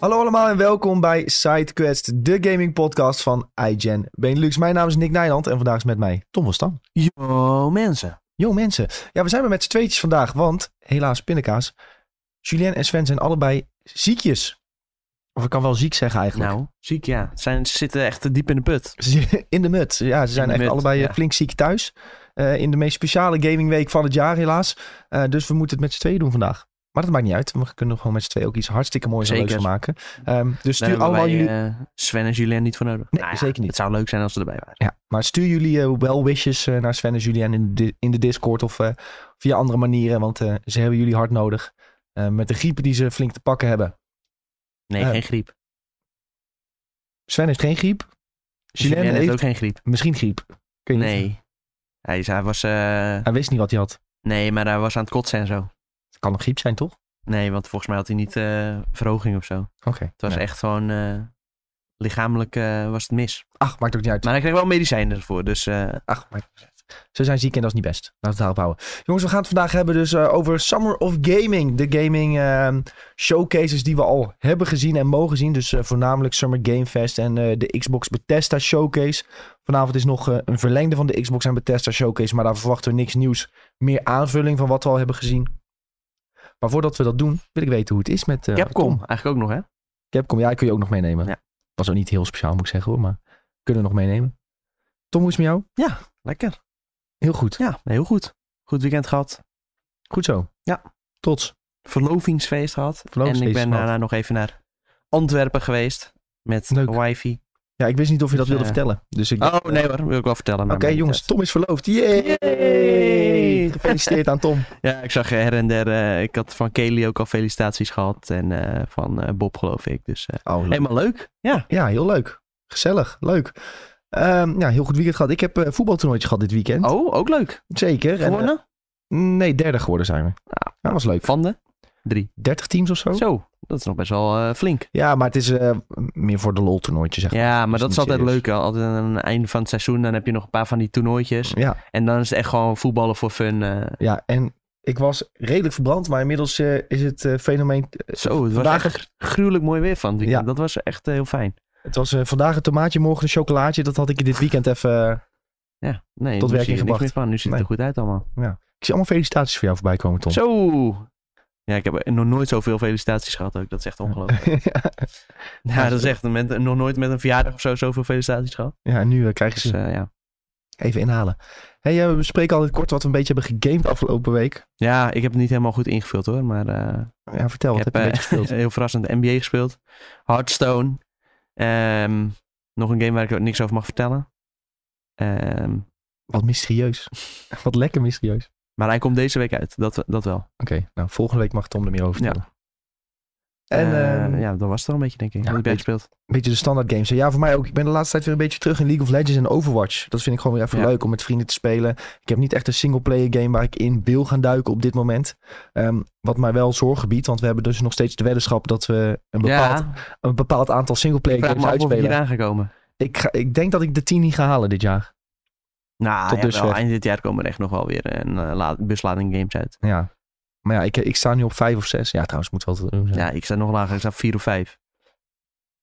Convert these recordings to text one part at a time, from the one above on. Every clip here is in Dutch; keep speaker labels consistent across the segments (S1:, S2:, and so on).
S1: Hallo allemaal en welkom bij SideQuest, de gaming podcast van iGen Benelux. Mijn naam is Nick Nijland en vandaag is met mij Tom van Stam.
S2: Yo mensen.
S1: Yo mensen, ja we zijn maar met z'n tweetjes vandaag, want helaas pindakaas, Julien en Sven zijn allebei ziekjes. Of ik kan wel ziek zeggen eigenlijk.
S2: Nou, ziek ja. Zijn, ze zitten echt diep in de put.
S1: In de mut. Ja, ze zijn
S2: de
S1: echt
S2: mut,
S1: allebei eh,
S2: ja.
S1: flink ziek thuis. Eh, in de meest speciale gamingweek van het jaar helaas. Eh, dus we moeten het met z'n tweeën doen vandaag. Maar dat maakt niet uit. We kunnen gewoon met z'n tweeën ook iets hartstikke moois en
S2: Zeker.
S1: leuks van maken. Ehm, dus
S2: Daar
S1: stuur
S2: hebben
S1: allemaal
S2: wij,
S1: jullie...
S2: eh, Sven en Julien niet voor nodig. Nou
S1: Nee, zeker niet.
S2: Het zou leuk zijn als ze erbij waren.
S1: Ja, maar stuur jullie eh, well wishes eh, naar Sven en Julian in de, in de Discord of eh, via andere manieren. Want eh, ze hebben jullie hard nodig. eh, met de griepen die ze flink te pakken hebben.
S2: Nee,
S1: Eh,
S2: geen griep.
S1: Sven heeft geen griep. Julien,
S2: Julien heeft
S1: heeft
S2: ook geen griep.
S1: misschien griep. Kun je niet zeggen.
S2: Nee. Hij, is- hij was... eh,
S1: Hij wist niet wat hij had.
S2: nee, maar hij was aan het kotsen en zo.
S1: Het kan een griep zijn, toch?
S2: Nee, want volgens mij had hij niet eh, verhoging of zo.
S1: Oké.
S2: Het was
S1: Nee.
S2: echt gewoon... eh, lichamelijk eh, was het mis.
S1: Ach, maakt ook niet uit.
S2: Maar hij kreeg wel medicijnen ervoor. Dus eh,
S1: Ach, maar ze zijn ziek en dat is niet best. Laten we het daarop houden. Jongens, we gaan het vandaag hebben dus eh, over Summer of Gaming. De gaming ehm, showcases die we al hebben gezien en mogen zien. Dus eh, voornamelijk Summer Game Fest en eh, de Xbox Bethesda Showcase. Vanavond is nog eh, een verlengde van de Xbox en Bethesda Showcase. Maar daar verwachten we niks nieuws. Meer aanvulling van wat we al hebben gezien. Maar voordat we dat doen, wil ik weten hoe het is met eh
S2: Capcom
S1: Tom.
S2: eigenlijk ook nog, hè?
S1: Capcom, ja, die kun je ook nog meenemen.
S2: Ja.
S1: Was ook niet heel speciaal, moet ik zeggen hoor. Maar kunnen we nog meenemen. Tom, hoe is het met jou?
S2: Lekker.
S1: Heel goed.
S2: Ja, heel goed. Goed weekend gehad.
S1: Goed zo.
S2: Ja.
S1: Trots.
S2: verlovingsfeest gehad. en
S1: Verlovingsfeest
S2: ik ben
S1: gehad.
S2: daarna nog even naar Antwerpen geweest. Met
S1: Leuk.
S2: wifi.
S1: Ja, ik wist niet of je dat
S2: Dus,
S1: wilde
S2: eh,
S1: vertellen. Dus ik...
S2: Oh, nee hoor, wil ik wel vertellen.
S1: Oké,
S2: maar maakt
S1: jongens,
S2: niet
S1: Tom is verloofd. Yay!
S2: Yay!
S1: Gefeliciteerd aan Tom.
S2: uit. Ja, ik zag her en der. eh, ik had van Kelly ook al felicitaties gehad. En eh, van eh, Bob, geloof ik. Dus eh,
S1: Oh, leuk.
S2: helemaal leuk. Ja.
S1: Ja, heel leuk. Gezellig, leuk. Ehm, ja, heel goed weekend gehad. Ik heb eh voetbaltoernooitje gehad dit weekend.
S2: Oh, ook leuk.
S1: Zeker. En,
S2: Gewonnen?
S1: eh, nee, derde geworden zijn we. Ja, dat was leuk.
S2: Van de drie.
S1: 30 teams of zo?
S2: Zo, dat is nog best wel eh, flink.
S1: Ja, maar het is eh, meer voor de lol toernooitje, zeg maar.
S2: Ja, maar dat
S1: niet
S2: is altijd
S1: serieus.
S2: leuk. hè. Altijd aan het einde van het seizoen, dan heb je nog een paar van die toernooitjes.
S1: Ja,
S2: En dan is het echt gewoon voetballen voor fun. eh.
S1: ja, en ik was redelijk verbrand, maar inmiddels eh, is het eh, fenomeen...
S2: Zo, het was
S1: Vandaag-
S2: echt gruwelijk mooi weer van het weekend.
S1: Ja.
S2: Dat was echt eh, heel fijn.
S1: Het was eh, vandaag een tomaatje, morgen een chocolaatje. Dat had ik dit weekend even... eh,
S2: Ja, nee,
S1: Tot
S2: nu
S1: werking
S2: zie je er niks
S1: gebracht.
S2: meer van. Nu ziet het
S1: Nee.
S2: er goed uit allemaal.
S1: Ik zie allemaal felicitaties voor jou voorbij komen, Tom.
S2: Zo! Ja, ik heb nog nooit zoveel felicitaties gehad ook. Dat is echt ongelooflijk. ja, dat is echt een moment- nog nooit met een verjaardag of zo zoveel felicitaties gehad.
S1: Ja, en nu eh, krijg je
S2: Dus
S1: ze
S2: eh, ja.
S1: even inhalen. Hey, eh, we bespreken altijd kort wat we een beetje hebben gegamed afgelopen week.
S2: ja, ik heb het niet helemaal goed ingevuld hoor. Maar eh,
S1: Ja, vertel, Oh, wat heb,
S2: Ik heb,
S1: je een
S2: eh,
S1: beetje gespeeld?
S2: heel verrassend NBA gespeeld. Hearthstone. Ehm, nog een game waar ik ook niks over mag vertellen. Ehm,
S1: Wat mysterieus. wat lekker mysterieus.
S2: maar hij komt deze week uit. Dat, dat wel.
S1: Oké, nou, volgende week mag Tom er meer over
S2: Ja.
S1: vertellen. En
S2: Eh,
S1: ehm,
S2: ja, dat was het wel een beetje denk ik.
S1: ja,
S2: Wat heb jij
S1: ik-
S2: gespeeld?
S1: een beetje de standaard games. Ja, voor mij ook. Ik ben de laatste tijd weer een beetje terug in League of Legends en Overwatch. Dat vind ik gewoon weer even
S2: Ja.
S1: leuk om met vrienden te spelen. Ik heb niet echt een singleplayer game waar ik in wil gaan duiken op dit moment. Ehm, wat mij wel zorgen biedt, want we hebben dus nog steeds de weddenschap dat we een bepaald,
S2: ja,
S1: een bepaald aantal singleplayer
S2: vraag
S1: games
S2: me af of ik
S1: uitspelen.
S2: hier aangekomen.
S1: Ik, ga, ik denk dat ik de 10 niet ga halen dit jaar.
S2: Nou,
S1: Tot
S2: ja, wel,
S1: dusver.
S2: eind dit jaar komen er echt nog wel weer een eh, la- buslading games uit.
S1: Ja. Maar ja, ik, ik sta nu op 5 of 6. Ja, trouwens, moet wel te doen zijn.
S2: Ja, ik sta nog lager. Ik sta op vier of vijf.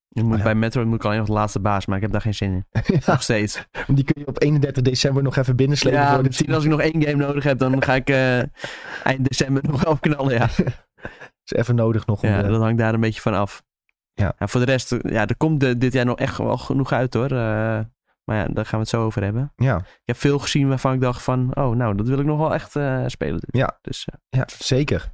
S2: Ik moet,
S1: Oh ja.
S2: Bij Metroid moet ik alleen nog de laatste baas, maar ik heb daar geen zin in.
S1: Ja,
S2: Nog steeds.
S1: want die kun je op 31 december nog even binnenslepen
S2: Ja,
S1: voor de
S2: misschien
S1: 10.
S2: als ik nog één game nodig heb, dan ga ik eh, eind december nog wel knallen. Ja.
S1: is even nodig nog. Om eh,
S2: ja,
S1: de-
S2: dat hangt daar een beetje van af.
S1: Ja.
S2: voor de rest, ja, er komt eh, dit jaar nog echt wel genoeg uit hoor. Eh, maar ja, daar gaan we het zo over hebben.
S1: ja.
S2: Ik heb veel gezien waarvan ik dacht van, oh nou, dat wil ik nog wel echt eh, spelen. dit.
S1: Ja.
S2: Dus eh,
S1: ja, zeker.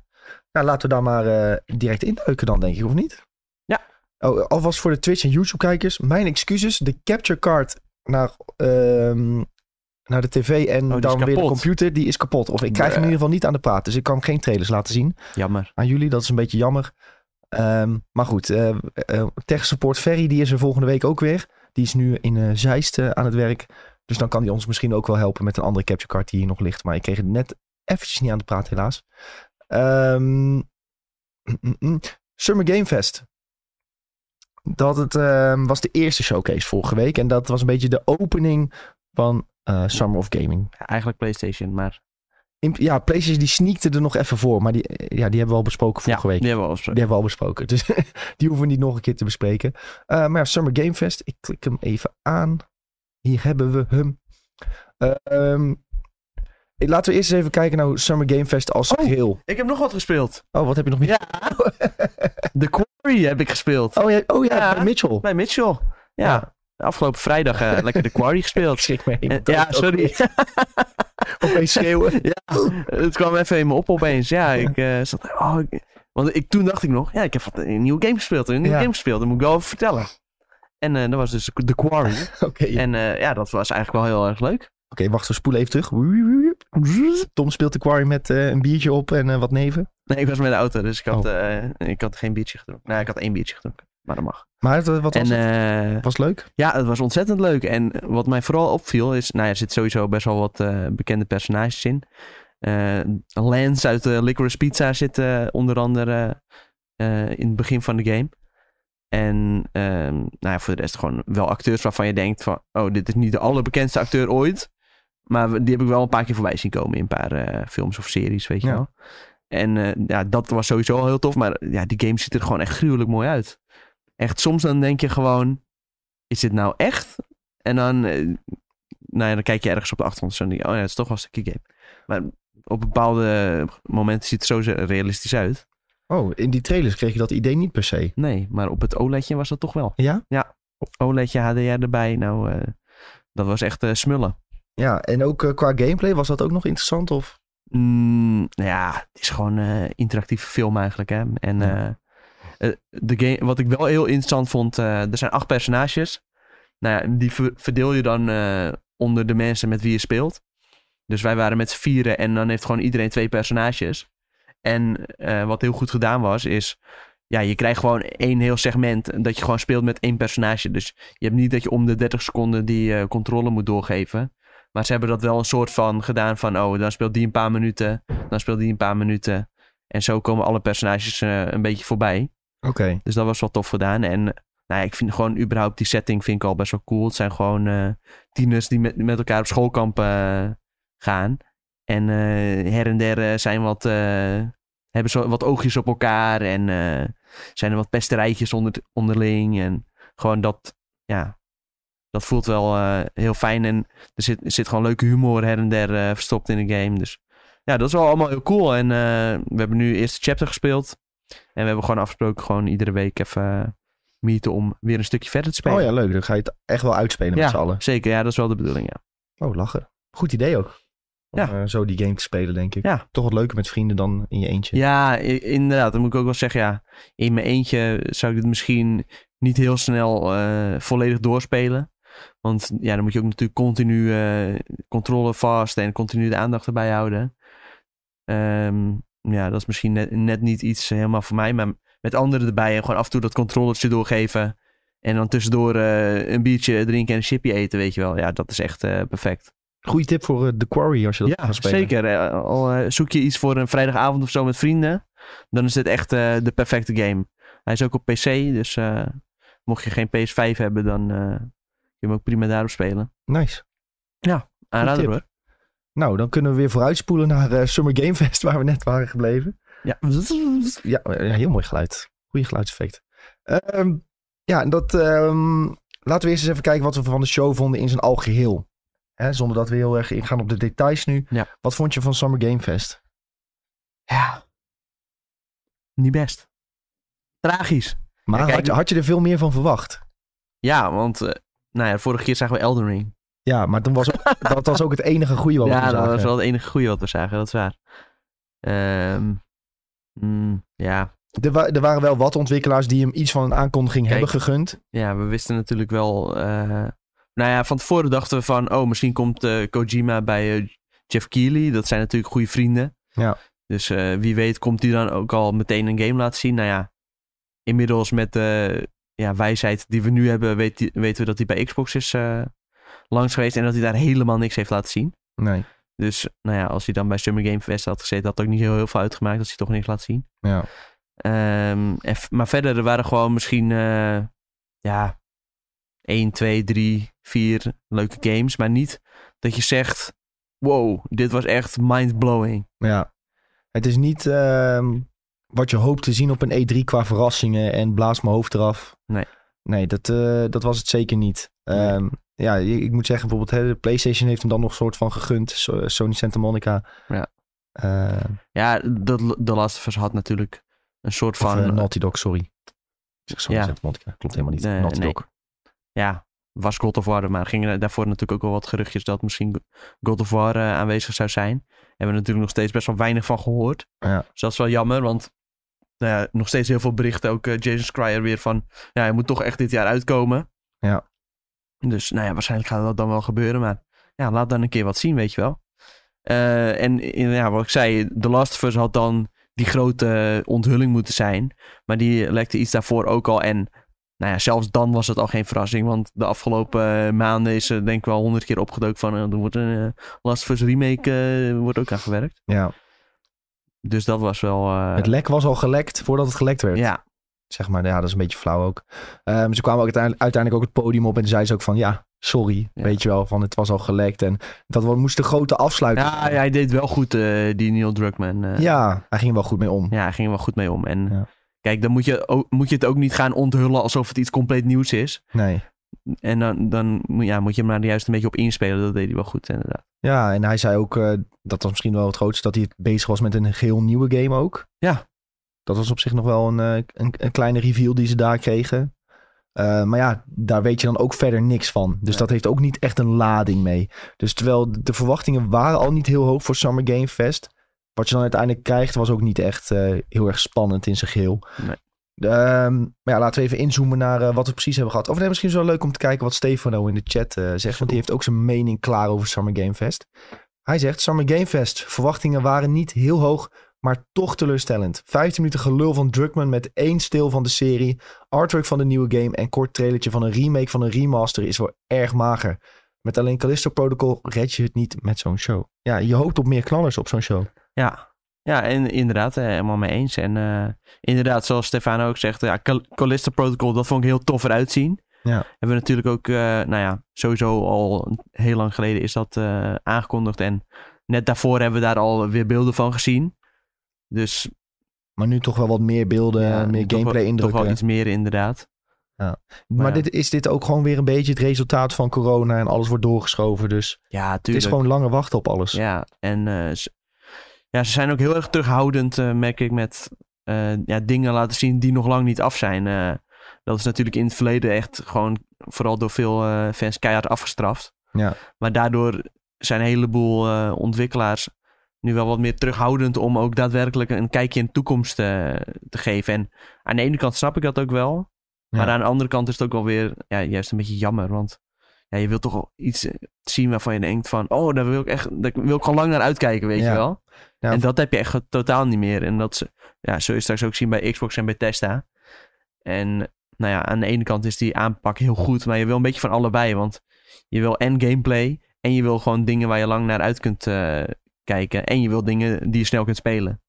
S1: Nou, laten we daar maar eh, direct induiken dan, denk ik, of niet?
S2: Ja.
S1: Oh, alvast voor de Twitch en YouTube-kijkers. Mijn excuses. De capture card naar, ehm, naar de tv en
S2: Oh, is
S1: dan weer de
S2: kapot.
S1: computer, die is kapot. Of ik krijg hem in ieder
S2: Bruh.
S1: geval niet aan de praat. Dus ik kan geen trailers laten zien.
S2: jammer.
S1: aan jullie. Dat is een beetje jammer. Ehm, maar goed, eh eh, tech support Ferry die is er volgende week ook weer. Die is nu in eh Zeist eh, aan het werk. Dus dan kan hij ons misschien ook wel helpen met een andere capture card die hier nog ligt. Maar ik kreeg het net eventjes niet aan de praat helaas. Ehm, mm, mm, mm. Summer Game Fest. Dat het, ehm, was de eerste showcase vorige week. En dat was een beetje de opening van eh, Summer of Gaming.
S2: Ja, eigenlijk PlayStation, maar
S1: in- ja, PlayStation die sneakte er nog even voor. Maar die, eh, ja, die hebben we al besproken
S2: Ja,
S1: vorige week.
S2: die hebben we al besproken.
S1: Die hebben we al besproken. Dus die hoeven we niet nog een keer te bespreken. Eh, maar ja, Summer Game Fest. Ik klik hem even aan. Hier hebben we hem. Eh, ehm, eh, laten we eerst eens even kijken naar hoe Summer Game Fest als
S2: Oh.
S1: geheel.
S2: Ik heb nog wat gespeeld.
S1: Oh, wat heb je nog meer?
S2: Ja. The Quarry heb ik gespeeld.
S1: Oh ja, oh, ja,
S2: Ja.
S1: bij Mitchell.
S2: Bij Mitchell. Ja.
S1: Ja.
S2: Afgelopen vrijdag eh, lekker The Quarry
S1: Ik
S2: gespeeld.
S1: schrik me.
S2: En- ja, sorry.
S1: Opeens schreeuwen.
S2: het kwam even in me op opeens. Ja, ik eh, zat... Oh, ik- want ik, toen dacht ik nog... Ja, ik heb wat, een nieuwe game gespeeld. Een nieuwe
S1: Ja.
S2: game gespeeld. Dat moet ik wel even vertellen. En eh dat was dus The Quarry.
S1: Oké,
S2: En eh, ja, dat was eigenlijk wel heel erg leuk.
S1: Oké, wacht, we spoelen even terug. Tom speelt de quarry met eh, een biertje op en eh, wat neven.
S2: Nee, ik was met de auto, dus ik had,
S1: Oh.
S2: eh, ik had geen biertje gedronken. Nou, ik had één biertje gedronken, maar dat mag.
S1: Maar het, eh, wat was
S2: en
S1: het?
S2: eh,
S1: was leuk?
S2: ja, het was ontzettend leuk. En wat mij vooral opviel is, nou ja, er zit sowieso best wel wat eh, bekende personages in. Eh Lance uit eh, Licorice Pizza zit eh, onder andere eh, in het begin van de game. En ehm, nou ja, voor de rest gewoon wel acteurs waarvan je denkt van... Oh, dit is niet de allerbekendste acteur ooit. Maar we- die heb ik wel een paar keer voorbij zien komen in een paar eh, films of series, weet je
S1: Ja.
S2: wel. En eh, ja, dat was sowieso al heel tof. Maar eh, ja, die game ziet er gewoon echt gruwelijk mooi uit. Echt, soms dan denk je gewoon... Is dit nou echt? En dan... eh, nou ja, dan kijk je ergens op de achtergrond. Zo, en denk je, oh ja, het is toch wel een stukje game. Maar op bepaalde momenten ziet het zo realistisch uit.
S1: Oh, in die trailers kreeg je dat idee niet per se.
S2: Nee, maar op het OLEDje was dat toch wel.
S1: Ja?
S2: OLEDje HDR erbij, nou, eh, dat was echt eh, smullen.
S1: Ja, en ook eh, qua gameplay was dat ook nog interessant? Of?
S2: Mm, nou ja, het is gewoon eh interactieve film eigenlijk, hè. En
S1: Ja.
S2: eh, eh, de game, wat ik wel heel interessant vond, eh, er zijn acht personages. Nou ja, die ver- verdeel je dan eh, onder de mensen met wie je speelt. Dus wij waren met z'n vieren en dan heeft gewoon iedereen twee personages. En eh, wat heel goed gedaan was, is... Ja, je krijgt gewoon één heel segment dat je gewoon speelt met één personage. Dus je hebt niet dat je om de 30 seconden die eh, controle moet doorgeven. Maar ze hebben dat wel een soort van gedaan van... Oh, dan speelt die een paar minuten, dan speelt die een paar minuten. En zo komen alle personages eh, een beetje voorbij.
S1: Oké.
S2: Dus dat was wel tof gedaan. En nou ja, ik vind gewoon überhaupt die setting vind ik al best wel cool. Het zijn gewoon eh, tieners die met, met elkaar op schoolkamp eh, gaan. En eh, her en der eh, zijn wat, eh, hebben zo, wat oogjes op elkaar. En eh, zijn er wat pesterijtjes onder, onderling. En gewoon dat, ja, dat voelt wel eh, heel fijn. En er zit, er zit gewoon leuke humor her en der eh, verstopt in de game. Dus ja, dat is wel allemaal heel cool. En eh, we hebben nu eerst de chapter gespeeld. En we hebben gewoon afgesproken gewoon iedere week even eh, meeten om weer een stukje verder te spelen.
S1: Oh ja, leuk. Dan ga je het echt wel uitspelen
S2: Ja.
S1: met z'n allen.
S2: Zeker, ja, dat is wel de bedoeling, ja.
S1: Oh, lachen. Goed idee ook. Om
S2: Ja.
S1: eh, zo die game te spelen, denk ik.
S2: Ja.
S1: Toch wat leuker met vrienden dan in je eentje.
S2: Ja, i- inderdaad. Dan moet ik ook wel zeggen, ja. In mijn eentje zou ik dit misschien niet heel snel eh, volledig doorspelen. Want ja, dan moet je ook natuurlijk continu eh, controle vast en continu de aandacht erbij houden. Ehm, ja, dat is misschien net, net niet iets helemaal voor mij. Maar met anderen erbij en gewoon af en toe dat controletje doorgeven. En dan tussendoor eh, een biertje drinken en een chipje eten, weet je wel. Ja, dat is echt eh, perfect.
S1: Goeie tip voor eh, The Quarry als je dat
S2: Ja,
S1: gaat spelen.
S2: zeker. Eh, Al eh, zoek je iets voor een vrijdagavond of zo met vrienden, dan is dit echt eh, de perfecte game. Hij is ook op PC, dus eh, mocht je geen PS5 hebben, dan eh, kun je hem ook prima daarop spelen.
S1: Nice.
S2: Aanrader
S1: tip.
S2: hoor.
S1: Nou, dan kunnen we weer vooruitspoelen naar eh, Summer Game Fest waar we net waren gebleven.
S2: Ja.
S1: Ja, eh, ja, heel mooi geluid. Goeie geluidseffect. Ehm, ja, en dat, ehm, laten we eerst eens even kijken wat we van de show vonden in zijn algeheel. Hè, zonder dat we heel erg ingaan op de details nu.
S2: Ja.
S1: Wat vond je van Summer Game Fest?
S2: ja. Niet best. Tragisch.
S1: Maar
S2: Ja, kijk,
S1: had, je, had je er veel meer van verwacht?
S2: Ja, want eh, nou ja, vorige keer zagen we Elden Ring.
S1: Ja, maar toen was ook, dat was ook het enige goede wat we
S2: ja,
S1: toen
S2: dat
S1: zagen.
S2: was wel het enige goede wat we zagen, dat is waar. Ehm, mm, ja,
S1: er, wa- er waren wel wat ontwikkelaars die hem iets van een aankondiging
S2: Kijk.
S1: hebben gegund.
S2: Ja, we wisten natuurlijk wel. eh, nou ja, van tevoren dachten we van. Oh, misschien komt eh, Kojima bij eh, Jeff Keighley. Dat zijn natuurlijk goede vrienden.
S1: Ja.
S2: Dus eh, wie weet, komt hij dan ook al meteen een game laten zien? Nou ja, inmiddels met de ja, wijsheid die we nu hebben, weet die- weten we dat hij bij Xbox is eh, langs geweest. En dat hij daar helemaal niks heeft laten zien.
S1: Nee.
S2: Dus nou ja, als hij dan bij Summer Game Fest had gezeten, had het ook niet heel, heel veel uitgemaakt dat hij toch niks laat zien.
S1: Ja.
S2: Ehm, en f- maar verder, er waren gewoon misschien eh, ja, 1, 2, 3, 4 leuke games. Maar niet dat je zegt, wow, dit was echt mind-blowing.
S1: Ja. Het is niet ehm, wat je hoopt te zien op een E3 qua verrassingen en blaas mijn hoofd eraf.
S2: Nee.
S1: Nee, dat, eh, dat was het zeker niet. Ehm, Ja, ik ik moet zeggen, bijvoorbeeld hè, de PlayStation heeft hem dan nog soort van gegund. So- Sony Santa Monica.
S2: Ja.
S1: Eh,
S2: Ja, de, de Last of Us had natuurlijk een soort
S1: of,
S2: van...
S1: eh, Naughty Dog, sorry. Ik zeg Sony
S2: Ja.
S1: Santa Monica, klopt helemaal niet.
S2: Nee,
S1: Naughty
S2: nee.
S1: Dog.
S2: ja, was God of War, maar gingen er daarvoor natuurlijk ook wel wat geruchtjes dat misschien God of War eh, aanwezig zou zijn. Hebben we natuurlijk nog steeds best wel weinig van gehoord.
S1: Ja.
S2: Dus dat is wel jammer, want nou ja, nog steeds heel veel berichten, ook eh, Jason Schreier weer van, ja, hij moet toch echt dit jaar uitkomen.
S1: Ja.
S2: Dus nou ja, waarschijnlijk gaat dat dan wel gebeuren, maar ja, laat dan een keer wat zien, weet je wel. Eh, en in- ja, wat ik zei, The Last of Us had dan die grote onthulling moeten zijn. Maar die lekte iets daarvoor ook al. En nou ja, zelfs dan was het al geen verrassing. Want de afgelopen eh, maanden is er denk ik wel honderd keer opgedoken van... eh, er wordt een eh, Last of Us remake eh, wordt ook aan gewerkt.
S1: Ja.
S2: Dus dat was wel... eh,
S1: Het lek was al gelekt voordat het gelekt werd.
S2: ja,
S1: Zeg maar, ja, dat is een beetje flauw ook. Ehm, ze kwamen ook uiteindelijk, uiteindelijk ook het podium op en zeiden ze ook van... Ja, sorry,
S2: Ja.
S1: weet je wel, van het was al gelekt. En dat wa- moest de grote afsluiting
S2: ja,
S1: zijn.
S2: ja, hij deed wel goed, eh, die Neil Druckmann. eh.
S1: Ja, hij ging wel goed mee om.
S2: ja, hij ging er wel goed mee om. En
S1: Ja.
S2: kijk, dan moet je, ook, moet je het ook niet gaan onthullen alsof het iets compleet nieuws is.
S1: Nee.
S2: En dan, dan moet- ja, moet je hem daar juist een beetje op inspelen. Dat deed hij wel goed, inderdaad.
S1: Ja, en hij zei ook, eh, dat was misschien wel het grootste, dat hij bezig was met een geheel nieuwe game ook.
S2: Ja.
S1: Dat was op zich nog wel een, eh, een, een kleine reveal die ze daar kregen. Eh, maar ja, daar weet je dan ook verder niks van. Dus
S2: Nee.
S1: dat heeft ook niet echt een lading mee. Dus terwijl de verwachtingen waren al niet heel hoog voor Summer Game Fest. Wat je dan uiteindelijk krijgt, was ook niet echt eh, heel erg spannend in zijn geheel.
S2: Nee.
S1: Ehm, maar ja, laten we even inzoomen naar eh, wat we precies hebben gehad. Of nee, misschien is het wel leuk om te kijken wat Stefano in de chat eh, zegt. Want die heeft ook zijn mening klaar over Summer Game Fest. Hij zegt, Summer Game Fest, verwachtingen waren niet heel hoog, maar toch teleurstellend. 15 minuten gelul van Druckmann met één stil van de serie, artwork van de nieuwe game en kort trailertje van een remake van een remaster is wel erg mager. Met alleen Callisto Protocol red je het niet met zo'n show. Ja, je hoopt op meer knallers op zo'n show.
S2: Ja, ja en inderdaad, eh, helemaal mee eens. En eh, inderdaad, zoals Stefano ook zegt, ja, Cal- Callisto Protocol, dat vond ik heel tof eruit zien.
S1: Ja.
S2: Hebben we natuurlijk ook, eh, nou ja, sowieso al heel lang geleden is dat eh, aangekondigd. En net daarvoor hebben we daar al weer beelden van gezien. Dus
S1: Maar nu toch wel wat meer beelden, meer
S2: ja, toch wel-
S1: gameplay
S2: Toch wel
S1: indrukken.
S2: iets meer inderdaad.
S1: maar
S2: ja.
S1: dit, is dit ook gewoon weer een beetje het resultaat van corona en alles wordt doorgeschoven. Dus
S2: Ja,
S1: het is
S2: tuurlijk.
S1: gewoon langer wachten op alles.
S2: Ja, en eh, ze- ja, ze zijn ook heel erg terughoudend, eh, merk ik, met eh, ja, dingen laten zien die nog lang niet af zijn. Eh, dat is natuurlijk in het verleden echt gewoon vooral door veel eh, fans keihard afgestraft.
S1: Ja.
S2: Maar daardoor zijn een heleboel eh, ontwikkelaars nu wel wat meer terughoudend om ook daadwerkelijk een kijkje in de toekomst eh, te geven. En aan de ene kant snap ik dat ook wel.
S1: Ja.
S2: Maar aan de andere kant is het ook wel weer ja, juist een beetje jammer. Want ja, je wilt toch wel iets eh, zien waarvan je denkt van... Oh, daar wil ik echt daar wil ik gewoon lang naar uitkijken, weet
S1: Ja.
S2: je wel.
S1: Ja.
S2: En dat heb je echt totaal niet meer. En dat ze- ja, zul je straks ook zien bij Xbox en bij Testa. En nou ja, aan de ene kant is die aanpak heel goed. Maar je wil een beetje van allebei. Want je wil en gameplay... En je wil gewoon dingen waar je lang naar uit kunt eh, kijken. En je wil dingen die je snel kunt spelen.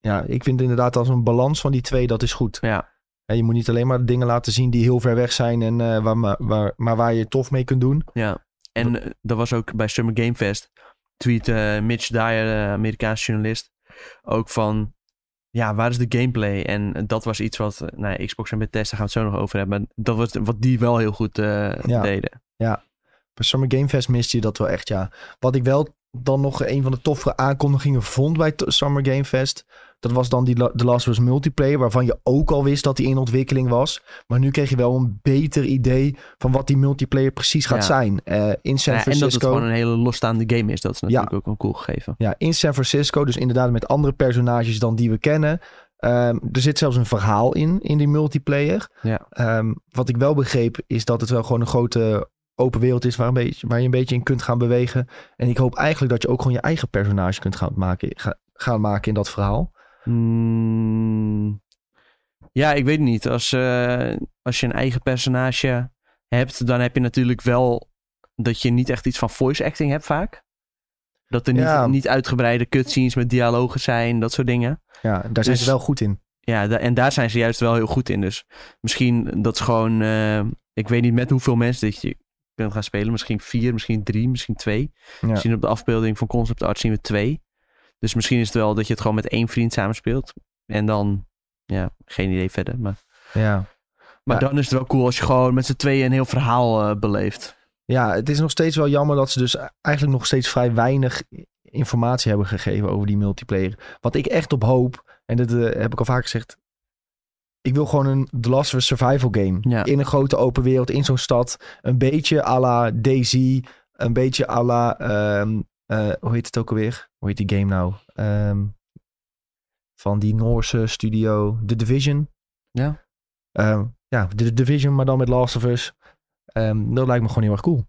S1: Ja, ik vind inderdaad als een balans van die twee, dat is goed.
S2: Ja.
S1: En je moet niet alleen maar dingen laten zien die heel ver weg zijn, en, eh, waar, maar, waar, maar waar je tof mee kunt doen.
S2: Ja, en eh, dat was ook bij Summer Game Fest. Tweet eh, Mitch Dyer, eh, Amerikaanse journalist, ook van... Ja, waar is de gameplay? En eh, dat was iets wat... eh, Nou, ja, Xbox en Bethesda gaan we het zo nog over hebben. Maar dat was wat die wel heel goed eh,
S1: Ja.
S2: deden.
S1: Bij Summer Game Fest miste je dat wel echt, ja. Wat ik wel dan nog een van de toffere aankondigingen vond bij t- Summer Game Fest... dat was dan die La- The Last of Us Multiplayer... waarvan je ook al wist dat die in ontwikkeling was. Maar nu kreeg je wel een beter idee... van wat die multiplayer precies gaat
S2: Ja.
S1: zijn. Eh, in San
S2: Ja, en dat het
S1: Francisco...
S2: gewoon een hele losstaande game is. Dat is natuurlijk ook een cool gegeven.
S1: Ja, in San Francisco. Dus inderdaad met andere personages dan die we kennen. Ehm, er zit zelfs een verhaal in, in die multiplayer.
S2: Ja.
S1: Ehm, wat ik wel begreep is dat het wel gewoon een grote open wereld is waar, een beetje, waar je een beetje in kunt gaan bewegen. En ik hoop eigenlijk dat je ook gewoon je eigen personage kunt gaan maken, ga- gaan maken in dat verhaal.
S2: Hmm. Ja, ik weet niet. Als, eh, als je een eigen personage hebt, dan heb je natuurlijk wel dat je niet echt iets van voice acting hebt vaak. Dat er niet,
S1: Ja.
S2: niet uitgebreide cutscenes met dialogen zijn, dat soort dingen.
S1: Ja, daar zijn
S2: Dus-
S1: ze wel goed in.
S2: Ja, da- en daar zijn ze juist wel heel goed in. Dus misschien dat is gewoon, eh, ik weet niet met hoeveel mensen dat je kunt gaan spelen. Misschien vier, misschien drie, misschien twee.
S1: Ja.
S2: Misschien op de afbeelding van concept art zien we twee. Dus misschien is het wel dat je het gewoon met één vriend samenspeelt. En dan, ja, geen idee verder. Maar,
S1: Ja.
S2: maar
S1: Ja.
S2: dan is het wel cool als je gewoon met z'n tweeën een heel verhaal eh, beleeft.
S1: ja, het is nog steeds wel jammer dat ze dus eigenlijk nog steeds vrij weinig informatie hebben gegeven over die multiplayer. Wat ik echt op hoop, en dat eh, heb ik al vaak gezegd. Ik wil gewoon een The Last of Us survival game.
S2: Ja.
S1: In een grote open wereld, in zo'n stad. Een beetje à la Daisy. Een beetje à la... ehm, eh, hoe heet het ook alweer? Hoe heet die game nou? Ehm, van die Noorse studio The Division.
S2: Ja.
S1: Ehm, ja, The Division, maar dan met Last of Us. Ehm, dat lijkt me gewoon heel erg cool.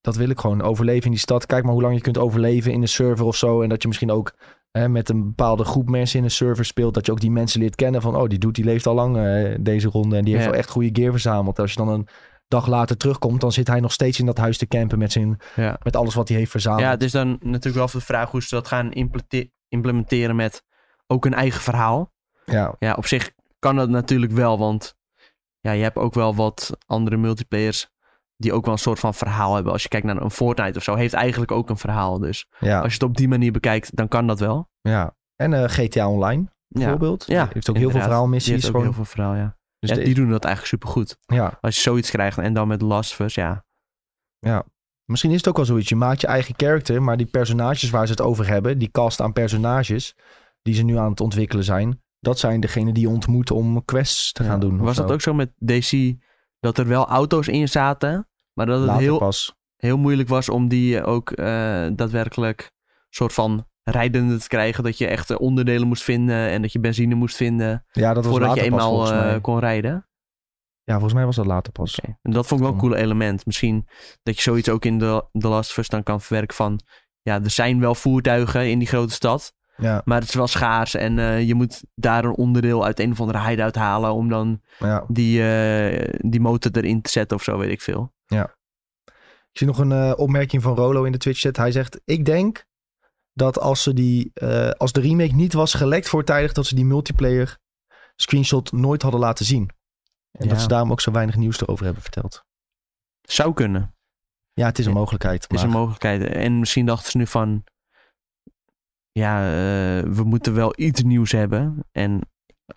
S1: Dat wil ik gewoon. Overleven in die stad. Kijk maar hoe lang je kunt overleven in een server of zo. En dat je misschien ook hè, met een bepaalde groep mensen in een server speelt. Dat je ook die mensen leert kennen van... Oh, die doet, die leeft al lang eh, deze ronde. En die heeft
S2: Ja.
S1: wel echt goede gear verzameld. Als je dan een dag later terugkomt... dan zit hij nog steeds in dat huis te campen met, zijn,
S2: Ja.
S1: met alles wat hij heeft verzameld.
S2: Ja, dus het is dan natuurlijk wel de vraag hoe ze dat gaan implete- implementeren met ook een eigen verhaal.
S1: ja,
S2: Ja, op zich kan dat natuurlijk wel, want ja, je hebt ook wel wat andere multiplayers die ook wel een soort van verhaal hebben. Als je kijkt naar een Fortnite of zo, heeft eigenlijk ook een verhaal. Dus
S1: ja,
S2: als je het op die manier bekijkt, dan kan dat wel.
S1: ja. En eh, GTA Online
S2: Ja,
S1: bijvoorbeeld.
S2: ja
S1: heeft ook heel veel
S2: inderdaad. die
S1: verhaalmissies.
S2: heeft ook
S1: Gewoon,
S2: heel veel verhaal, ja.
S1: dus
S2: ja
S1: de-
S2: die doen dat eigenlijk supergoed.
S1: ja.
S2: Als je zoiets krijgt en dan met Last of Us, ja.
S1: Misschien is het ook wel zoiets. Je maakt je eigen character, maar die personages waar ze het over hebben, die cast aan personages die ze nu aan het ontwikkelen zijn, dat zijn degenen die je ontmoet om quests te gaan
S2: Ja.
S1: doen. of
S2: Was dat
S1: zo.
S2: ook zo met DC, dat er wel auto's in zaten, maar dat het
S1: Later
S2: heel
S1: pas.
S2: heel moeilijk was om die eh, ook eh, daadwerkelijk soort van rijdende te krijgen. Dat je echt eh, onderdelen moest vinden en dat je benzine moest vinden
S1: Ja, dat was
S2: voordat
S1: later
S2: je
S1: pas
S2: eenmaal
S1: volgens
S2: eh,
S1: mij.
S2: kon rijden.
S1: Ja, volgens mij was dat later pas.
S2: En dat vond ik wel een
S1: Toen.
S2: cool element. Misschien dat je zoiets ook in de The Last of Us dan kan verwerken van... Ja, er zijn wel voertuigen in die grote stad,
S1: Ja,
S2: maar het is wel schaars. En eh, je moet daar een onderdeel uit een of andere hideout halen om dan
S1: ja.
S2: die, eh, die motor erin te zetten of zo, weet ik veel.
S1: Ik zie nog een eh, opmerking van Rolo in de Twitch chat. Hij zegt, ik denk dat als, ze die, eh, als de remake niet was gelekt voortijdig, dat ze die multiplayer screenshot nooit hadden laten zien. En
S2: Ja.
S1: dat ze daarom ook zo weinig nieuws erover hebben verteld.
S2: Zou kunnen.
S1: Ja, het is een
S2: Ja,
S1: mogelijkheid.
S2: Het is een
S1: maar-
S2: mogelijkheid. En misschien dachten ze nu van... Ja, eh, we moeten wel iets nieuws hebben. En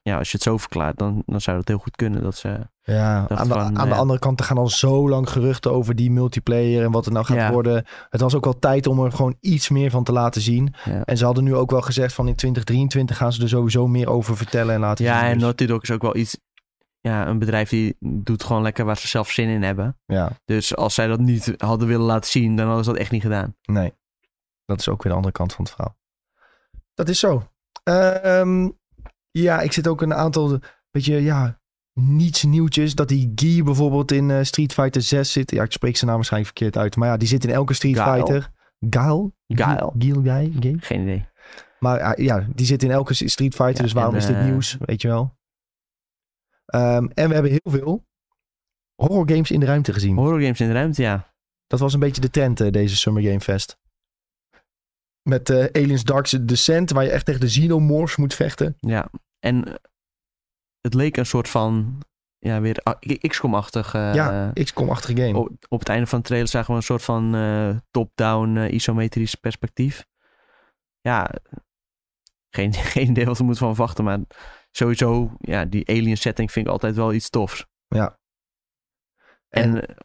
S2: ja, als je het zo verklaart, dan, dan zou dat heel goed kunnen. Dat ze,
S1: Ja,
S2: Dat
S1: aan, de,
S2: van,
S1: aan de
S2: eh,
S1: andere kant, er gaan al zo lang geruchten over die multiplayer en wat het nou gaat
S2: Ja.
S1: worden. Het was ook wel tijd om er gewoon iets meer van te laten zien.
S2: Ja.
S1: En ze hadden nu ook wel gezegd van in 2023 gaan ze er sowieso meer over vertellen en laten zien.
S2: ja, en
S1: Dus,
S2: Naughty Dog is ook wel iets... Ja, een bedrijf die doet gewoon lekker waar ze zelf zin in hebben.
S1: ja,
S2: Dus als zij dat niet hadden willen laten zien, dan hadden ze dat echt niet gedaan.
S1: nee. Dat is ook weer de andere kant van het verhaal. Dat is zo. Ehm, ja, ik zit ook een aantal, beetje, ja, niets nieuwtjes. Dat die Guy bijvoorbeeld in eh, Street Fighter 6 zit. Ja, ik spreek zijn naam waarschijnlijk verkeerd uit. Maar ja, die zit in elke Street
S2: Guile.
S1: Fighter. Gaal?
S2: Gaal.
S1: Gaal, Guy? Guy?
S2: Geen idee.
S1: Maar eh, ja, die zit in elke Street Fighter,
S2: Ja,
S1: dus waarom
S2: en,
S1: is dit
S2: eh,
S1: nieuws, weet je wel? Ehm, en we hebben heel veel horror games in de ruimte gezien.
S2: Horror games in de ruimte, ja.
S1: Dat was een beetje de trend eh, deze Summer Game Fest. Met eh, Aliens Dark Descent, waar je echt tegen de xenomorphs moet vechten.
S2: ja. En eh, het leek een soort van... Ja, weer ah, XCOM-achtig... eh, Oh.
S1: ja, XCOM-achtige game.
S2: op, op het einde van de trailer zagen we een soort van eh, top-down eh, isometrisch perspectief. Ja, geen, geen idee wat we moeten van verwachten, maar sowieso, ja, die alien setting vind ik altijd wel iets tofs.
S1: Ja.
S2: En, eh,
S1: En-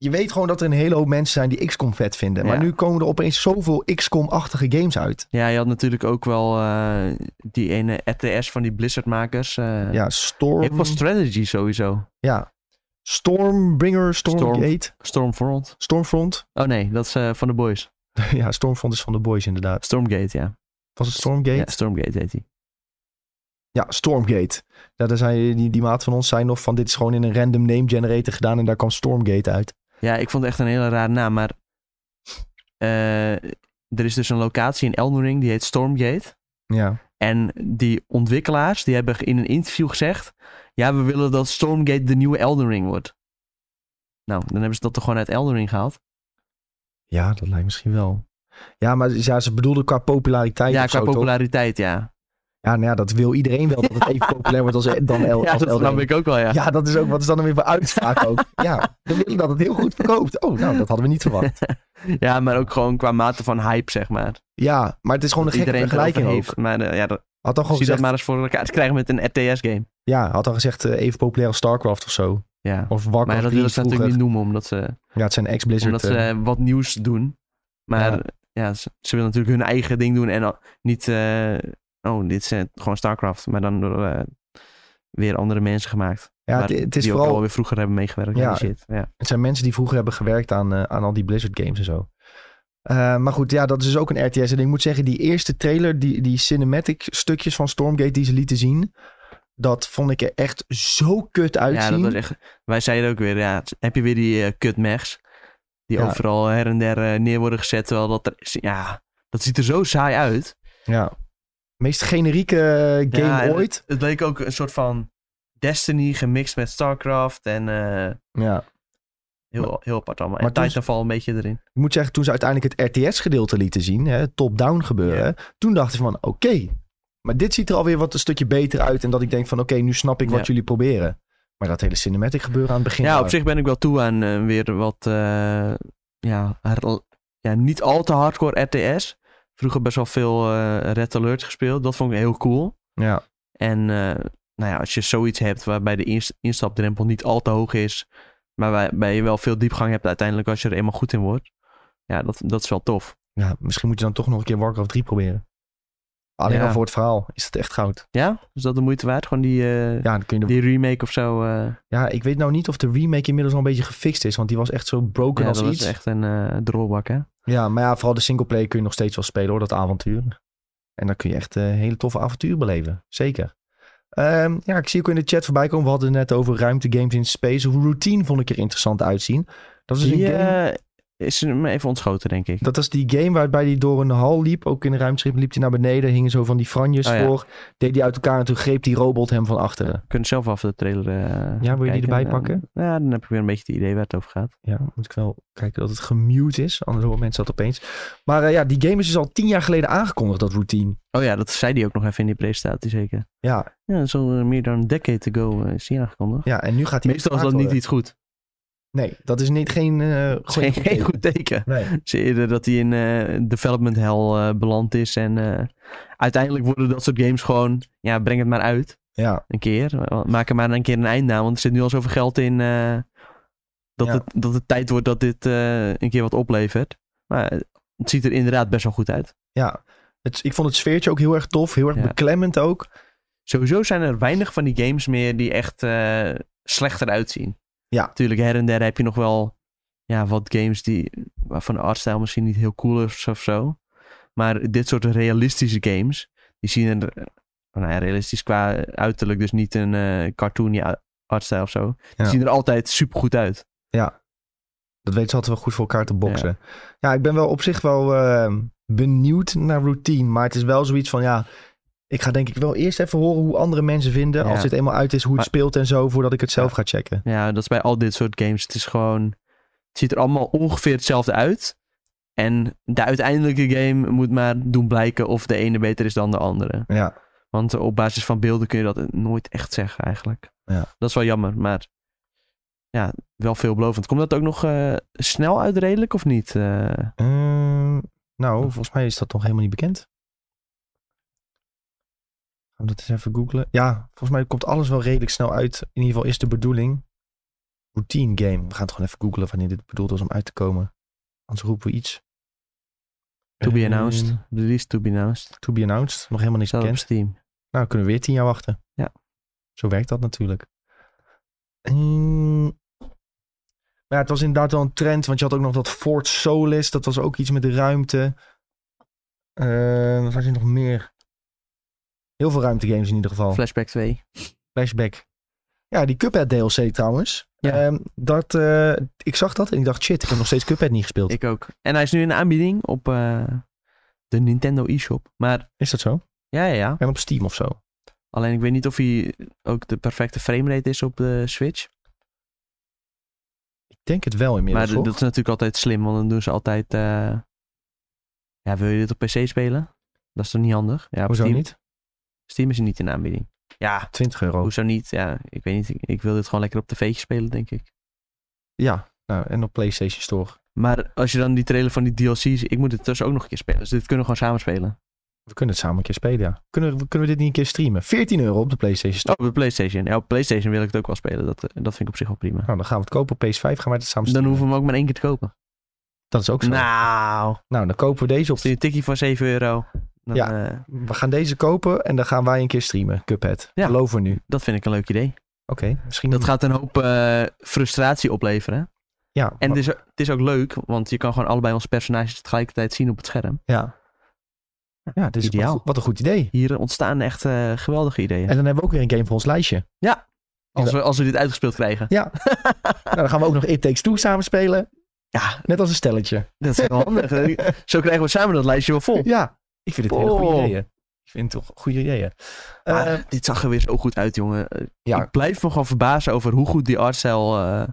S1: Je weet gewoon dat er een hele hoop mensen zijn die XCOM vet vinden. Maar
S2: Ja.
S1: nu komen er opeens zoveel XCOM-achtige games uit.
S2: ja, je had natuurlijk ook wel eh, die ene RTS van die Blizzard-makers. eh,
S1: Ja,
S2: Heel veel
S1: Storm...
S2: strategy sowieso.
S1: Ja. Stormbringer, Stormgate,
S2: Stormfront.
S1: Stormfront.
S2: Oh nee, dat is eh, van de boys.
S1: ja, Stormfront is van de boys inderdaad.
S2: Stormgate, ja.
S1: Was het Stormgate?
S2: ja Stormgate heet die.
S1: Ja, Stormgate. Ja, daar zijn, die, die maat van ons zei nog van dit is gewoon in een random name generator gedaan en daar kwam Stormgate uit.
S2: Ja, ik vond het echt een hele rare naam, maar eh, er is dus een locatie in Elden Ring, die heet Stormgate.
S1: Ja.
S2: En die ontwikkelaars, die hebben in een interview gezegd, ja, we willen dat Stormgate de nieuwe Elden Ring wordt. Nou, dan hebben ze dat toch gewoon uit Elden Ring gehaald?
S1: Ja, dat lijkt misschien wel. Ja, maar ja, ze bedoelden qua populariteit
S2: ja,
S1: of
S2: qua
S1: zo, toch?
S2: populariteit, ja.
S1: Ja, nou ja, dat wil iedereen wel dat het even populair wordt als, dan L,
S2: ja,
S1: als
S2: dat
S1: Elden
S2: snap
S1: Ring.
S2: ik ook wel, ja.
S1: Ja, dat is ook wat is dan weer voor uitspraak ook. Ja, we willen dat het heel goed verkoopt. Oh, nou, dat hadden we niet verwacht.
S2: Ja, maar ook gewoon qua mate van hype, zeg maar.
S1: Ja, maar het is gewoon een gekke
S2: iedereen het
S1: vergelijking
S2: erover
S1: ook.
S2: heeft. Maar eh, ja, dat,
S1: Had dan
S2: zie
S1: gewoon gezegd,
S2: dat maar eens voor elkaar te krijgen met een RTS-game.
S1: ja, had dan gezegd eh, even populair als StarCraft of zo.
S2: Ja.
S1: Of Warcraft
S2: Maar ja, dat
S1: 3
S2: willen ze
S1: vroeger.
S2: natuurlijk niet noemen, omdat ze,
S1: Ja, het zijn ex-Blizzard.
S2: omdat ze
S1: eh,
S2: eh, wat nieuws doen. Maar ja, ze, ze willen natuurlijk hun eigen ding doen en al- niet... eh, oh, dit is eh, gewoon StarCraft, maar dan door eh, weer andere mensen gemaakt.
S1: ja,
S2: maar
S1: het, het is
S2: die ook
S1: vooral,
S2: alweer vroeger hebben meegewerkt ja.
S1: Ja.
S2: aan die shit. Ja.
S1: het zijn mensen die vroeger hebben gewerkt aan, eh, aan al die Blizzard games en zo. Eh, maar goed, ja, dat is dus ook een RTS. En ik moet zeggen, die eerste trailer, die, die cinematic stukjes van Stormgate die ze lieten zien, dat vond ik er echt zo kut uitzien.
S2: ja, dat was echt... Wij zeiden ook weer, ja, het- heb je weer die eh kut mechs. Die
S1: Ja.
S2: overal her en der eh, neer worden gezet, terwijl dat er... Ja, dat ziet er zo saai uit.
S1: Ja. Meest generieke eh, game
S2: Ja, en-
S1: ooit.
S2: Het leek ook een soort van Destiny gemixt met StarCraft en eh,
S1: Ja.
S2: heel, heel apart allemaal.
S1: maar
S2: en
S1: toen-
S2: Titanfall een beetje erin.
S1: Ik moet zeggen, toen ze uiteindelijk het RTS-gedeelte lieten zien, hè, het top-down gebeuren, toen dachten ze van, oké, maar dit ziet er alweer wat een stukje beter uit. En dat ik denk van, oké, nu snap ik wat
S2: Ja.
S1: jullie proberen. Maar dat hele cinematic gebeuren aan het begin.
S2: Ja,
S1: daar-
S2: op zich ben ik wel toe aan eh, weer wat, eh, ja, her- ja, niet al te hardcore RTS. Vroeger best wel veel eh, Red Alert gespeeld. Dat vond ik heel cool.
S1: Ja,
S2: En eh, nou ja, als je zoiets hebt waarbij de inst- instapdrempel niet al te hoog is, maar waarbij je wel veel diepgang hebt uiteindelijk als je er eenmaal goed in wordt. Ja, dat, dat is wel tof.
S1: ja, misschien moet je dan toch nog een keer Warcraft 3 proberen. Alleen
S2: Ja.
S1: al voor het verhaal is dat echt goud.
S2: Ja, is dat de moeite waard? Gewoon die, eh,
S1: Ja, dan kun je de-
S2: die remake of zo. eh,
S1: ja, ik weet nou niet of de remake inmiddels al een beetje gefixt is. Want die was echt zo broken
S2: ja,
S1: als
S2: dat
S1: iets.
S2: is echt een eh drolbak, hè?
S1: Ja, maar ja, vooral de singleplayer kun je nog steeds wel spelen hoor, dat avontuur. En dan kun je echt eh, hele toffe avontuur beleven, zeker. Ehm, ja, ik zie ook in de chat voorbij komen, we hadden het net over ruimtegames in space. Routine vond ik er interessant uitzien. Dat is, een
S2: Die
S1: game,
S2: eh, is me even ontschoten, denk ik.
S1: dat is die game waarbij hij door een hal liep, ook in een ruimteschip liep hij naar beneden, hingen zo van die franjes
S2: Oh ja.
S1: voor, deed hij uit elkaar en toen greep die robot hem van achteren.
S2: Je kunt zelf af de trailer. eh,
S1: Ja, wil je die
S2: kijken. eh,
S1: erbij pakken?
S2: Ja, dan heb ik weer een beetje het idee waar het over gaat.
S1: Ja, moet ik wel kijken dat het gemute is, anders horen mensen dat opeens. Maar eh, ja, die game is dus al tien jaar geleden aangekondigd, dat Routine.
S2: Oh ja, dat zei die ook nog even in die presentatie, zeker.
S1: Ja,
S2: Ja, dat is al eh, meer dan een decade ago eh, is die aangekondigd.
S1: ja en nu gaat hij
S2: Meestal is dat niet iets goed.
S1: Nee, dat is niet, geen, eh
S2: Dat is geen, geen goed teken.
S1: Nee.
S2: Zie je dat hij in eh, development hell eh, beland is. En eh, uiteindelijk worden dat soort games gewoon... Ja, breng het maar uit.
S1: Ja,
S2: een keer. Eh, Maak er maar een keer een eind aan. Want er zit nu al zoveel geld in. eh, dat,
S1: Ja.
S2: het, dat het tijd wordt dat dit eh, een keer wat oplevert. Maar eh, het ziet er inderdaad best wel goed uit.
S1: ja. Het, ik vond het sfeertje ook heel erg tof. Heel erg
S2: Ja.
S1: beklemmend ook.
S2: Sowieso zijn er weinig van die games meer die echt eh, slechter uitzien.
S1: Ja.
S2: Natuurlijk, her en der heb je nog wel ja, wat games die, waarvan de artstijl misschien niet heel cool is of zo. Maar dit soort realistische games, die zien er, eh, nou ja, realistisch qua uiterlijk, dus niet een eh cartoony a- artstijl of zo. Die
S1: Ja.
S2: zien er altijd supergoed uit.
S1: Dat weten ze altijd wel goed voor elkaar te boksen. Ja, ik ben wel op zich wel eh, benieuwd naar routine. Maar het is wel zoiets van, ja... Ik ga denk ik wel eerst even horen hoe andere mensen vinden...
S2: Ja.
S1: als dit eenmaal uit is, hoe het
S2: Maar-
S1: speelt en zo... voordat ik het zelf
S2: Ja.
S1: ga checken.
S2: Ja, dat is bij al dit soort games. Het is gewoon. Het ziet er allemaal ongeveer hetzelfde uit. En de uiteindelijke game moet maar doen blijken of de ene beter is dan de andere.
S1: Ja,
S2: Want op basis van beelden kun je dat nooit echt zeggen eigenlijk.
S1: Ja.
S2: Dat is wel jammer, maar ja, wel veelbelovend. Komt dat ook nog eh, snel uit redelijk of niet? Eh,
S1: Ehm, nou, volgens mij is dat nog helemaal niet bekend. Gaan we dat eens even googlen? Ja, volgens mij komt alles wel redelijk snel uit. In ieder geval is de bedoeling. Routine game. We gaan het gewoon even googlen wanneer dit bedoeld was om uit te komen. Anders roepen we iets.
S2: to be
S1: Ehm,
S2: announced. Release to be announced.
S1: to be announced. Nog helemaal niks
S2: Staat op
S1: bekend.
S2: Steam.
S1: Nou, kunnen we weer tien jaar wachten.
S2: Ja.
S1: Zo werkt dat natuurlijk. Ehm, maar ja, het was inderdaad wel een trend, want je had ook nog dat Fort Solis. Dat was ook iets met de ruimte. Ehm wat had je nog meer? Heel veel ruimtegames in ieder geval.
S2: Flashback 2.
S1: Flashback. Ja, die Cuphead DLC trouwens.
S2: Ja.
S1: Ehm, dat, eh, ik zag dat en ik dacht, shit, ik heb nog steeds Cuphead niet gespeeld.
S2: Ik ook. En hij is nu in de aanbieding op eh, de Nintendo eShop. Maar
S1: Is dat zo?
S2: ja, ja, ja.
S1: En op Steam of zo?
S2: Alleen ik weet niet of hij ook de perfecte framerate is op de Switch.
S1: Ik denk het wel
S2: maar
S1: inmiddels,
S2: d-
S1: hoor.
S2: dat is natuurlijk altijd slim, want dan doen ze altijd... eh, Ja, wil je dit op PC spelen? Dat is toch niet handig? Ja, op
S1: Hoezo
S2: Steam.
S1: niet? Oh.
S2: Steam is er niet in de aanbieding. Ja,
S1: 20 euro.
S2: hoezo niet? Ja, ik weet niet. Ik, ik wil dit gewoon lekker op tv'tje spelen, denk ik.
S1: Ja, nou, en op PlayStation Store.
S2: Maar als je dan die trailer van die DLC's... Ik moet het dus ook nog een keer spelen. Dus dit kunnen we gewoon samen spelen.
S1: We kunnen het samen een keer spelen, ja. Kunnen, we- kunnen we dit niet een keer streamen? 14 euro op de PlayStation Store.
S2: Oh, op de Playstation. Ja, op Playstation wil ik het ook wel spelen. Dat, eh, dat vind ik op zich wel prima.
S1: Nou, dan gaan we het kopen op PS5. Gaan wij het samen
S2: Dan
S1: streamen.
S2: hoeven we hem ook maar één keer te kopen.
S1: Dat is ook zo.
S2: Nou,
S1: Nou, dan kopen we deze op.
S2: stuur een tikkie voor 7 euro. Dan,
S1: Ja.
S2: eh,
S1: We gaan deze kopen en dan gaan wij een keer streamen. Cuphead.
S2: Ja.
S1: Geloven we nu. Oké,
S2: dat vind ik een leuk idee.
S1: misschien...
S2: Dat gaat een hoop eh, frustratie opleveren.
S1: Ja, maar-
S2: En het is, het is ook leuk, want je kan gewoon allebei onze personages tegelijkertijd zien op het scherm.
S1: ja. Ja, dit is
S2: Ideaal.
S1: Wat, wat een goed idee.
S2: Hier ontstaan echt eh, geweldige ideeën.
S1: En dan hebben we ook weer een game voor ons lijstje.
S2: Als we, als we dit uitgespeeld krijgen.
S1: Nou, dan gaan we ook nog It Takes Two samen spelen.
S2: Ja,
S1: Net als een stelletje.
S2: dat is wel handig. Zo krijgen we samen dat lijstje wel vol.
S1: Ja, ik vind het hele goede
S2: Oh.
S1: ideeën. Ik vind het toch goede ideeën.
S2: Maar,
S1: Eh,
S2: Ah, dit zag er weer zo goed uit, jongen. Eh,
S1: Ja.
S2: Ik blijf me gewoon verbazen over hoe goed die artcel eh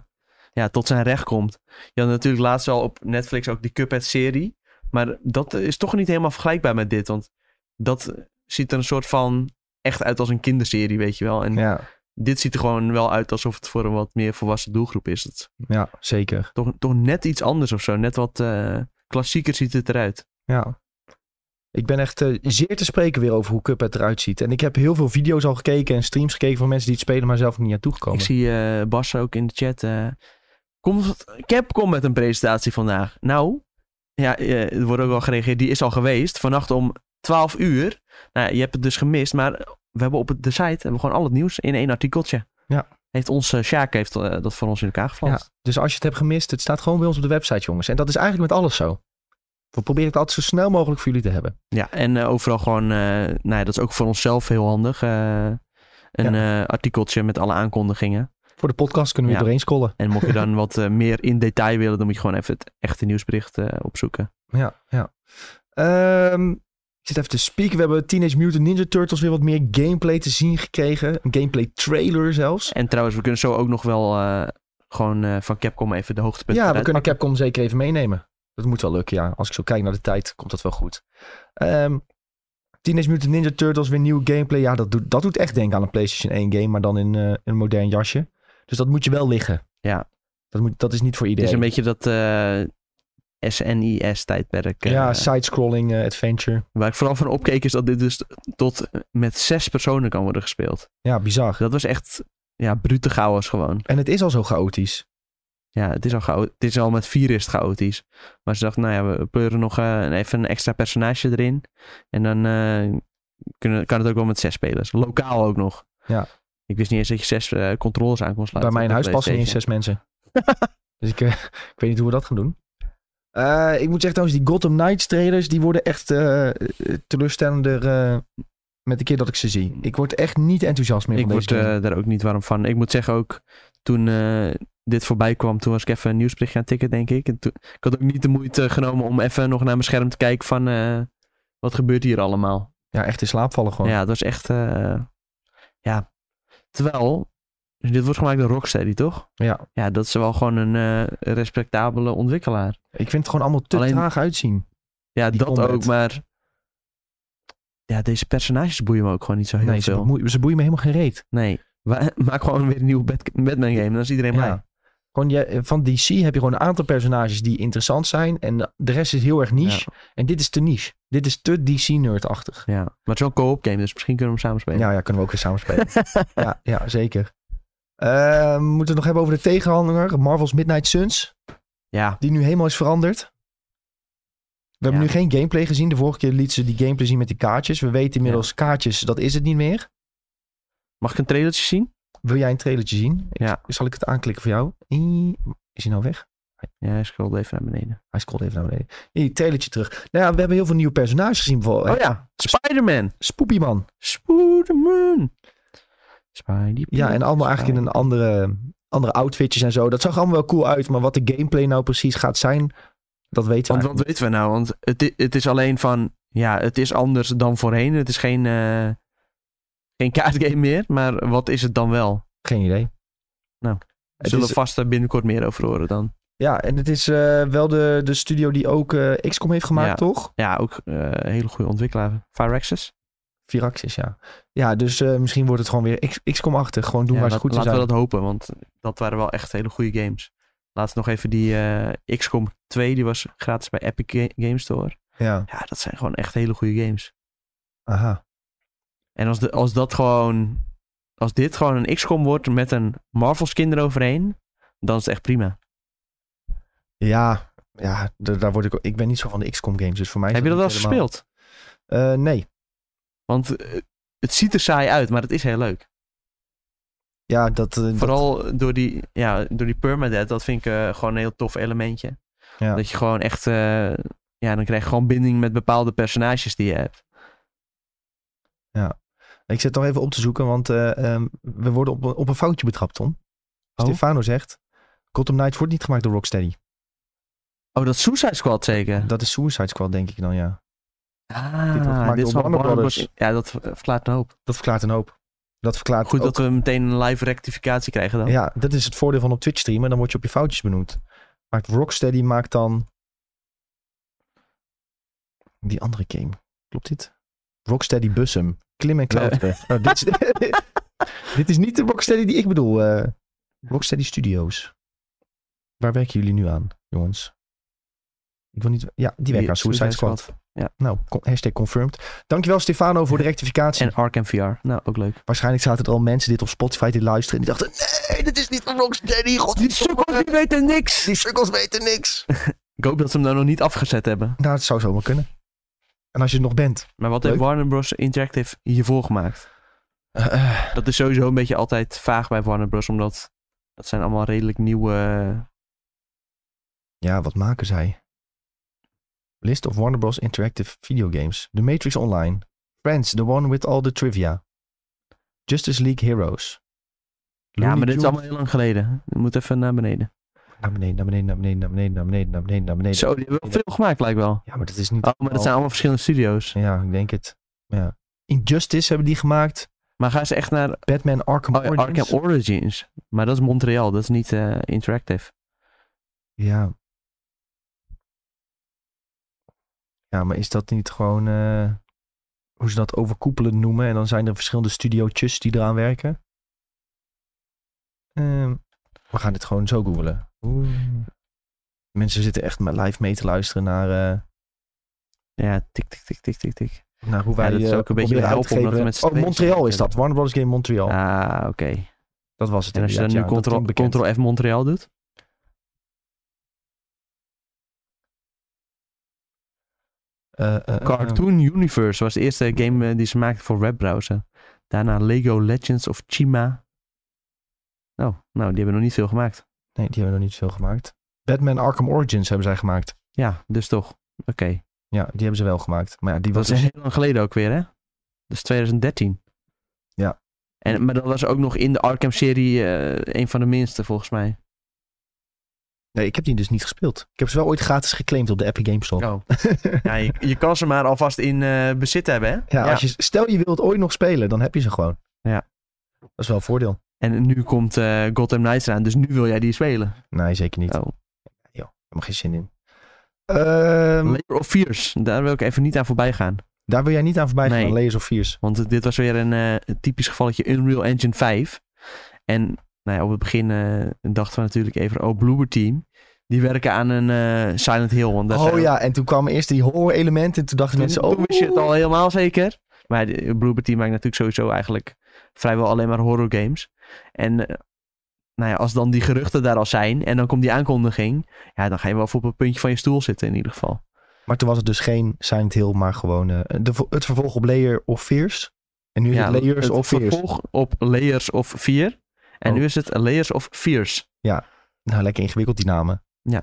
S2: ja, tot zijn recht komt. Je had natuurlijk laatst al op Netflix ook die Cuphead-serie. Maar dat is toch niet helemaal vergelijkbaar met dit. Want dat ziet er een soort van echt uit als een kinderserie, weet je wel. En
S1: ja,
S2: dit ziet er gewoon wel uit alsof het voor een wat meer volwassen doelgroep is. Het is
S1: ja, zeker.
S2: toch, toch net iets anders of zo. Net wat eh, klassieker ziet het eruit.
S1: Ja. Ik ben echt eh, zeer te spreken weer over hoe Cuphead eruit ziet. En ik heb heel veel video's al gekeken en streams gekeken van mensen die het spelen, maar zelf niet naartoe gekomen.
S2: Ik zie eh, Bas ook in de chat. eh komt Capcom met een presentatie vandaag. Nou, ja, eh, er wordt ook al gereageerd. Die is al geweest. Vannacht om 12 uur. Nou, ja, je hebt het dus gemist. Maar we hebben op het- de site hebben we gewoon al het nieuws in één artikeltje.
S1: Ja.
S2: Heeft ons, eh, Sjaak heeft eh, dat voor ons in elkaar geflanst.
S1: Ja, dus als je het hebt gemist, het staat gewoon bij ons op de website, jongens. En dat is eigenlijk met alles zo. We proberen het altijd zo snel mogelijk voor jullie te hebben.
S2: Ja, en eh, overal gewoon, eh, nou ja, dat is ook voor onszelf heel handig. eh, een eh, artikeltje met alle aankondigingen.
S1: Voor de podcast kunnen we er
S2: Ja.
S1: doorheen scrollen.
S2: En mocht je dan wat eh, meer in detail willen, dan moet je gewoon even het echte nieuwsbericht eh, opzoeken.
S1: Ja, ja. Ehm, ik zit even te spieken. We hebben Teenage Mutant Ninja Turtles weer wat meer gameplay te zien gekregen. Een gameplay trailer zelfs.
S2: En trouwens, we kunnen zo ook nog wel eh, gewoon eh, van Capcom even de hoogtepunten
S1: Ja, we
S2: eruit
S1: kunnen
S2: pakken.
S1: Capcom zeker even meenemen. Dat moet wel lukken, ja. Als ik zo kijk naar de tijd, komt dat wel goed. Ehm, Teenage Mutant Ninja Turtles, weer nieuw gameplay. Ja, dat doet, dat doet echt denken aan een PlayStation 1 game, maar dan in eh, een modern jasje. Dus dat moet je wel liggen.
S2: Ja.
S1: Dat, moet, dat is niet voor
S2: Het
S1: iedereen.
S2: is een beetje dat eh, SNIS-tijdperk. eh,
S1: ja, side-scrolling eh, adventure.
S2: waar ik vooral van opkeek is dat dit dus tot met zes personen kan worden gespeeld.
S1: Ja, bizar.
S2: Dat was echt, ja, brute chaos gewoon.
S1: En het is al zo chaotisch.
S2: Ja, het is al, chao- het is al met vier is het chaotisch. Maar ze dachten, nou ja, we pleuren nog eh, even een extra personage erin. En dan eh, kunnen, kan het ook wel met zes spelers. Lokaal ook nog.
S1: Ja.
S2: Ik wist niet eens dat je zes eh, controllers aan kon
S1: Bij
S2: sluiten.
S1: mijn
S2: op
S1: huis
S2: de
S1: passen niet eens
S2: PlayStation.
S1: zes mensen. dus ik, eh, ik weet niet hoe we dat gaan doen. Eh, ik moet zeggen trouwens, die Gotham Knights trailers, die worden echt eh, eh, teleurstellender eh, met de keer dat ik ze zie. Ik word echt niet enthousiast meer
S2: Ik
S1: van
S2: word
S1: deze game.
S2: eh, daar ook niet warm van. Ik moet zeggen ook, toen eh, dit voorbij kwam, toen was ik even een nieuwsberichtje aan het tikken, denk ik. En toen, ik had ook niet de moeite genomen om even nog naar mijn scherm te kijken van... eh, wat gebeurt hier allemaal?
S1: Ja, echt in slaap vallen gewoon.
S2: Ja, dat is echt. eh, ja. Terwijl. dus Dit wordt gemaakt door Rocksteady, toch?
S1: Ja.
S2: Ja, dat is wel gewoon een eh, respectabele ontwikkelaar.
S1: Ik vind het gewoon allemaal te
S2: Alleen-
S1: traag uitzien.
S2: Ja,
S1: Die
S2: dat
S1: combat.
S2: ook, maar. Ja, deze personages boeien me ook gewoon niet zo heel
S1: Nee, ze,
S2: veel.
S1: bemoeien, ze boeien me helemaal geen reet.
S2: Nee. Wa- Maak gewoon weer een nieuwe Bat- Batman game, dan is iedereen blij.
S1: Ja. Gewoon, je, van DC heb je gewoon een aantal personages die interessant zijn. En de rest is heel erg niche. En dit is te niche. Dit is te DC-nerdachtig.
S2: Ja. Maar het is wel een co-op game, dus misschien kunnen we hem samen spelen.
S1: Ja, ja, kunnen we ook weer samen spelen. ja, ja, zeker. Eh, we moeten het nog hebben over de tegenhanger. Marvel's Midnight Suns.
S2: Ja.
S1: Die nu helemaal is veranderd. We hebben
S2: Ja.
S1: nu geen gameplay gezien. De vorige keer lieten ze die gameplay zien met die kaartjes. We weten inmiddels kaartjes, dat is het niet meer.
S2: Mag ik een trailertje zien?
S1: Wil jij een trailertje zien? Ik-
S2: Ja.
S1: Zal ik het aanklikken voor jou? Ie, Is hij nou weg?
S2: Ja, hij scrollde even naar beneden.
S1: Hij scrolt even naar beneden. Hier, trailertje terug. Nou ja, we hebben heel veel nieuwe personages gezien. eh, Bijvoorbeeld
S2: Oh ja, Spider-Man!
S1: Spoopyman.
S2: Spider-Man! Spider-Man.
S1: Ja, en allemaal eigenlijk in een andere, andere outfitjes en zo. Dat zag allemaal wel cool uit, maar wat de gameplay nou precies gaat zijn, dat weten we
S2: Want
S1: eigenlijk
S2: wat weten we nou? Want het, i- het is alleen van, ja, het is anders dan voorheen. Het is geen, eh, geen kaartgame meer, maar wat is het dan wel?
S1: niet. Geen idee.
S2: Nou,
S1: het
S2: Zullen
S1: is,
S2: we vast daar binnenkort meer over horen dan?
S1: ja, en het is eh, wel de, de studio die ook eh, XCOM heeft gemaakt,
S2: Ja.
S1: toch?
S2: Ja, ook eh, een hele goede ontwikkelaar. Firaxis?
S1: Vier acties, ja. Ja, dus eh, misschien wordt het gewoon weer X- XCOM-achtig. Gewoon doen
S2: Ja,
S1: waar ze
S2: laat-
S1: goed in
S2: Laten
S1: zijn.
S2: we dat hopen, want dat waren wel echt hele goede games. Laatst nog even die eh, XCOM 2, die was gratis bij Epic Ga- Game Store.
S1: Ja,
S2: Ja, dat zijn gewoon echt hele goede games.
S1: aha.
S2: En als, de, als dat gewoon, als dit gewoon een XCOM wordt met een Marvel skin eroverheen, dan is het echt prima.
S1: Ja, ja d- daar word ik, ook- ik ben niet zo van de XCOM-games, dus voor mij... is
S2: Heb je dat wel
S1: niet helemaal-
S2: gespeeld?
S1: Eh, nee.
S2: Want eh, het ziet er saai uit, maar het is heel leuk.
S1: Ja, dat... eh, dat-
S2: Vooral door die, ja, door die permadeath, dat vind ik eh, gewoon een heel tof elementje.
S1: Ja.
S2: Dat je gewoon echt, eh, ja, dan krijg je gewoon binding met bepaalde personages die je hebt.
S1: Ik zit nog even op te zoeken, want eh, ehm, we worden op, op een foutje betrapt, Tom.
S2: Oh.
S1: Stefano zegt... Gotham Knights wordt niet gemaakt door Rocksteady.
S2: Oh, dat Suicide Squad zeker?
S1: Dat is Suicide Squad, denk ik dan, ja.
S2: ah,
S1: dit wordt gemaakt door
S2: is
S1: Warner
S2: wel Warner
S1: Brothers.
S2: Bros. Ja, dat eh, verklaart een hoop.
S1: Dat verklaart een hoop. Dat verklaart
S2: Goed
S1: ook-
S2: dat we meteen een live rectificatie krijgen dan.
S1: Ja, dat is het voordeel van op Twitch streamen. Dan word je op je foutjes benoemd. Maakt Rocksteady maakt dan... Die andere game. Klopt dit? Rocksteady Bussum. Klim en klauteren. Nou, dit, is, dit is niet de Rocksteady die ik bedoel. eh. Rocksteady Studios. Waar werken jullie nu aan, jongens? Ik wil niet... Ja, die werken aan Suicide Squad. Nou, con- hashtag confirmed. Dankjewel Stefano voor de rectificatie.
S2: En Arkham VR. Nou, ook leuk.
S1: Waarschijnlijk zaten er al mensen dit op Spotify te luisteren. En die dachten, nee, dit is niet van Rocksteady. God, die sukkels,
S2: die weten niks!
S1: die sukkels weten niks.
S2: Ik hoop dat ze hem daar nog niet afgezet hebben.
S1: nou, het zou zomaar kunnen. En als je er nog bent.
S2: Maar wat
S1: Leuk.
S2: heeft Warner Bros. Interactive hiervoor gemaakt?
S1: eh, eh,
S2: Dat is sowieso een beetje altijd vaag bij Warner Bros. Omdat dat zijn allemaal redelijk nieuwe... eh,
S1: ja, wat maken zij? List of Warner Bros. Interactive Videogames. The Matrix Online. Friends, the one with all the trivia. Justice League Heroes.
S2: ja,
S1: Looney
S2: maar dit is
S1: Tunes-
S2: allemaal heel lang geleden. Je moet even naar beneden.
S1: Naar beneden, naar beneden, naar beneden, naar beneden, naar beneden, naar beneden, naar beneden.
S2: Zo, die hebben wel veel gemaakt lijkt wel.
S1: Ja, maar dat is niet...
S2: Oh, maar dat zijn allemaal verschillende studio's.
S1: Ja, ik denk het. Ja. Injustice hebben die gemaakt.
S2: Maar gaan ze echt naar
S1: Batman Arkham
S2: Oh, ja,
S1: Origins.
S2: Arkham Origins. Maar dat is Montreal, dat is niet eh, interactive.
S1: Ja. Ja, maar is dat niet gewoon eh, hoe ze dat overkoepelend noemen? En dan zijn er verschillende studiootjes die eraan werken. Ehm, we gaan dit gewoon zo googelen. Mensen zitten echt me- live mee te luisteren naar, eh,
S2: Ja, tik, tik, tik, tik, tik, tik.
S1: naar hoe
S2: Ja,
S1: wij
S2: dat is
S1: eh,
S2: ook een beetje
S1: proberen
S2: helpen,
S1: uit te geven.
S2: omdat we met z'n
S1: Oh,
S2: tweeën
S1: Montreal
S2: zijn.
S1: is dat. Warner Bros. Game Montreal.
S2: Ah, oké.
S1: Dat was het
S2: En als je dan
S1: inderdaad,
S2: nu
S1: ja, dat
S2: Ctrl,
S1: klinkt bekend.
S2: Ctrl F Montreal doet?
S1: Eh, eh, eh,
S2: Cartoon Universe was de eerste game eh, die ze maakten voor webbrowser. Daarna Lego Legends of Chima. Oh, nou, die hebben nog niet veel gemaakt.
S1: Nee, die hebben nog niet veel gemaakt. Batman Arkham Origins hebben zij gemaakt.
S2: Ja, dus toch. Oké.
S1: Ja, die hebben ze wel gemaakt. Maar ja, die
S2: Dat
S1: was dus-
S2: is heel lang geleden ook weer, hè? Dat is 2013.
S1: Ja.
S2: En, maar dat was ook nog in de Arkham-serie eh, een van de minste, volgens mij.
S1: Nee, ik heb die dus niet gespeeld. Ik heb ze wel ooit gratis geclaimd op de Epic Games Store.
S2: Oh. Ja, je, je kan ze maar alvast in eh, bezit hebben, hè?
S1: Ja, Als je, stel je wilt ooit nog spelen, dan heb je ze gewoon.
S2: Ja.
S1: Dat is wel een voordeel.
S2: En nu komt eh Gotham Knights eraan, dus nu wil jij die spelen.
S1: Nee, zeker niet.
S2: Oh.
S1: Ik heb er geen zin in. Ehm,
S2: Layer of Fears, daar wil ik even niet aan voorbij gaan.
S1: daar wil jij niet aan voorbij gaan,
S2: Nee.
S1: Layers of Fears.
S2: Want dit was weer een eh, een typisch gevalletje Unreal Engine 5. En nou ja, op het begin eh, dachten we natuurlijk even, oh, Bloober Team. Die werken aan een eh, Silent Hill. Want dat
S1: Oh
S2: zijn-
S1: ja, en toen kwamen eerst die horror elementen. En toen dachten
S2: Toen,
S1: mensen,
S2: toen
S1: oh,
S2: wist je het al helemaal zeker. Maar de- Bloober Team maakt natuurlijk sowieso eigenlijk vrijwel alleen maar horror games. En eh, nou ja, als dan die geruchten daar al zijn en dan komt die aankondiging. Ja, dan ga je wel voor op het puntje van je stoel zitten in ieder geval.
S1: Maar toen was het dus geen Silent Hill, maar gewoon eh, de, vo- het vervolg op Layer of Fears. En nu is
S2: ja,
S1: het Layers
S2: het
S1: of Fears.
S2: vervolg op Layers of 4. En
S1: Oh.
S2: nu is het Layers of Fears.
S1: Nou, lekker ingewikkeld die namen.
S2: Ja.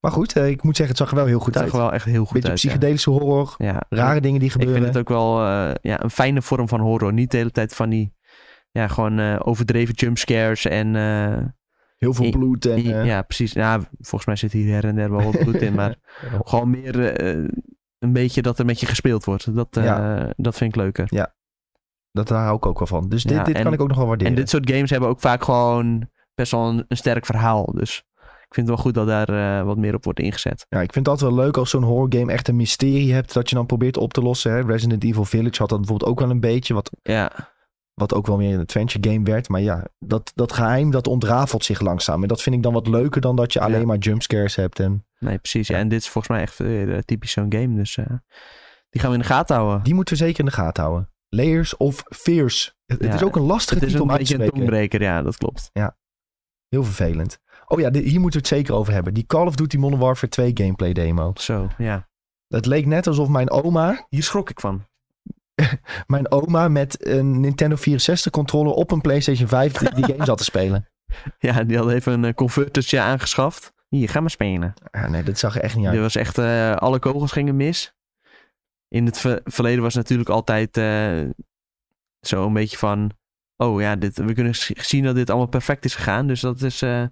S1: Maar goed, eh, ik moet zeggen, het zag er wel heel goed
S2: Dat
S1: uit.
S2: zag er wel echt heel goed
S1: Beetje
S2: uit. ja.
S1: psychedelische horror,
S2: ja.
S1: rare dingen die
S2: Ik
S1: gebeuren.
S2: vind het ook wel eh, ja, een fijne vorm van horror. Niet de hele tijd van die ja, gewoon eh, overdreven jumpscares en... eh,
S1: Heel veel
S2: I-
S1: bloed en...
S2: I-
S1: eh,
S2: ja, precies. Nou, volgens mij zit hier her en der wel wat bloed in. Maar gewoon meer eh, een beetje dat er met je gespeeld wordt. Dat, eh,
S1: Ja.
S2: dat vind ik leuker.
S1: Dat daar hou ik ook wel van. Dus dit,
S2: Ja,
S1: dit
S2: en-
S1: kan ik ook nog wel waarderen.
S2: En dit soort games hebben ook vaak gewoon best wel een, een sterk verhaal. Dus ik vind het wel goed dat daar eh, wat meer op wordt ingezet.
S1: Ja, ik vind dat wel leuk als zo'n horror game echt een mysterie hebt dat je dan probeert op te lossen. Hè? Resident Evil Village had dat bijvoorbeeld ook wel een beetje, wat,
S2: Ja,
S1: wat ook wel meer een adventure game werd. Maar ja, dat, dat geheim dat ontrafelt zich langzaam. En dat vind ik dan wat leuker dan dat je alleen
S2: Ja.
S1: maar jumpscares hebt. En
S2: nee, precies. Ja, en dit is volgens mij echt weer eh, typisch zo'n game. Dus eh, die gaan we in de gaten houden.
S1: die moeten we zeker in de gaten houden. Layers of Fears. Het, het
S2: Ja,
S1: is ook een lastige
S2: Het is
S1: titel
S2: een
S1: om uit te
S2: beetje een
S1: spreken.
S2: toonbreker, ja, dat klopt.
S1: Heel vervelend. Oh ja, de- hier moeten we het zeker over hebben. Die Call of Duty Modern Warfare 2 gameplay demo.
S2: Zo, ja.
S1: Het leek net alsof mijn oma,
S2: Hier schrok ik van.
S1: mijn oma met een Nintendo 64 controller op een PlayStation 5 die, die game zat te spelen.
S2: Ja, die had even een eh, convertertje aangeschaft. Hier, ga maar spelen.
S1: Ja, nee, dat zag er echt niet
S2: Er
S1: uit.
S2: was echt, eh, alle kogels gingen mis. In het ver- verleden was natuurlijk altijd eh, zo een beetje van... Oh ja, dit, we kunnen s- zien dat dit allemaal perfect is gegaan. Dus dat is eh,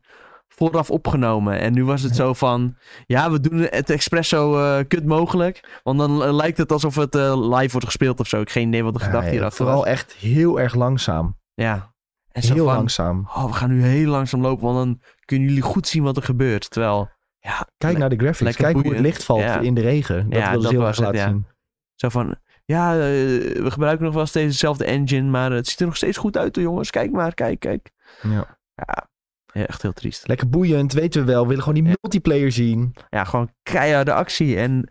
S2: vooraf opgenomen. En nu was het zo van... Ja, we doen het expres zo eh, kut mogelijk. Want dan eh, lijkt het alsof het eh, live wordt gespeeld of zo. Ik heb geen idee wat de
S1: Ja,
S2: gedachte
S1: ja,
S2: hierachter
S1: vooral
S2: was.
S1: echt heel erg langzaam.
S2: Ja. En zo
S1: Heel
S2: van,
S1: langzaam.
S2: Oh, we gaan nu heel langzaam lopen, want dan kunnen jullie goed zien wat er gebeurt. Terwijl, ja,
S1: Kijk
S2: le-
S1: naar de graphics.
S2: lekker
S1: Kijk hoe
S2: boeiend.
S1: het licht valt
S2: Ja.
S1: in de regen. Dat
S2: Ja,
S1: wil
S2: dat
S1: heel
S2: was
S1: erg
S2: het,
S1: laten
S2: ja.
S1: zien.
S2: zo van, ja, eh, we gebruiken nog wel steeds dezelfde engine, maar het ziet er nog steeds goed uit, hoor, jongens. Kijk maar, kijk, kijk.
S1: Ja.
S2: Ja, echt heel triest.
S1: Lekker boeiend, weten we wel. We willen gewoon die
S2: Ja.
S1: multiplayer zien.
S2: Ja, gewoon keiharde actie. En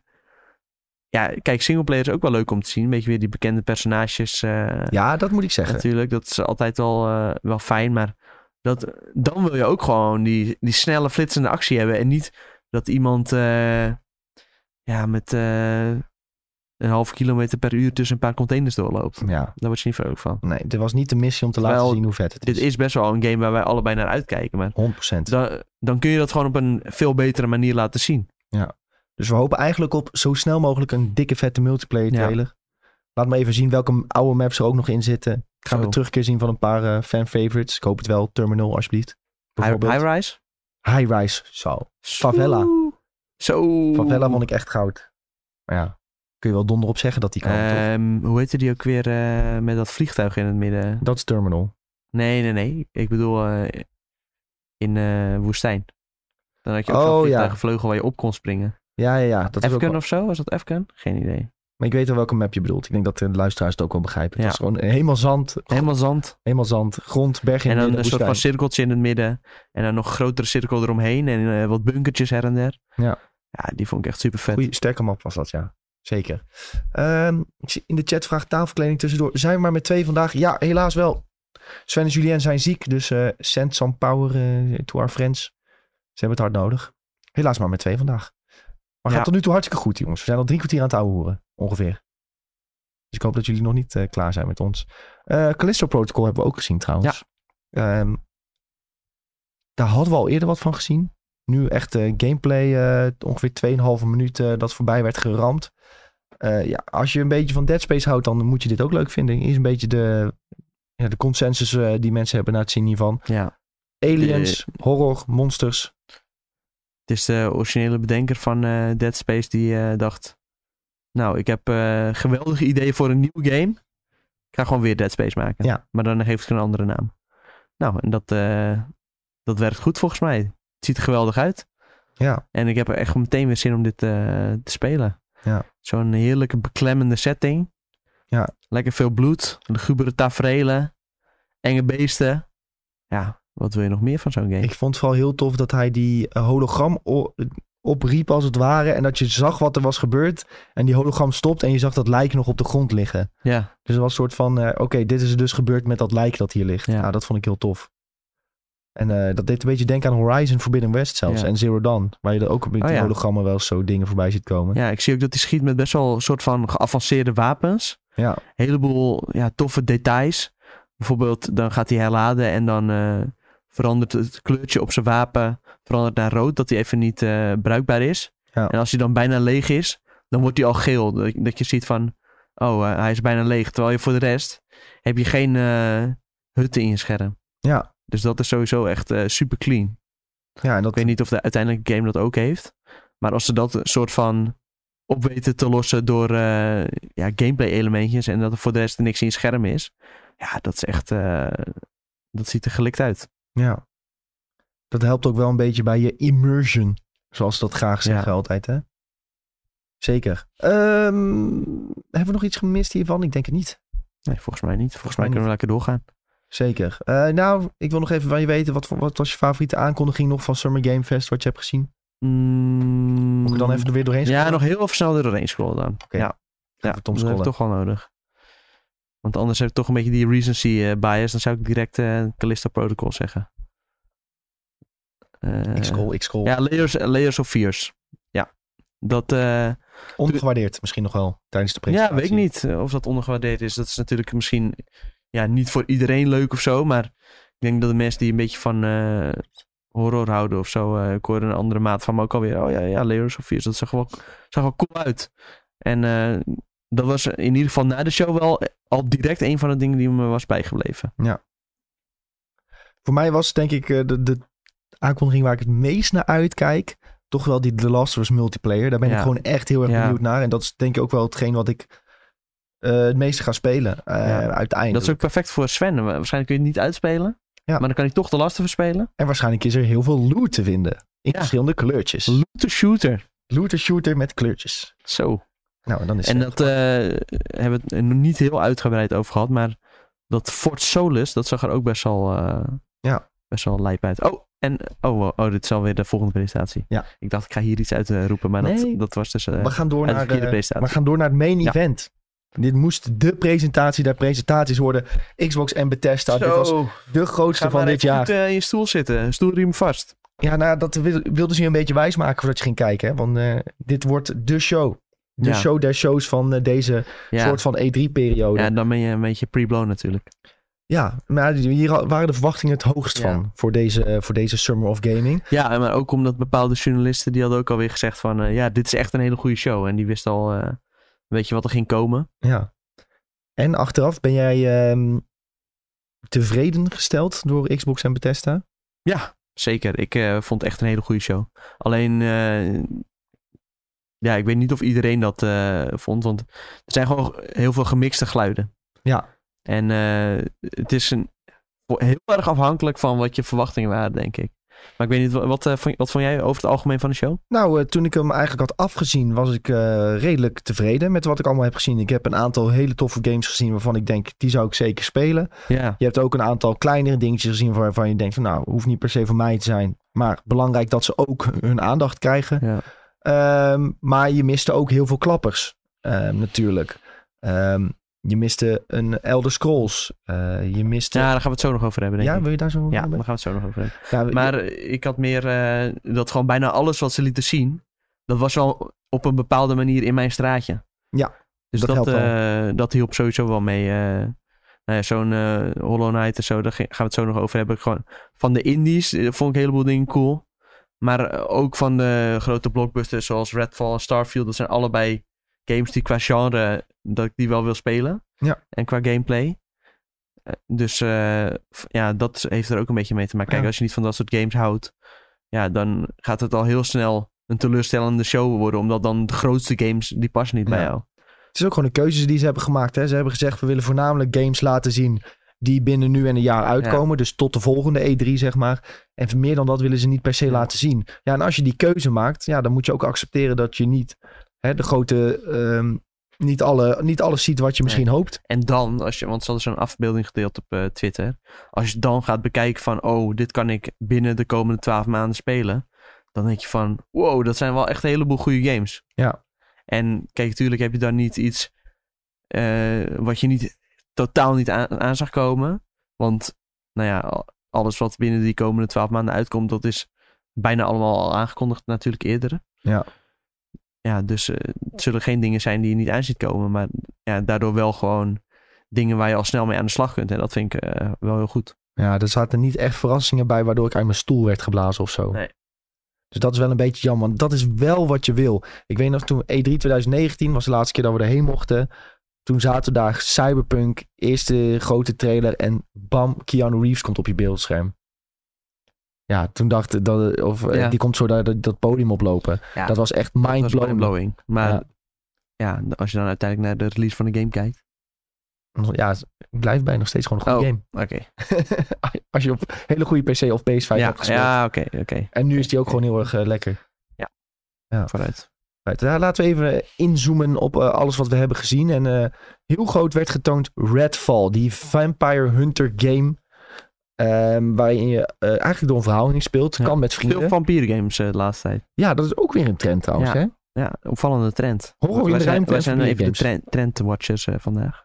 S2: ja, kijk, singleplayer is ook wel leuk om te zien. Een beetje weer die bekende personages. eh,
S1: Ja, dat moet ik zeggen.
S2: Natuurlijk, dat is altijd wel, eh, wel fijn. Maar dat, dan wil je ook gewoon die, die snelle flitsende actie hebben. En niet dat iemand eh, ja, met eh, een half kilometer per uur tussen een paar containers doorloopt.
S1: Ja.
S2: Daar word je niet vrolijk van.
S1: Nee, dit was niet de missie om te laten
S2: Terwijl
S1: zien hoe vet het
S2: Dit
S1: is.
S2: is best wel een game waar wij allebei naar uitkijken. Maar
S1: 100%.
S2: dan, dan kun je dat gewoon op een veel betere manier laten zien.
S1: Dus we hopen eigenlijk op zo snel mogelijk een dikke vette multiplayer
S2: Ja.
S1: trailer. Laat me even zien welke oude maps er ook nog in zitten. Gaan we
S2: Zo.
S1: een terugkeer zien van een paar eh, fan favorites. Ik hoop het wel. Terminal, alsjeblieft.
S2: High,
S1: Bijvoorbeeld.
S2: high Rise?
S1: High Rise. Zo. Favela.
S2: Oeh. Zo.
S1: Favela vond ik echt goud. Maar ja, kun je wel donder op zeggen dat die kan. toch?
S2: Ehm, hoe heette die ook weer eh, met dat vliegtuig in het midden?
S1: Dat is Terminal.
S2: Nee, nee, nee. Ik bedoel eh, in eh, woestijn. Dan had je ook
S1: Oh,
S2: zo'n
S1: ja.
S2: vliegtuig vleugel waar je op kon springen.
S1: Ja, ja, ja. Dat is ook
S2: Efken
S1: wel-
S2: of zo? Was dat Efken? Geen idee.
S1: Maar ik weet wel welke map je bedoelt. Ik denk dat de luisteraars het ook wel begrijpen.
S2: Ja.
S1: Het is gewoon helemaal zand.
S2: Helemaal zand.
S1: Helemaal zand. Grond, berg in
S2: en
S1: de
S2: dan een
S1: midden,
S2: soort van
S1: woestijn.
S2: cirkeltje in het midden. En dan nog een grotere cirkel eromheen. En eh, wat bunkertjes her en der.
S1: Ja.
S2: Ja, die vond ik echt super vet.
S1: Goeie, sterke map was dat, ja. Zeker. Ehm, ik zie in de chat vraagt tafelkleding tussendoor. Zijn we maar met twee vandaag? Ja, helaas wel. Sven en Julien zijn ziek, dus eh, send some power eh, to our friends. Ze hebben het hard nodig. Helaas maar met twee vandaag. Maar
S2: Ja.
S1: gaat tot nu toe hartstikke goed, jongens. We zijn al drie kwartier aan het ouwe horen, ongeveer. Dus ik hoop dat jullie nog niet eh, klaar zijn met ons. Eh Callisto Protocol hebben we ook gezien, trouwens. Ehm, daar hadden we al eerder wat van gezien. Nu echt eh, gameplay, eh, ongeveer 2,5 minuut eh, dat voorbij werd geramd. Eh, ja, als je een beetje van Dead Space houdt, dan moet je dit ook leuk vinden. Is een beetje de, ja, de consensus eh, die mensen hebben na het zien hiervan.
S2: Ja.
S1: Aliens, horror, monsters.
S2: Het is de originele bedenker van eh, Dead Space die eh, dacht... Nou, ik heb eh, geweldige ideeën voor een nieuw game. Ik ga gewoon weer Dead Space maken.
S1: Ja.
S2: Maar dan geef ik een andere naam. Nou, en dat, eh, dat werkt goed volgens mij. Het ziet er geweldig uit.
S1: Ja,
S2: En ik heb er echt meteen weer zin om dit eh, te spelen.
S1: Ja.
S2: Zo'n heerlijke beklemmende setting.
S1: Ja. Lekker
S2: Lekker veel bloed, lugubere taferelen, enge beesten. Ja, wat wil je nog meer van zo'n game?
S1: ik vond het vooral heel tof dat hij die eh, hologram o- opriep als het ware. En dat je zag wat er was gebeurd. En die hologram stopt en je zag dat lijk nog op de grond liggen.
S2: Ja,
S1: Dus het was een soort van, eh, oké, dit is er dus gebeurd met dat lijk dat hier ligt.
S2: Ja.
S1: Nou, dat vond ik heel tof. En eh, dat deed een beetje denken aan Horizon Forbidden West zelfs.
S2: Ja.
S1: En Zero Dawn. Waar je er ook op die
S2: Oh, ja.
S1: hologrammen wel eens zo dingen voorbij ziet komen.
S2: ja, ik zie ook dat hij schiet met best wel een soort van geavanceerde wapens.
S1: Ja.
S2: heleboel ja, toffe details. Bijvoorbeeld, dan gaat hij herladen en dan eh, verandert het kleurtje op zijn wapen verandert naar rood, dat hij even niet eh, bruikbaar is.
S1: Ja.
S2: En als hij dan bijna leeg is, dan wordt hij al geel. Dat, dat je ziet van, oh, eh, hij is bijna leeg. Terwijl je voor de rest heb je geen eh, hutten in je scherm.
S1: Ja.
S2: Dus dat is sowieso echt eh, super clean.
S1: Ja, en dat,
S2: Ik weet niet of de uiteindelijke game dat ook heeft. Maar als ze dat een soort van op weten te lossen door eh, ja, gameplay elementjes en dat er voor de rest niks in je scherm is. Ja, dat is echt. eh, dat ziet er gelikt uit.
S1: ja. Dat helpt ook wel een beetje bij je immersion. Zoals ze dat graag zeggen
S2: Ja.
S1: altijd, hè? Zeker. Ehm, hebben we nog iets gemist hiervan? Ik denk het niet.
S2: Nee, volgens mij niet. Volgens
S1: mij
S2: mij kunnen we lekker doorgaan.
S1: Zeker. Eh, nou, ik wil nog even van je weten. Wat, voor- wat was je favoriete aankondiging nog van Summer Game Fest? Wat je hebt gezien?
S2: Mm.
S1: Moet ik er dan even er weer doorheen
S2: Ja,
S1: scrollen?
S2: nog heel even snel er doorheen scrollen dan.
S1: Oké.
S2: Ja, ja
S1: Even Tom
S2: dat heb ik
S1: scrollen.
S2: toch wel nodig. Want anders heb ik toch een beetje die recency eh, bias. Dan zou ik direct eh Callisto Protocol zeggen. Eh,
S1: Ik scroll, ik scroll.
S2: Ja, Layers, Layers of Fears. Ja. Dat, eh,
S1: Ongewaardeerd misschien nog wel tijdens de
S2: ja,
S1: presentatie.
S2: weet ik niet eh, of dat ondergewaardeerd is. Dat is natuurlijk misschien ja, niet voor iedereen leuk of zo. Maar ik denk dat de mensen die een beetje van eh, horror houden of zo. eh ik hoorde een andere maat van me ook alweer. Oh ja, ja Layers of Fears. Dat zag er wel, zag er wel cool uit. En eh, dat was in ieder geval na de show wel al direct een van de dingen die me was bijgebleven.
S1: Voor mij was denk ik eh, de, de aankondiging waar ik het meest naar uitkijk. Toch wel die The Last of Us multiplayer. Daar ben ik
S2: Ja.
S1: gewoon echt heel erg
S2: Ja.
S1: benieuwd naar. En dat is denk ik ook wel hetgeen wat ik eh, het meeste ga spelen. eh,
S2: Ja.
S1: Uiteindelijk.
S2: Dat is ook perfect voor Sven. Wa- Waarschijnlijk kun je het niet uitspelen.
S1: Ja.
S2: Maar dan kan ik toch de lasten verspelen.
S1: En waarschijnlijk is er heel veel loot te vinden. In
S2: Ja.
S1: verschillende kleurtjes.
S2: Loot the shooter.
S1: Looter shooter met kleurtjes.
S2: Zo.
S1: Nou, en dan is
S2: En
S1: het-
S2: dat eh, hebben we het nog niet heel uitgebreid over gehad, maar dat Fort Solus, dat zag er ook best wel, eh,
S1: Ja.
S2: best wel lijp uit. Oh, en oh, wow, oh, dit is alweer de volgende presentatie.
S1: Ja.
S2: Ik dacht, ik ga hier iets uit eh, roepen, maar
S1: Nee.
S2: dat, dat was dus... eh,
S1: we, gaan door
S2: uit de
S1: naar,
S2: verkeerde
S1: eh,
S2: presentatie.
S1: we gaan door naar het main
S2: Ja.
S1: event. Dit moest de presentatie der presentaties worden. Xbox en Bethesda. Dit was de grootste
S2: ga
S1: van
S2: maar
S1: dit
S2: even
S1: jaar.
S2: goed eh, in je stoel zitten, stoelriem vast.
S1: Ja, nou, dat wil- wilden ze je een beetje wijs maken voordat je ging kijken. Hè? Want eh, dit wordt de show. De
S2: Ja.
S1: show der shows van eh, deze
S2: Ja.
S1: soort van E E3-periode.
S2: ja,
S1: Ja.
S2: dan ben je een beetje pre-blown natuurlijk.
S1: maar hier al- waren de verwachtingen het hoogst
S2: Ja.
S1: van voor deze, eh, voor deze Summer of Gaming.
S2: Ja, maar ook omdat bepaalde journalisten, die hadden ook alweer gezegd van, eh, ja, dit is echt een hele goede show. En die wist al, eh, weet je wat er ging komen.
S1: Ja. En achteraf ben jij ehm, tevreden gesteld door Xbox en Bethesda?
S2: Ja, zeker. Ik eh, vond het echt een hele goede show. Alleen, eh, ja, ik weet niet of iedereen dat eh, vond, want er zijn gewoon heel veel gemixte geluiden.
S1: Ja.
S2: En eh, het is een, heel erg afhankelijk van wat je verwachtingen waren, denk ik. Maar ik weet niet, wa- wat, eh, vond, wat vond jij over het algemeen van de show?
S1: Nou, eh, toen ik hem eigenlijk had afgezien, was ik eh, redelijk tevreden met wat ik allemaal heb gezien. Ik heb een aantal hele toffe games gezien waarvan ik denk, die zou ik zeker spelen.
S2: Ja,
S1: Je hebt ook een aantal kleinere dingetjes gezien waarvan je denkt van nou, hoeft niet per se voor mij te zijn. Maar belangrijk dat ze ook hun aandacht krijgen.
S2: ja.
S1: Ehm, maar je miste ook heel veel klappers ehm, natuurlijk. Ehm, je miste een Elder Scrolls. Eh, je miste...
S2: ja daar gaan we het zo nog over hebben, denk
S1: Ja,
S2: ik.
S1: wil je daar zo
S2: Ja, daar
S1: over?
S2: gaan we het zo nog over hebben.
S1: Ja, we-
S2: Maar eh, ik had meer eh, dat gewoon bijna alles wat ze lieten zien, dat was al op een bepaalde manier in mijn straatje.
S1: Ja,
S2: Dus
S1: dat
S2: dat,
S1: helpt
S2: eh, dat hielp sowieso wel mee. eh. nou ja, zo'n eh, Hollow Knight en zo, daar ge- gaan we het zo nog over hebben. Gewoon, van de indies eh, vond ik een heleboel dingen cool. Maar eh, ook van de grote blockbusters zoals Redfall en Starfield. Dat zijn allebei games die qua genre, dat ik die wel wil spelen.
S1: Ja.
S2: En qua gameplay. Eh, Dus eh, f- ja, dat heeft er ook een beetje mee te maken. Kijk,
S1: Ja.
S2: als je niet van dat soort games houdt, ja, dan gaat het al heel snel een teleurstellende show worden. Omdat dan de grootste games, die passen niet bij
S1: Ja.
S2: jou.
S1: Het is ook gewoon een keuze die ze hebben gemaakt. Hè. Ze hebben gezegd, we willen voornamelijk games laten zien die binnen nu en een jaar uitkomen. Dus tot de volgende E3, zeg maar. En meer dan dat willen ze niet per se
S2: Ja.
S1: laten zien. Ja, en als je die keuze maakt, ja, dan moet je ook accepteren dat je niet hè, de grote... ehm, niet, alle, niet alles ziet wat je misschien hoopt.
S2: En dan, als je, want ze hadden zo'n afbeelding gedeeld op eh, Twitter. Als je dan gaat bekijken van, oh, dit kan ik binnen de komende twaalf maanden spelen. Dan denk je van, wow, dat zijn wel echt een heleboel goede games.
S1: Ja.
S2: En kijk, natuurlijk heb je dan niet iets eh, wat je niet, totaal niet aan, aan zag komen. Want, nou ja, al- alles wat binnen die komende twaalf maanden uitkomt, dat is bijna allemaal al aangekondigd natuurlijk eerder.
S1: Ja.
S2: Ja, dus eh, het zullen geen dingen zijn die je niet aan ziet komen. Maar ja, daardoor wel gewoon dingen waar je al snel mee aan de slag kunt. En dat vind ik eh, wel heel goed.
S1: Ja, er zaten niet echt verrassingen bij waardoor ik uit mijn stoel werd geblazen of zo.
S2: Nee.
S1: Dus dat is wel een beetje jammer, want dat is wel wat je wil. Ik weet nog toen E E3 2019 was de laatste keer dat we erheen mochten. Toen zaten we daar Cyberpunk, eerste grote trailer en bam, Keanu Reeves komt op je beeldscherm. Ja, toen dacht ik dat, of eh,
S2: Ja.
S1: die komt zo daar dat, dat podium oplopen.
S2: Ja,
S1: dat was echt
S2: Dat was
S1: mindblowing.
S2: mindblowing. Maar
S1: Ja.
S2: ja. als je dan uiteindelijk naar de release van de game kijkt.
S1: nog- ja, het blijft bij nog steeds gewoon een goede
S2: Oh.
S1: game.
S2: Oké.
S1: Als je op hele goede PC of PS5
S2: Ja,
S1: hebt gespeeld.
S2: ja oké. oké.
S1: En nu is die ook gewoon heel erg eh, lekker.
S2: Vooruit.
S1: Right, daar laten we even eh, inzoomen op eh, alles wat we hebben gezien. En eh, heel groot werd getoond Redfall, die Vampire Hunter game. ehm, waarin je eh, eigenlijk door een verhaal heen speelt.
S2: Ja.
S1: Kan met vrienden.
S2: Veel vampiergames eh, de laatste tijd.
S1: Ja, dat is ook weer een trend trouwens.
S2: Ja.
S1: Hè?
S2: Ja, opvallende trend.
S1: Horror in
S2: wij
S1: de
S2: zijn,
S1: ruimte
S2: wij
S1: en
S2: zijn even de
S1: vampiergames.
S2: trend, trendwatchers eh, vandaag.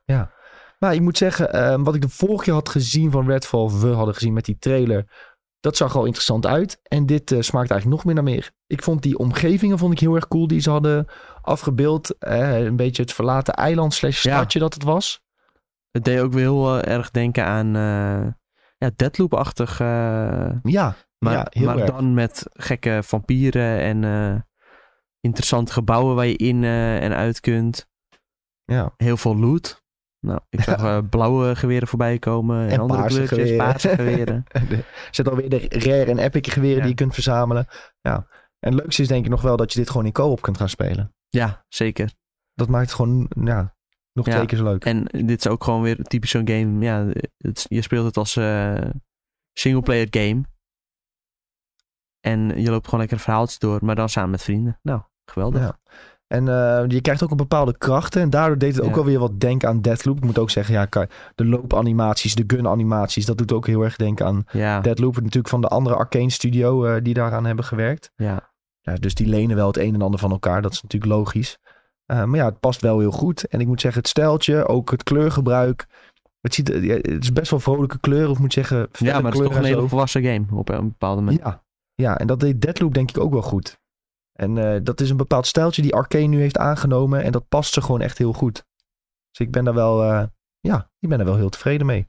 S1: Maar ik moet zeggen, ehm, wat ik de vorige keer had gezien van Redfall, of we hadden gezien met die trailer, dat zag al interessant uit. En dit eh, smaakt eigenlijk nog meer naar meer. Ik vond die omgevingen vond ik heel erg cool die ze hadden afgebeeld. Eh, een beetje het verlaten eiland slash
S2: Ja.
S1: stadje dat het was.
S2: Het deed ook weer heel eh, erg denken aan eh, ja, Deadloop-achtig. eh,
S1: Ja,
S2: maar
S1: ja heel
S2: maar
S1: erg.
S2: dan met gekke vampieren en eh, interessante gebouwen waar je in eh, en uit kunt.
S1: Ja.
S2: Heel veel loot. Nou, ik zag eh, blauwe geweren voorbij komen. En,
S1: En
S2: andere
S1: paarse
S2: kleurtjes,
S1: geweren.
S2: paarse geweren.
S1: Zet alweer de rare en epic geweren
S2: Ja.
S1: die je kunt verzamelen. Ja. En het leukste is denk ik nog wel dat je dit gewoon in co-op kunt gaan spelen.
S2: ja, zeker.
S1: Dat maakt het gewoon ja, nog
S2: Ja.
S1: twee keer zo leuk.
S2: En dit is ook gewoon weer typisch zo'n game. Ja, het- je speelt het als single singleplayer game. En je loopt gewoon lekker een verhaaltje door, maar dan samen met vrienden. Nou, geweldig.
S1: Ja. En eh, je krijgt ook een bepaalde krachten. En daardoor deed het ook
S2: Ja.
S1: wel weer wat denken aan Deathloop. Ik moet ook zeggen, ja, ka- de loopanimaties, de gunanimaties, dat doet ook heel erg denken aan
S2: Ja,
S1: Deathloop. Natuurlijk van de andere Arcane Studio eh, die daaraan hebben gewerkt.
S2: ja.
S1: Ja, dus die lenen wel het een en ander van elkaar. Dat is natuurlijk logisch. Eh, maar ja, het past wel heel goed. En ik moet zeggen, het stijltje, ook het kleurgebruik. Het, ziet, eh, ja, het is best wel vrolijke kleuren, of moet ik zeggen. felle
S2: ja maar het is toch
S1: kleuren
S2: een
S1: en
S2: hele
S1: zo.
S2: volwassen game op eh, een bepaalde manier.
S1: Ja. ja, en dat deed Deadloop denk ik ook wel goed. En eh, dat is een bepaald stijltje die Arcane nu heeft aangenomen. En dat past ze gewoon echt heel goed. Dus ik ben daar wel, eh, ja, ik ben daar wel heel tevreden mee.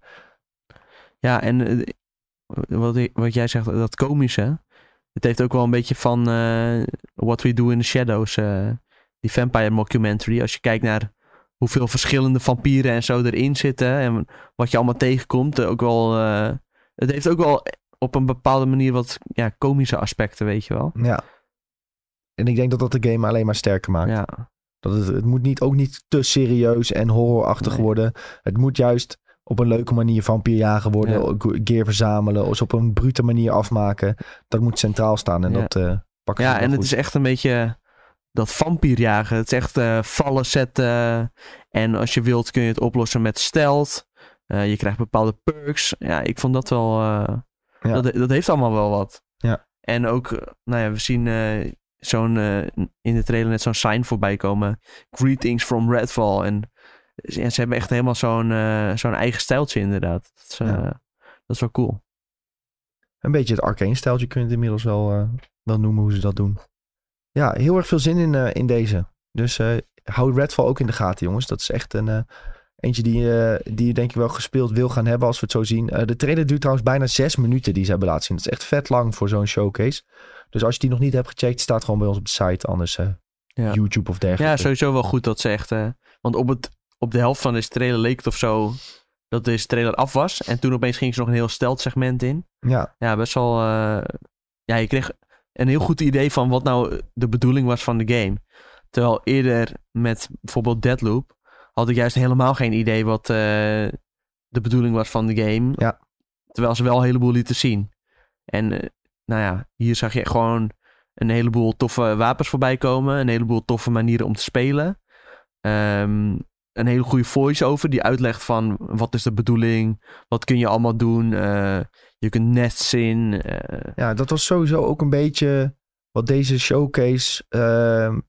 S2: Ja, en eh, wat, ik- wat jij zegt, dat komische. Het heeft ook wel een beetje van eh, What We Do in the Shadows. eh, die vampire mockumentary. Als je kijkt naar hoeveel verschillende vampieren en zo erin zitten. En wat je allemaal tegenkomt. eh, ook wel, eh, het heeft ook wel op een bepaalde manier wat ja, komische aspecten, weet je wel.
S1: Ja. En ik denk dat dat de game alleen maar sterker maakt.
S2: Ja,
S1: Dat het, het moet niet, ook niet te serieus en horrorachtig
S2: Nee.
S1: worden. Het moet juist op een leuke manier vampierjagen worden.
S2: Ja.
S1: ge- Gear verzamelen. Of ze op een brute manier afmaken. Dat moet centraal staan. En
S2: Ja.
S1: dat eh pakken ze
S2: ja
S1: wel
S2: en het
S1: goed.
S2: is echt een beetje dat vampierjagen. Het is echt eh, vallen zetten. En als je wilt kun je het oplossen met stealth. Eh, je krijgt bepaalde perks. Ja, ik vond dat wel... eh,
S1: Ja.
S2: dat, dat heeft allemaal wel wat.
S1: Ja.
S2: En ook, eh, nou ja, we zien eh, zo'n, eh, in de trailer net zo'n sign voorbij komen. Greetings from Redfall. En, en ze hebben echt helemaal zo'n, eh, zo'n eigen stijltje inderdaad. Dat is, eh,
S1: Ja.
S2: dat is wel cool.
S1: Een beetje het arcane stijltje kun je het inmiddels wel, eh, wel noemen hoe ze dat doen. Ja, heel erg veel zin in, eh, in deze. Dus eh, hou Redfall ook in de gaten, jongens. Dat is echt een eh, eentje die, eh, die je denk ik wel gespeeld wil gaan hebben als we het zo zien. Eh, de trailer duurt trouwens bijna zes minuten die ze hebben laten zien. Dat is echt vet lang voor zo'n showcase. Dus als je die nog niet hebt gecheckt, staat gewoon bij ons op de site. Anders eh,
S2: Ja.
S1: YouTube of dergelijke.
S2: Ja, sowieso wel goed dat ze echt... eh, want op, het, op de helft van deze trailer leek het of zo dat deze trailer af was. En toen opeens ging ze nog een heel stelt segment in.
S1: Ja,
S2: Ja, best wel... eh, ja, je kreeg een heel goed idee van wat nou de bedoeling was van de game. Terwijl eerder met bijvoorbeeld Deadloop... had ik juist helemaal geen idee wat eh, de bedoeling was van de game.
S1: Ja.
S2: Terwijl ze wel een heleboel lieten zien. En eh, nou ja, hier zag je gewoon een heleboel toffe wapens voorbij komen. Een heleboel toffe manieren om te spelen. Ehm, een hele goede voice-over die uitlegt van wat is de bedoeling, wat kun je allemaal doen, eh, je kunt nests in. eh,
S1: ja, dat was sowieso ook een beetje wat deze showcase... ehm,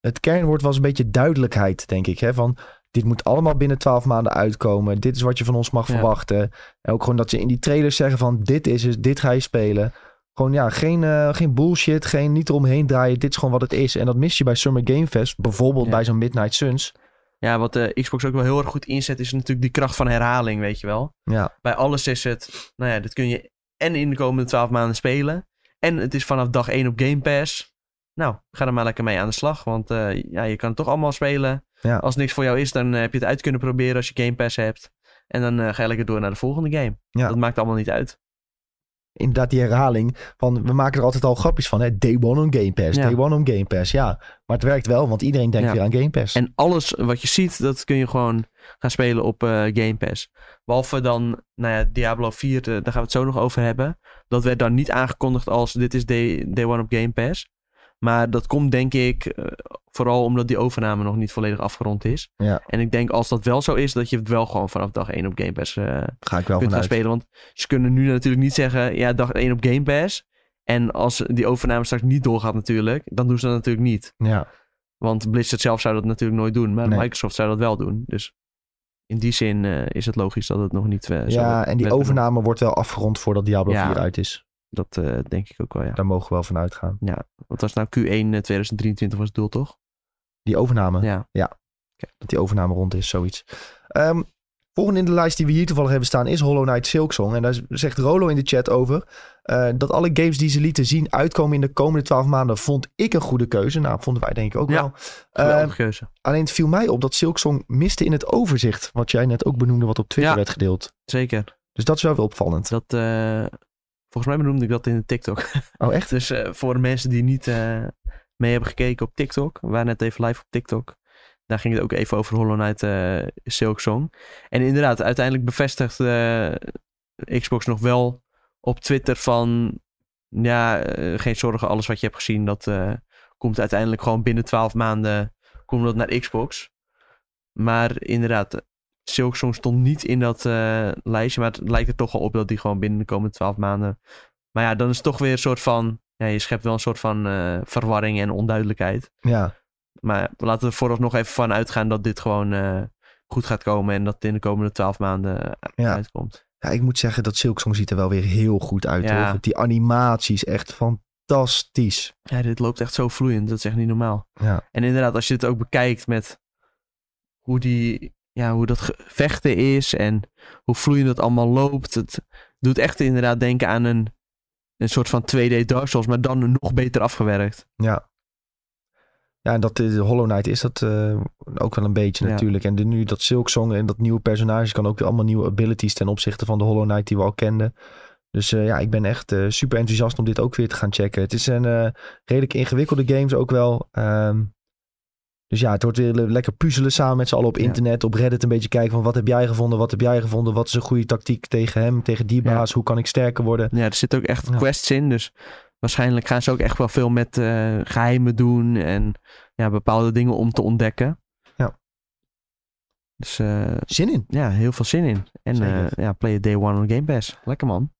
S1: het kernwoord was een beetje duidelijkheid, denk ik. Hè? Van, dit moet allemaal binnen twaalf maanden uitkomen. Dit is wat je van ons mag
S2: Ja.
S1: verwachten. En ook gewoon dat ze in die trailers zeggen van... dit is het, dit ga je spelen. Gewoon ja, geen, eh, geen bullshit, geen niet eromheen draaien. Dit is gewoon wat het is. En dat mis je bij Summer Game Fest. Bijvoorbeeld
S2: Ja.
S1: bij zo'n Midnight Suns.
S2: ja, wat de Xbox ook wel heel erg goed inzet is natuurlijk die kracht van herhaling, weet je wel.
S1: Ja,
S2: Bij alles is het, nou ja, dit kun je en in de komende twaalf maanden spelen. En het is vanaf dag één op Game Pass. Nou, ga er maar lekker mee aan de slag, want eh, ja, je kan het toch allemaal spelen.
S1: Ja.
S2: Als niks voor jou is, dan eh, heb je het uit kunnen proberen als je Game Pass hebt. En dan eh, ga je lekker door naar de volgende game.
S1: Ja.
S2: Dat maakt allemaal niet uit.
S1: inderdaad die herhaling van we maken er altijd al grapjes van. Hè? Day one on Game Pass,
S2: Ja.
S1: day one on Game Pass. Ja, maar het werkt wel, want iedereen denkt
S2: Ja.
S1: weer aan Game Pass.
S2: En alles wat je ziet, dat kun je gewoon gaan spelen op eh, Game Pass. Behalve dan, nou ja, Diablo 4, eh, daar gaan we het zo nog over hebben. Dat werd dan niet aangekondigd als dit is day, day one op Game Pass. Maar dat komt denk ik eh, vooral omdat die overname nog niet volledig afgerond is.
S1: Ja.
S2: En ik denk als dat wel zo is, dat je het wel gewoon vanaf dag 1 op Game Pass eh,
S1: Ga ik wel
S2: kunt gaan
S1: vanuit.
S2: spelen. Want ze kunnen nu natuurlijk niet zeggen, ja, dag 1 op Game Pass. En als die overname straks niet doorgaat natuurlijk, dan doen ze dat natuurlijk niet.
S1: Ja.
S2: Want Blizzard zelf zou dat natuurlijk nooit doen, maar
S1: Nee.
S2: Microsoft zou dat wel doen. Dus in die zin eh, is het logisch dat het nog niet eh, zo
S1: ja, en die
S2: werd benoemd.
S1: overname wordt wel afgerond voordat Diablo
S2: Ja.
S1: 4 uit is.
S2: Dat eh, denk ik ook wel, ja.
S1: Daar mogen we wel van uitgaan.
S2: Wat was nou Q1 eh, 2023 was het doel, toch?
S1: Die overname.
S2: Ja.
S1: dat die overname rond is, zoiets. Ehm volgende in de lijst die we hier toevallig hebben staan is Hollow Knight Silksong. En daar zegt Rolo in de chat over eh, dat alle games die ze lieten zien uitkomen in de komende twaalf maanden, vond ik een goede keuze. Nou, vonden wij denk ik ook
S2: Ja,
S1: wel.
S2: Geweldige
S1: Ehm,
S2: keuze.
S1: alleen het viel mij op dat Silksong miste in het overzicht, wat jij net ook benoemde, wat op Twitter
S2: Ja.
S1: werd gedeeld.
S2: Zeker.
S1: Dus dat is wel weer opvallend.
S2: Dat, eh, volgens mij benoemde ik dat in de TikTok.
S1: Oh, echt?
S2: dus eh, voor de mensen die niet eh, mee hebben gekeken op TikTok. We waren net even live op TikTok. Daar ging het ook even over Hollow Knight eh, Silksong. En inderdaad, uiteindelijk bevestigt eh, Xbox nog wel op Twitter van... Ja, eh, geen zorgen, alles wat je hebt gezien... dat eh, komt uiteindelijk gewoon binnen 12 maanden komt dat naar Xbox. Maar inderdaad, Silksong stond niet in dat eh, lijstje... maar het lijkt er toch wel op dat die gewoon binnen de komende 12 maanden... Maar ja, dan is het toch weer een soort van... Ja, je schept wel een soort van eh, verwarring en onduidelijkheid.
S1: Ja.
S2: Maar we laten er vooralsnog even van uitgaan dat dit gewoon eh, goed gaat komen. En dat het in de komende twaalf maanden eh,
S1: Ja.
S2: uitkomt.
S1: ja, ik moet zeggen dat Silksong ziet er wel weer heel goed uit.
S2: Ja.
S1: Hoor. Die animaties, echt fantastisch.
S2: Ja, dit loopt echt zo vloeiend. Dat is echt niet normaal.
S1: Ja.
S2: En inderdaad, als je het ook bekijkt met hoe, die, ja, hoe dat ge- vechten is. En hoe vloeiend het allemaal loopt. Het doet echt inderdaad denken aan een, een soort van 2D Dark Souls. Maar dan nog beter afgewerkt.
S1: Ja, en dat eh, Hollow Knight is dat eh, ook wel een beetje
S2: Ja.
S1: natuurlijk. En de, nu dat Silksong en dat nieuwe personage kan ook weer allemaal nieuwe abilities ten opzichte van de Hollow Knight die we al kenden. Dus eh, ja, ik ben echt eh, super enthousiast om dit ook weer te gaan checken. Het is een eh, redelijk ingewikkelde games ook wel. Ehm, dus ja, het wordt weer le- lekker puzzelen samen met z'n allen op
S2: Ja.
S1: internet, op Reddit een beetje kijken van wat heb jij gevonden, wat heb jij gevonden, wat is een goede tactiek tegen hem, tegen die
S2: Ja.
S1: baas, hoe kan ik sterker worden.
S2: Ja, er zitten ook echt
S1: Ja.
S2: quests in. Dus waarschijnlijk gaan ze ook echt wel veel met eh, geheimen doen. En ja, bepaalde dingen om te ontdekken.
S1: Ja.
S2: Dus eh,
S1: Zin in.
S2: ja, heel veel zin in. En
S1: Zeker.
S2: eh, ja, play a day one on Game Pass. Lekker man.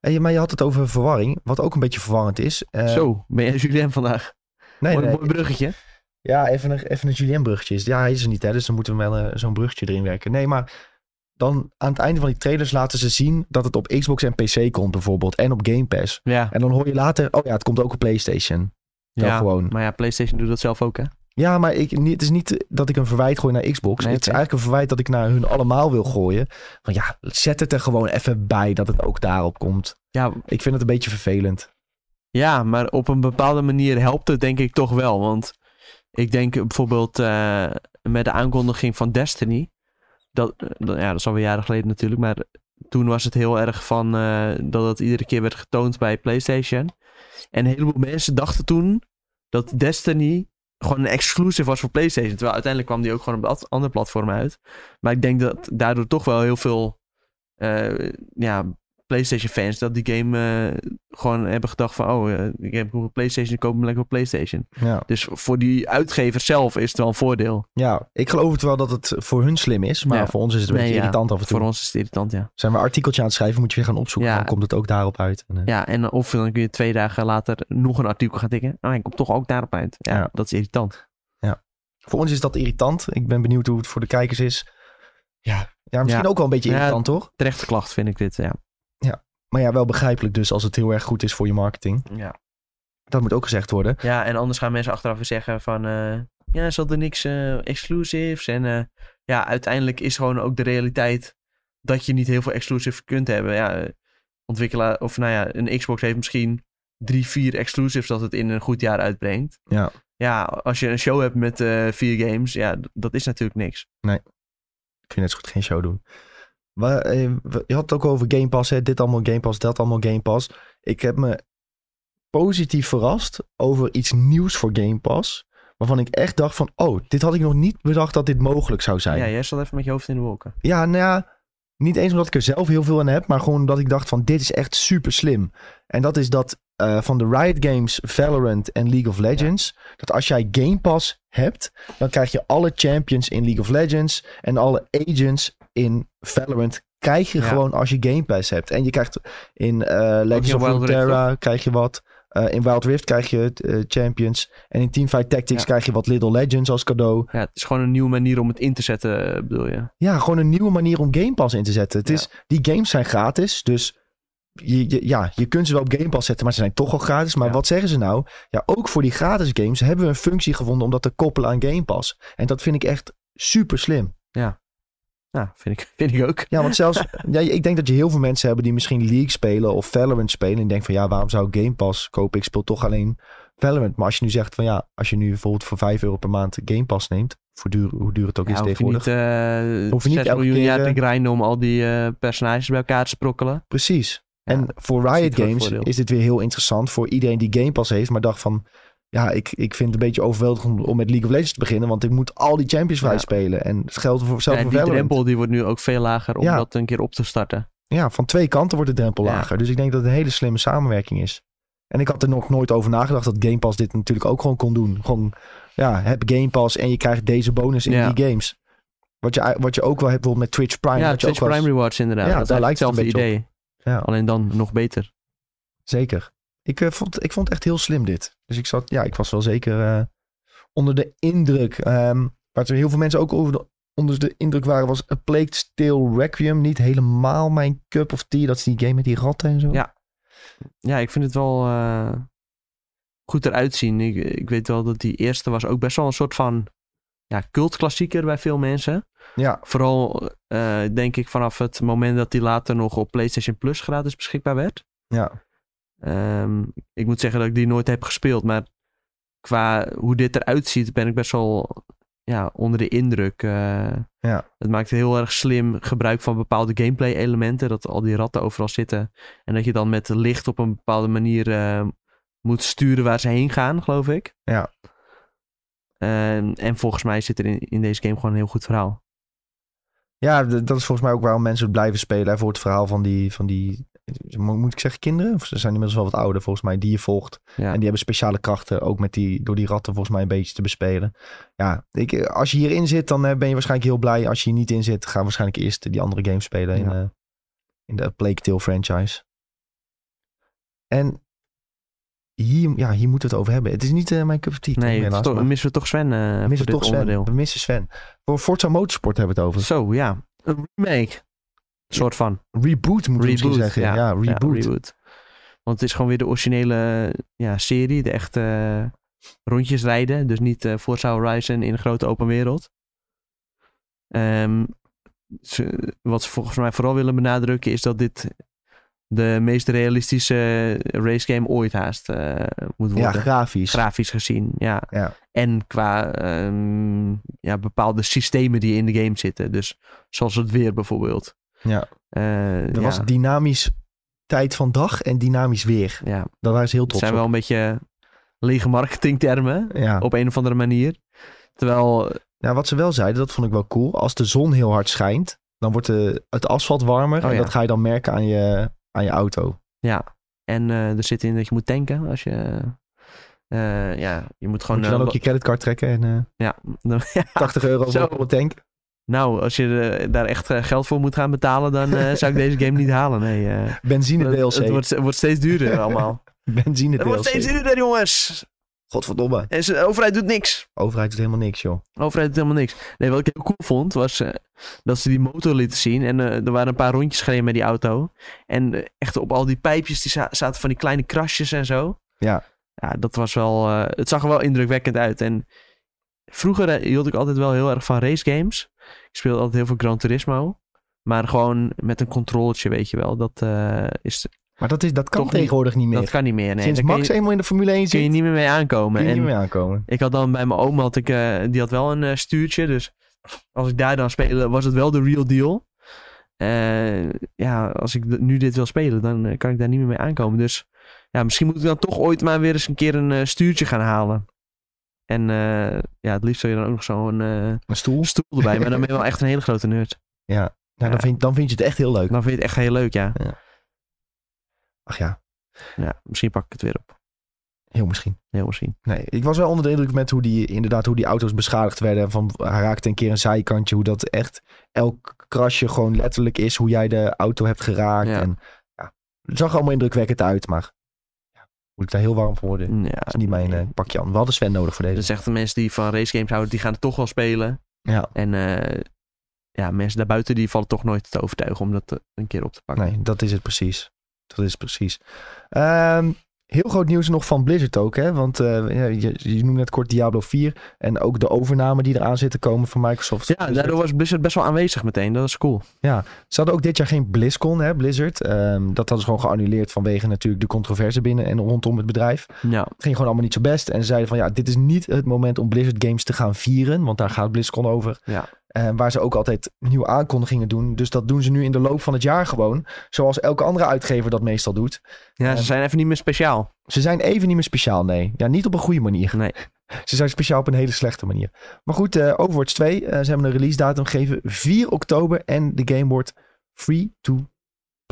S1: En je, maar je had het over verwarring, wat ook een beetje verwarrend is. Eh,
S2: Zo, ben jij Julien vandaag?
S1: nee,
S2: mooi,
S1: nee.
S2: mooi bruggetje.
S1: Ja, even een, even een Julien-bruggetje. is- Ja, hij is er niet, hè? Dus dan moeten we wel eh, zo'n bruggetje erin werken. Nee, maar dan aan het einde van die trailers laten ze zien dat het op Xbox en PC komt, bijvoorbeeld. En op Game Pass.
S2: Ja,
S1: En dan hoor je later, oh ja, het komt ook op PlayStation. Dan
S2: ja.
S1: gewoon.
S2: Maar ja, PlayStation doet dat zelf ook hè.
S1: Ja, maar ik, niet- het is niet dat ik een verwijt gooi naar Xbox.
S2: Nee,
S1: het is
S2: oké.
S1: eigenlijk een verwijt dat ik naar hun allemaal wil gooien. Van ja, zet het er gewoon even bij dat het ook daarop komt.
S2: Ja,
S1: Ik vind het een beetje vervelend.
S2: Ja, maar op een bepaalde manier helpt het denk ik toch wel. Want ik denk bijvoorbeeld eh, met de aankondiging van Destiny. Dat, eh, dat- ja, dat is alweer jaren geleden natuurlijk. Maar toen was het heel erg van eh, dat het iedere keer werd getoond bij PlayStation. En een heleboel mensen dachten toen dat Destiny gewoon een exclusive was voor PlayStation. Terwijl uiteindelijk kwam die ook gewoon op dat andere platform uit. Maar ik denk dat daardoor toch wel heel veel eh, ja, PlayStation fans dat die game eh, gewoon hebben gedacht van... oh, eh, ik heb een PlayStation, ik koop hem lekker op PlayStation.
S1: Ja.
S2: Dus voor die uitgever zelf is het wel een voordeel.
S1: ja, ik geloof het wel dat het voor hun slim is. Maar
S2: Ja.
S1: voor ons is het een
S2: Nee,
S1: beetje
S2: ja.
S1: irritant af en toe.
S2: Voor ons is het irritant, ja.
S1: Zijn we een artikeltje aan het schrijven, moet je weer gaan opzoeken.
S2: Ja.
S1: Dan komt het ook daarop uit. En, eh,
S2: Ja, en of dan kun je twee dagen later nog een artikel gaan tikken. Ah, ik kom toch ook daarop uit. Ja,
S1: Ja.
S2: dat is irritant.
S1: Voor ons is dat irritant. Ik ben benieuwd hoe het voor de kijkers is. Ja, ja misschien
S2: Ja.
S1: ook wel een beetje
S2: Ja.
S1: irritant, toch?
S2: Terechte klacht vind ik dit, ja.
S1: Maar ja, wel begrijpelijk dus als het heel erg goed is voor je marketing.
S2: Ja,
S1: Dat moet ook gezegd worden.
S2: ja en anders gaan mensen achteraf weer zeggen van... eh, ja, ze hadden niks eh exclusives. En eh, ja, uiteindelijk is gewoon ook de realiteit... dat je niet heel veel exclusives kunt hebben. Ja, eh, ontwikkelaar... Of nou ja, een Xbox heeft misschien drie, vier exclusives... dat het in een goed jaar uitbrengt.
S1: Ja.
S2: Ja, als je een show hebt met eh, vier games... Ja, d- dat is natuurlijk niks.
S1: Kun je net zo goed geen show doen. we- eh, we- je had het ook over Game Pass. Hè? Dit allemaal Game Pass, dat allemaal Game Pass. Ik heb me positief verrast over iets nieuws voor Game Pass. Waarvan ik echt dacht van, oh, dit had ik nog niet bedacht dat dit mogelijk zou zijn.
S2: Ja, jij zat even met je hoofd in de wolken.
S1: Ja, nou ja, niet eens omdat ik er zelf heel veel aan heb, maar gewoon omdat ik dacht van dit is echt super slim. En dat is dat eh, van de Riot Games, Valorant en League of Legends, dat als jij Game Pass hebt, dan krijg je alle champions in League of Legends en alle agents in Valorant krijg je
S2: Ja.
S1: gewoon als je Game Pass hebt. En je krijgt in eh, Legends
S2: in
S1: of
S2: Wild Rift,
S1: Runeterra krijg je wat. Eh, in Wild Rift krijg je eh, champions. En in Teamfight Tactics
S2: Ja.
S1: krijg je wat Little Legends als cadeau.
S2: Ja, het is gewoon een nieuwe manier om het in te zetten, eh, bedoel je.
S1: Ja, gewoon een nieuwe manier om Game Pass in te zetten. Het
S2: Ja.
S1: is, die games zijn gratis, dus je, je- ja, je kunt ze wel op Game Pass zetten, maar ze zijn toch al gratis. Maar
S2: Ja.
S1: wat zeggen ze nou? Ja, ook voor die gratis games hebben we een functie gevonden om dat te koppelen aan Game Pass. En dat vind ik echt super slim.
S2: Ja, Nou, vind ik, vind ik ook.
S1: Ja, want zelfs, ja, ik denk dat je heel veel mensen hebben die misschien League spelen of Valorant spelen. En denken van ja, waarom zou ik Game Pass kopen? Ik speel toch alleen Valorant. Maar als je nu zegt van ja, als je nu bijvoorbeeld voor 5 euro per maand Game Pass neemt, voor duur, hoe duur het ook
S2: Ja,
S1: is
S2: hoef je
S1: tegenwoordig.
S2: niet, eh
S1: Hoef je niet
S2: 6
S1: elke
S2: miljoen
S1: keer,
S2: jaar
S1: eh,
S2: te grinden om al die eh, personages bij elkaar te sprokkelen.
S1: Precies.
S2: Ja,
S1: en voor
S2: is
S1: Riot
S2: niet voor het
S1: Games
S2: voordeel.
S1: is dit weer heel interessant voor iedereen die Game Pass heeft, maar dacht van, ja, ik, ik vind het een beetje overweldigend om, om met League of Legends te beginnen, want ik moet al die Champions
S2: Ja.
S1: League spelen. En het geldt voor, zelfs
S2: Ja,
S1: voor
S2: die
S1: Valorant.
S2: drempel die wordt nu ook veel lager om
S1: Ja. Ah,
S2: dat een keer op te starten.
S1: Ja, van twee kanten wordt de drempel
S2: Ja.
S1: lager. Dus ik denk dat het een hele slimme samenwerking is. En ik had er nog nooit over nagedacht dat Game Pass dit natuurlijk ook gewoon kon doen. Gewoon, ja, heb Game Pass en je krijgt deze bonus in
S2: Ja.
S1: die games. Wat je, wat je ook wel hebt bijvoorbeeld met Twitch Prime.
S2: ja,
S1: dat je ook
S2: Twitch
S1: wel eens-
S2: Prime Rewards inderdaad.
S1: Ja,
S2: dat is
S1: daar
S2: eigenlijk
S1: lijkt het
S2: hetzelfde
S1: een
S2: idee.
S1: Ja.
S2: Alleen dan nog beter.
S1: Zeker. Ik, eh, vond, ik vond het echt heel slim dit. Dus ik, zat, ja, ik was wel zeker eh, onder de indruk. Ehm waar er heel veel mensen ook over de, onder de indruk waren, was A Plague Tale Requiem. Niet helemaal mijn cup of tea. Dat is die game met die ratten en zo.
S2: Ja. Ja, ik vind het wel eh, goed eruit zien. Ik, ik weet wel dat die eerste was ook best wel een soort van ja, cultklassieker bij veel mensen.
S1: Ja,
S2: Vooral eh, denk ik vanaf het moment dat die later nog op PlayStation Plus gratis beschikbaar werd.
S1: ja.
S2: Ehm, ik moet zeggen dat ik die nooit heb gespeeld, maar qua hoe dit eruit ziet ben ik best wel ja, onder de indruk. Eh,
S1: Ja.
S2: Het maakt heel erg slim gebruik van bepaalde gameplay elementen, dat al die ratten overal zitten. En dat je dan met licht op een bepaalde manier eh, moet sturen waar ze heen gaan, geloof ik.
S1: Ja.
S2: Ehm, en volgens mij zit er in, in deze game gewoon een heel goed verhaal.
S1: ja d- dat is volgens mij ook waarom mensen het blijven spelen. hè, voor het verhaal van die, van die mo- moet ik zeggen kinderen? Of ze zijn inmiddels wel wat ouder volgens mij, die je volgt.
S2: Ja.
S1: En die hebben speciale krachten, ook met die, door die ratten volgens mij een beetje te bespelen. Ja, ik, eh, als je hierin zit, dan eh, ben je waarschijnlijk heel blij. Als je hier niet in zit, gaan we waarschijnlijk eerst die andere games spelen in,
S2: Ja.
S1: eh, in de Plague Tale franchise. En hier, ja, hier moeten we het over hebben. Het is niet eh, mijn cup of tea, toch,
S2: nee, het is
S1: helaas.
S2: toch-
S1: maar
S2: missen we toch Sven eh,
S1: we
S2: voor
S1: missen
S2: dit
S1: toch Sven.
S2: onderdeel.
S1: We missen Sven. Voor Forza Motorsport hebben we het over.
S2: Zo, ja. Een remake. Soort van.
S1: Reboot moet je misschien
S2: Reboot,
S1: zeggen. Ja,
S2: ja. Ja,
S1: reboot.
S2: reboot. Want het is gewoon weer de originele eh, ja, serie. De echte eh, rondjes rijden. Dus niet eh, Forza Horizon in een grote open wereld. Ehm, ze- wat ze volgens mij vooral willen benadrukken is dat dit de meest realistische eh, racegame ooit haast eh, moet
S1: ja,
S2: worden.
S1: grafisch.
S2: Grafisch gezien, ja.
S1: Ja.
S2: En qua ehm, ja, bepaalde systemen die in de game zitten. Dus zoals het weer bijvoorbeeld.
S1: Ja.
S2: Eh,
S1: er was
S2: ja.
S1: dynamisch tijd van dag en dynamisch weer.
S2: Ja,
S1: Daar waren ze heel
S2: het
S1: trots
S2: zijn wel
S1: op.
S2: een beetje lege marketingtermen.
S1: Ja.
S2: Op een of andere manier. Terwijl,
S1: Nou, wat ze wel zeiden, dat vond ik wel cool. Als de zon heel hard schijnt, dan wordt de, het asfalt warmer.
S2: Oh,
S1: en
S2: ja.
S1: dat ga je dan merken aan je, aan je auto.
S2: ja. En eh, er zit in dat je moet tanken als je... eh, ja, je moet gewoon...
S1: Moet je dan
S2: eh,
S1: ook je creditcard trekken en eh,
S2: lo- ja.
S1: 80 euro
S2: Zo.
S1: voor op de tank.
S2: Nou, als je eh, daar echt eh, geld voor moet gaan betalen, dan eh, zou ik deze game niet halen. Nee, eh.
S1: Benzine
S2: het,
S1: DLC.
S2: het wordt, het wordt steeds duurder allemaal.
S1: Benzine
S2: het wordt steeds
S1: DLC.
S2: duurder, jongens.
S1: Godverdomme.
S2: En ze- de overheid doet niks.
S1: Overheid doet helemaal niks, joh.
S2: De overheid doet helemaal niks. Nee, wat ik heel cool vond, was eh, dat ze die motor lieten zien. En eh, er waren een paar rondjes gereden met die auto. En eh, echt op al die pijpjes, die za- zaten van die kleine krasjes en zo.
S1: Ja.
S2: Ja, dat was wel... eh, het zag er wel indrukwekkend uit. En vroeger eh, hield ik altijd wel heel erg van racegames. Ik speelde altijd heel veel Gran Turismo. Maar gewoon met een controletje, weet je wel. Dat, eh, is,
S1: Maar dat, is, dat kan
S2: Toch niet.
S1: tegenwoordig niet, meer.
S2: dat kan niet meer. Nee.
S1: Sinds
S2: Daar kun
S1: Max
S2: je,
S1: eenmaal in de Formule 1
S2: kun
S1: zit,
S2: je niet meer mee aankomen.
S1: kun je
S2: En-
S1: niet meer aankomen.
S2: ik had dan bij mijn oom, had ik, eh, die had wel een eh, stuurtje. Dus als ik daar dan speelde, was het wel de real deal. eh, ja, als ik d- nu dit wil spelen, dan eh, kan ik daar niet meer mee aankomen. Dus ja, misschien moet ik dan toch ooit maar weer eens een keer een eh, stuurtje gaan halen. En eh, ja, het liefst wil je dan ook nog zo'n eh,
S1: Een stoel.
S2: stoel erbij. Maar dan ben je wel echt een hele grote nerd.
S1: Nou, dan,
S2: Ja. Nou.
S1: vind, dan vind je het echt heel leuk.
S2: Dan vind je het echt heel leuk, ja.
S1: Ach ja,
S2: ja misschien pak ik het weer op.
S1: heel misschien.
S2: Heel misschien.
S1: Nee, ik was wel onder de indruk met hoe die, inderdaad, hoe die auto's beschadigd werden. En Van, hij raakte een keer een zijkantje. Hoe dat echt elk krasje gewoon letterlijk is. Hoe jij de auto hebt geraakt.
S2: Ja.
S1: En, ja, het zag allemaal indrukwekkend uit, maar ja, moet ik daar heel warm voor worden.
S2: Ja,
S1: Dat is niet mijn eh, pakje aan. We hadden Sven nodig voor
S2: Nou, Dat
S1: deze.
S2: is echt de mensen die van racegames houden, die gaan het toch wel spelen.
S1: Ja.
S2: En eh, ja, mensen daarbuiten die vallen toch nooit te overtuigen om dat eh, een keer op te pakken.
S1: Nee, dat is het precies. Dat is het precies. Ehm, heel groot nieuws nog van Blizzard ook, hè? Want eh, ja, je, je noemde net kort Diablo 4 en ook de overname die eraan zit te komen van Microsoft.
S2: Ja, daardoor was Blizzard best wel aanwezig meteen. Dat is cool.
S1: Ze hadden ook dit jaar geen BlizzCon, hè, Blizzard. Ehm, dat hadden ze gewoon geannuleerd vanwege natuurlijk de controverse binnen en rondom het bedrijf.
S2: Ja,
S1: Het ging gewoon allemaal niet zo best. En ze zeiden van ja, dit is niet het moment om Blizzard Games te gaan vieren. Want daar gaat BlizzCon over.
S2: Ja.
S1: Eh, waar ze ook altijd nieuwe aankondigingen doen. Dus dat doen ze nu in de loop van het jaar gewoon. Zoals elke andere uitgever dat meestal doet.
S2: ja
S1: Ja.
S2: ze zijn even niet meer speciaal.
S1: Ze zijn even niet meer speciaal, nee. Ja, niet op een goede manier.
S2: Nee.
S1: Ze zijn speciaal op een hele slechte manier. Maar goed, eh, Overwatch 2, eh, ze hebben een release datum gegeven 4 oktober en de game wordt free to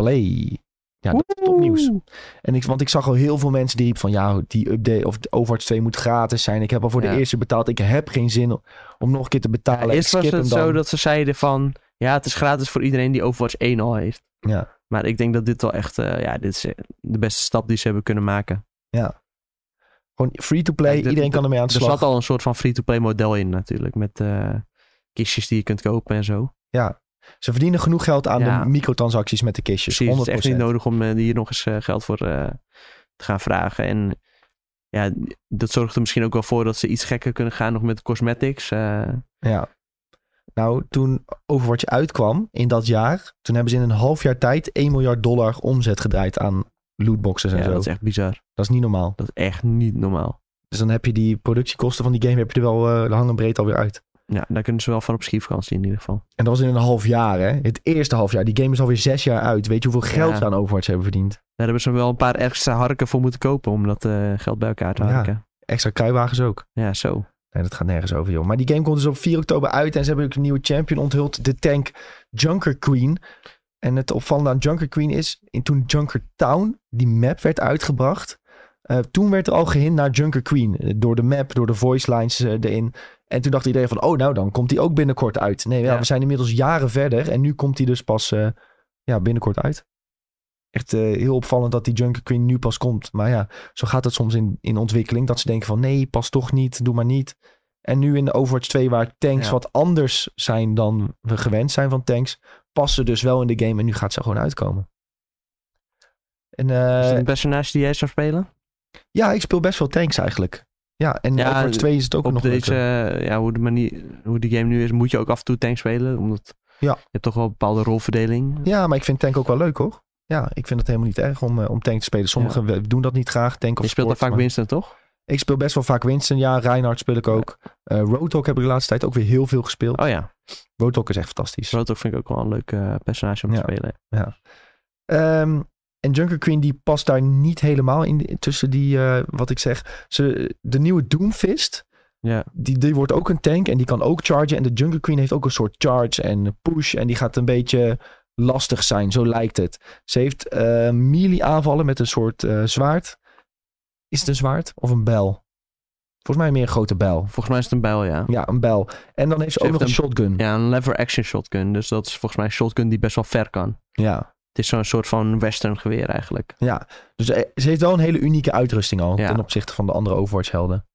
S1: play. Ja, dat is topnieuws.
S2: Oeh.
S1: En ik, want ik zag al heel veel mensen die riepen van ja, die update of de Overwatch 2 moet gratis zijn. Ik heb al voor
S2: Ja.
S1: de eerste betaald. Ik heb geen zin om nog een keer te betalen. Ik
S2: Eerst was
S1: skip hem
S2: het
S1: dan.
S2: zo dat ze zeiden van... Ja, het is gratis voor iedereen die Overwatch 1 al heeft.
S1: Ja.
S2: Maar ik denk dat dit wel echt... eh, ja, dit is eh, de beste stap die ze hebben kunnen maken.
S1: Gewoon free to play.
S2: Ja, de-
S1: Iedereen kan ermee aan de
S2: Er
S1: slag.
S2: zat al een soort van free-to-play model in natuurlijk. Met eh, kistjes die je kunt kopen en zo.
S1: Ze verdienen genoeg geld aan
S2: Ja.
S1: de microtransacties met de kistjes.
S2: Precies, het is
S1: 100%.
S2: echt niet nodig om eh, hier nog eens eh, geld voor eh, te gaan vragen. En ja, dat zorgt er misschien ook wel voor dat ze iets gekker kunnen gaan nog met de cosmetics. eh.
S1: Ja. Nou, toen Overwatch uitkwam in dat jaar, toen hebben ze in een half jaar tijd 1 miljard dollar omzet gedraaid aan lootboxes en
S2: ja,
S1: zo.
S2: dat is echt bizar.
S1: niet normaal.
S2: Dat is echt niet normaal.
S1: Dus dan heb je die productiekosten van die game heb je er wel eh, de hang en breed alweer uit.
S2: Ja, daar kunnen ze wel van op ski-vakantie in ieder geval.
S1: En dat was in een half jaar, hè? Het eerste half jaar. Die game is alweer zes jaar uit. Weet je hoeveel geld
S2: Ja.
S1: ze aan Overwatch hebben verdiend?
S2: Daar hebben ze wel een paar extra harken voor moeten kopen om dat eh, geld bij elkaar te
S1: Ja.
S2: harken.
S1: Extra kruiwagens ook.
S2: Ja, zo.
S1: Nee, dat gaat nergens over, joh. Maar die game komt dus op 4 oktober uit. En ze hebben ook een nieuwe champion onthuld. De tank Junker Queen. En het opvallende aan Junker Queen is... In, toen Junker Town, die map, werd uitgebracht... eh, toen werd er al gehind naar Junker Queen. eh, Door de map, door de voice lines eh, erin. En toen dacht iedereen van... Oh, nou, dan komt die ook binnenkort uit. Nee, ja,
S2: Ja.
S1: we zijn inmiddels jaren verder. En nu komt die dus pas eh, ja, binnenkort uit. Echt eh, heel opvallend dat die Junker Queen nu pas komt. Maar ja, zo gaat het soms in, in ontwikkeling. Dat ze denken van nee, pas toch niet, doe maar niet. En nu in de Overwatch 2, waar tanks
S2: Ja.
S1: wat anders zijn dan we gewend zijn van tanks, passen dus wel in de game en nu gaat ze gewoon uitkomen. En eh,
S2: is het een personage die jij zou spelen?
S1: ja, ik speel best wel tanks eigenlijk. Ja, en in
S2: Ja,
S1: Overwatch 2 is het ook
S2: Op
S1: nog
S2: deze,
S1: leuker.
S2: eh, ja, hoe de manier, hoe die game nu is, moet je ook af en toe tank spelen. Omdat
S1: Ja.
S2: je hebt toch wel een bepaalde rolverdeling.
S1: Ja, maar ik vind tank ook wel leuk hoor. Ja, ik vind het helemaal niet erg om, eh, om tank te spelen. Sommigen we- doen dat niet graag, tank of
S2: je speelt er
S1: sport,
S2: vaak
S1: maar-
S2: Winston, toch?
S1: Ik speel best wel vaak Winston, ja. Reinhardt speel ik ook. Eh Roadhog heb ik de laatste tijd ook weer heel veel gespeeld.
S2: Oh ja,
S1: Roadhog is echt fantastisch.
S2: Rotok vind ik ook wel een leuk eh, personage om te
S1: Ja.
S2: spelen.
S1: Ehm, en Junker Queen die past daar niet helemaal in tussen die, eh, wat ik zeg. Ze, de nieuwe Doomfist,
S2: Ja.
S1: die, die wordt ook een tank en die kan ook chargen. En de Junker Queen heeft ook een soort charge en push en die gaat een beetje lastig zijn, zo lijkt het. Ze heeft eh melee aanvallen met een soort eh, zwaard. Is het een zwaard of een bijl? Volgens mij meer een grote bijl.
S2: Volgens mij is het een bijl, ja.
S1: Ja, een bijl. En dan heeft ze,
S2: Ze
S1: ook nog een,
S2: heeft
S1: shotgun.
S2: Ja, een lever action shotgun. Dus dat is volgens mij een shotgun die best wel ver kan.
S1: ja.
S2: Het is zo'n soort van western geweer eigenlijk.
S1: Ja, dus eh, ze heeft wel een hele unieke uitrusting al
S2: Ja.
S1: ten opzichte van de andere Overwatch-helden.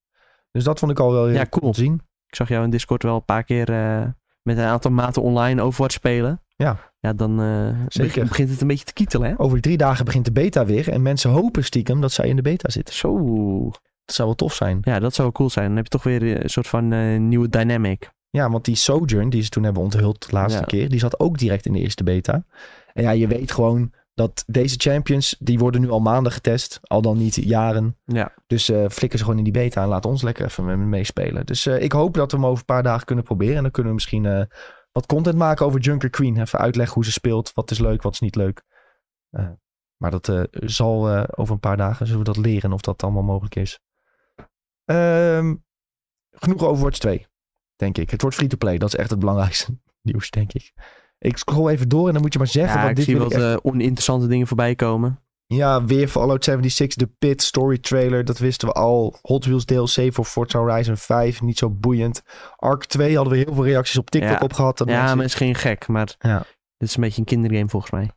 S1: Dus dat vond ik al wel heel
S2: Ja,
S1: cool
S2: cool.
S1: te zien.
S2: Ik zag jou in Discord wel een paar keer eh, met een aantal maten online Overwatch spelen.
S1: Ja.
S2: Ja, dan eh,
S1: Zeker.
S2: beg- begint het een beetje te kietelen, hè?
S1: Over drie dagen begint de beta weer en mensen hopen stiekem dat zij in de beta zitten.
S2: Zo.
S1: Dat zou wel tof zijn.
S2: Ja, dat zou wel cool zijn. Dan heb je toch weer eh, een soort van eh, nieuwe dynamic.
S1: Ja, want die Sojourn die ze toen hebben onthuld de laatste
S2: Ja.
S1: keer, die zat ook direct in de eerste beta. En ja, je weet gewoon dat deze champions, die worden nu al maanden getest, al dan niet jaren.
S2: Ja.
S1: Dus eh flikker ze gewoon in die beta en laat ons lekker even met- meespelen. Dus eh, ik hoop dat we hem over een paar dagen kunnen proberen en dan kunnen we misschien eh, wat content maken over Junker Queen. Even uitleggen hoe ze speelt, wat is leuk, wat is niet leuk. Eh, maar dat eh, zal eh, over een paar dagen, zullen we dat leren of dat allemaal mogelijk is. Ehm, genoeg Overwatch 2, denk ik. Het wordt free-to-play, dat is echt het belangrijkste nieuws, denk ik. Ik scroll even door en dan moet je maar zeggen.
S2: Ja,
S1: wat
S2: ik
S1: dit
S2: zie
S1: wil
S2: wat
S1: ik echt-
S2: eh, oninteressante dingen voorbij komen.
S1: ja, weer Fallout 76, de Pit, Story Trailer, dat wisten we al. Hot Wheels DLC voor Forza Horizon 5, niet zo boeiend. Ark 2 hadden we heel veel reacties op TikTok
S2: Ja.
S1: op gehad. Dat
S2: ja,
S1: mensen-
S2: maar is geen gek, maar
S1: Ja.
S2: dit is een beetje een kindergame volgens mij.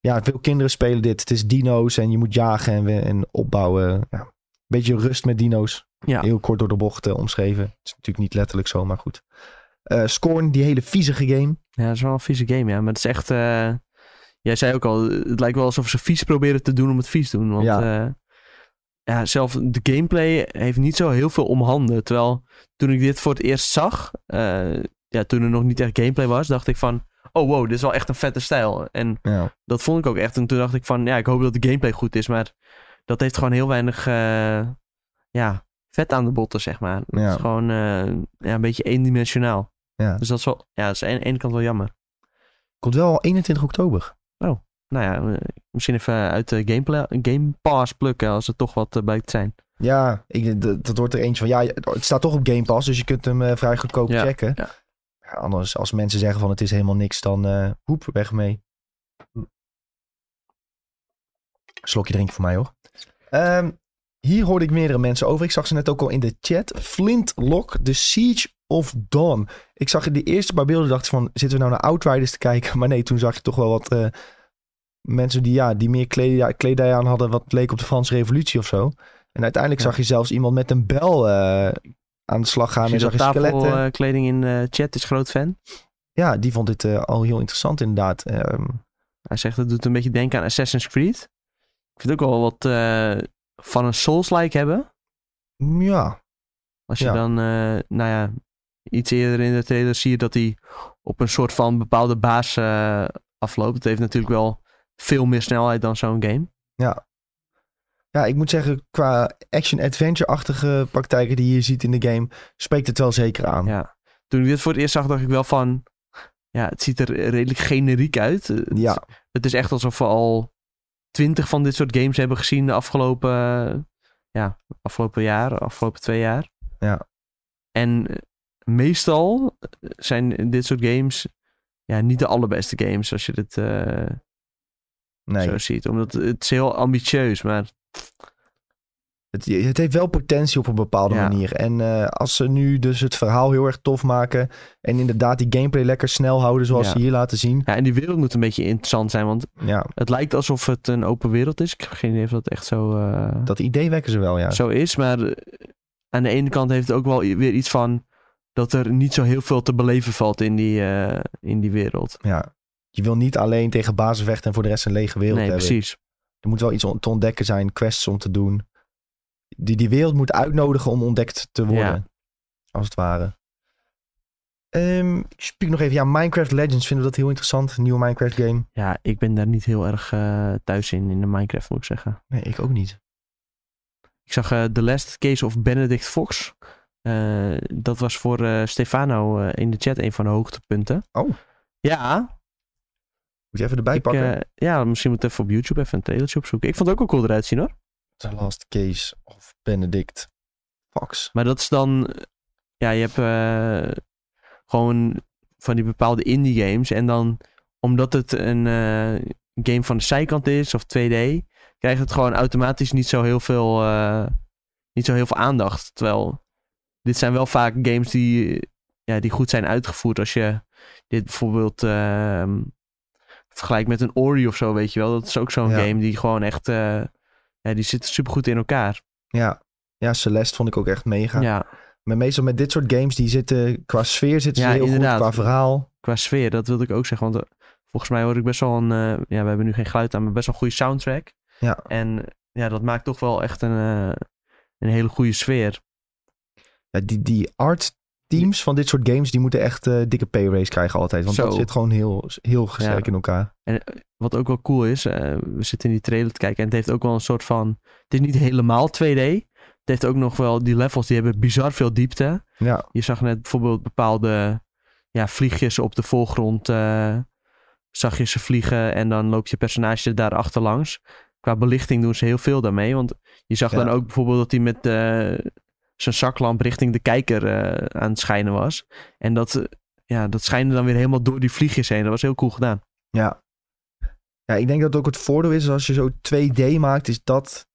S1: ja, veel kinderen spelen dit. Het is dino's en je moet jagen en, we- en opbouwen. Ja. Beetje rust met dino's.
S2: Ja.
S1: Heel kort door de bocht eh, omschreven. Het is natuurlijk niet letterlijk zo, maar goed. Eh, Scorn, die hele viezige game.
S2: Ja, dat is wel een vieze game, ja. Maar het is echt... eh, jij zei ook al, het lijkt wel alsof ze vies proberen te doen om het vies te doen. Want
S1: Ja.
S2: ja. ja, zelf de gameplay heeft niet zo heel veel om handen. Terwijl toen ik dit voor het eerst zag, eh, ja, toen er nog niet echt gameplay was, dacht ik van... Oh wow, dit is wel echt een vette stijl. En
S1: Ja.
S2: dat vond ik ook echt. En toen dacht ik van, ja, ik hoop dat de gameplay goed is. Maar dat heeft gewoon heel weinig, eh, ja, vet aan de botten, zeg maar. Het
S1: Ja.
S2: is gewoon eh, ja, een beetje eendimensionaal.
S1: Ja.
S2: Dus dat is, wel, ja, dat is aan de ene kant wel jammer.
S1: Komt wel 21 oktober.
S2: Nou ja, eh, misschien even uit de gameplay, Game Pass plukken als er toch wat eh, blijkt te zijn.
S1: Ja, ik, dat, dat wordt er eentje van. Ja, het staat toch op Game Pass, dus je kunt hem eh, vrij goedkoop
S2: Ja,
S1: checken.
S2: ja.
S1: Ja, anders, als mensen zeggen van het is helemaal niks, dan eh hoep, weg mee. Slokje drinken voor mij hoor. Ehm, hier hoorde ik meerdere mensen over. Ik zag ze net ook al in de chat. Flintlock, The Siege of Dawn. Ik zag in de eerste paar beelden, dacht ik van, zitten we nou naar Outriders te kijken? Maar nee, toen zag je toch wel wat eh, mensen die, ja, die meer kledij, kledij aan hadden, wat leek op de Franse Revolutie of zo. En uiteindelijk
S2: Ja.
S1: zag je zelfs iemand met een bel eh, aan de slag gaan.
S2: Zie
S1: En zag
S2: dat eh?
S1: je skeletten.
S2: tafelkleding in de chat is groot fan.
S1: Ja, die vond dit eh, al heel interessant inderdaad. Ehm,
S2: Hij zegt dat doet een beetje denken aan Assassin's Creed. Ik vind het ook wel wat eh, van een Souls-like hebben.
S1: ja,
S2: Als je
S1: Ja.
S2: dan, eh, nou ja, iets eerder in de trailer zie je dat hij op een soort van bepaalde baas eh, afloopt. Het heeft natuurlijk wel veel meer snelheid dan zo'n game.
S1: ja, ik moet zeggen, qua action-adventure-achtige praktijken die je ziet in de game, spreekt het wel zeker aan. Ja,
S2: Ja. Toen ik dit voor het eerst zag, dacht ik wel van, ja, het ziet er redelijk generiek uit. Het,
S1: ja,
S2: het is echt alsof we al twintig van dit soort games hebben gezien de afgelopen, eh, ja, afgelopen jaar, afgelopen twee jaar.
S1: Ja.
S2: En eh, meestal eh, zijn dit soort games ja, niet de allerbeste games als je dit... eh,
S1: nee.
S2: zo ziet. Omdat het is heel ambitieus, maar
S1: Het, het heeft wel potentie op een bepaalde
S2: Ja.
S1: manier. En eh, als ze nu dus het verhaal heel erg tof maken. En inderdaad die gameplay lekker snel houden zoals
S2: Ja.
S1: ze hier laten zien.
S2: ja, en die wereld moet een beetje interessant zijn, want
S1: Ja,
S2: het lijkt alsof het een open wereld is. Ik heb geen idee of dat echt zo, eh,
S1: dat idee wekken ze wel, ja.
S2: zo is, maar eh, aan de ene kant heeft het ook wel i- weer iets van dat er niet zo heel veel te beleven valt in die, eh, in die wereld.
S1: ja. Je wil niet alleen tegen bazen vechten en voor de rest een lege wereld
S2: nee,
S1: hebben.
S2: precies.
S1: Er moet wel iets on- te ontdekken zijn, quests om te doen. Die, die wereld moet uitnodigen om ontdekt te worden.
S2: Ja.
S1: Als het ware. Ehm ik spreek nog even. Ja, Minecraft Legends vinden we dat heel interessant. Een nieuwe Minecraft game.
S2: Ja, ik ben daar niet heel erg eh, thuis in, in de Minecraft moet ik zeggen.
S1: Nee, ik ook niet.
S2: Ik zag eh The Last Case of Benedict Fox. Eh, dat was voor eh, Stefano eh, in de chat een van de hoogtepunten.
S1: Oh.
S2: Ja,
S1: Moet je even erbij
S2: Ik,
S1: pakken.
S2: eh, ja, misschien moet ik even op YouTube even een trailertje opzoeken. Ik vond het ook wel cool eruit zien hoor.
S1: The Last Case of Benedict Fox.
S2: Maar dat is dan... Ja, je hebt eh, gewoon van die bepaalde indie games. En dan, omdat het een eh, game van de zijkant is of 2D... krijgt het gewoon automatisch niet zo heel veel, eh, niet zo heel veel aandacht. Terwijl, dit zijn wel vaak games die, ja, die goed zijn uitgevoerd. Als je dit bijvoorbeeld... ehm, vergelijkt met een Ori of zo, weet je wel. Dat is ook zo'n
S1: Ja.
S2: game die gewoon echt... eh, ja, die zit supergoed in elkaar.
S1: Ja. ja, Celeste vond ik ook echt mega.
S2: ja.
S1: Maar meestal met dit soort games, die zitten qua sfeer zitten ze
S2: Ja,
S1: heel
S2: inderdaad.
S1: goed. Qua verhaal.
S2: qua sfeer, dat wilde ik ook zeggen. Want eh, volgens mij hoor ik best wel een. eh, ja, we hebben nu geen geluid aan, maar best wel een goede soundtrack.
S1: Ja.
S2: En ja, dat maakt toch wel echt een, eh, een hele goede sfeer.
S1: Ja, die, die art teams van dit soort games, die moeten echt eh, dikke pay raise krijgen altijd. Want
S2: Zo.
S1: dat zit gewoon heel, heel sterk
S2: Ja.
S1: in elkaar.
S2: Wat ook wel cool is, eh, we zitten in die trailer te kijken en het heeft ook wel een soort van. Het is niet helemaal 2D. Het heeft ook nog wel die levels die hebben bizar veel diepte.
S1: Ja,
S2: Je zag net bijvoorbeeld bepaalde ja, vlieg je ze op de voorgrond, eh, zag je ze vliegen en dan loop je personage daar achterlangs. Qua belichting doen ze heel veel daarmee, want je zag
S1: Ja.
S2: dan ook bijvoorbeeld dat hij met eh, zijn zaklamp richting de kijker eh, aan het schijnen was. En dat, eh, ja, dat schijnde dan weer helemaal door die vliegjes heen. Dat was heel cool gedaan.
S1: Ja. Ja, ik denk dat ook het voordeel is als je zo 2D maakt, is dat,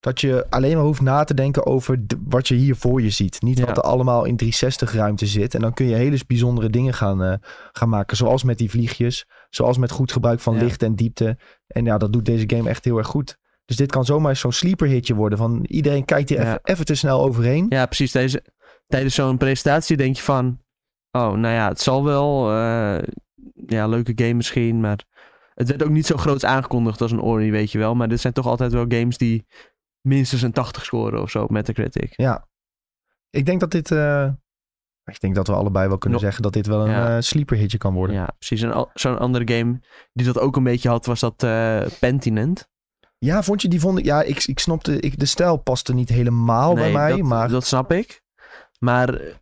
S1: dat je alleen maar hoeft na te denken over d- wat je hier voor je ziet. Niet
S2: Ja.
S1: wat er allemaal in 360 ruimte zit. En dan kun je hele bijzondere dingen gaan, eh, gaan maken. Zoals met die vliegjes, zoals met goed gebruik van
S2: Ja.
S1: licht en diepte. En ja, dat doet deze game echt heel erg goed. Dus dit kan zomaar zo'n sleeper hitje worden. Van iedereen kijkt hier
S2: Ja.
S1: even, even te snel overheen.
S2: Ja, precies. Deze, tijdens zo'n presentatie denk je van... Oh, nou ja, het zal wel. eh, ja, leuke game misschien, maar... Het werd ook niet zo groot aangekondigd als een Ori, weet je wel. Maar dit zijn toch altijd wel games die minstens een 80 scoren of zo op Metacritic.
S1: Ja. Ik denk dat dit. eh, ik denk dat we allebei wel kunnen
S2: Nog-
S1: zeggen dat dit wel een
S2: Ja.
S1: eh, sleeper hitje kan worden.
S2: Ja, precies. En al- zo'n andere game die dat ook een beetje had, was dat eh Pentinent.
S1: Ja, vond je die vond ik. Ja, ik, ik snapte. Ik, de stijl paste niet helemaal Oh, bij
S2: Nee,
S1: mij.
S2: dat,
S1: maar
S2: dat snap ik. Maar eh,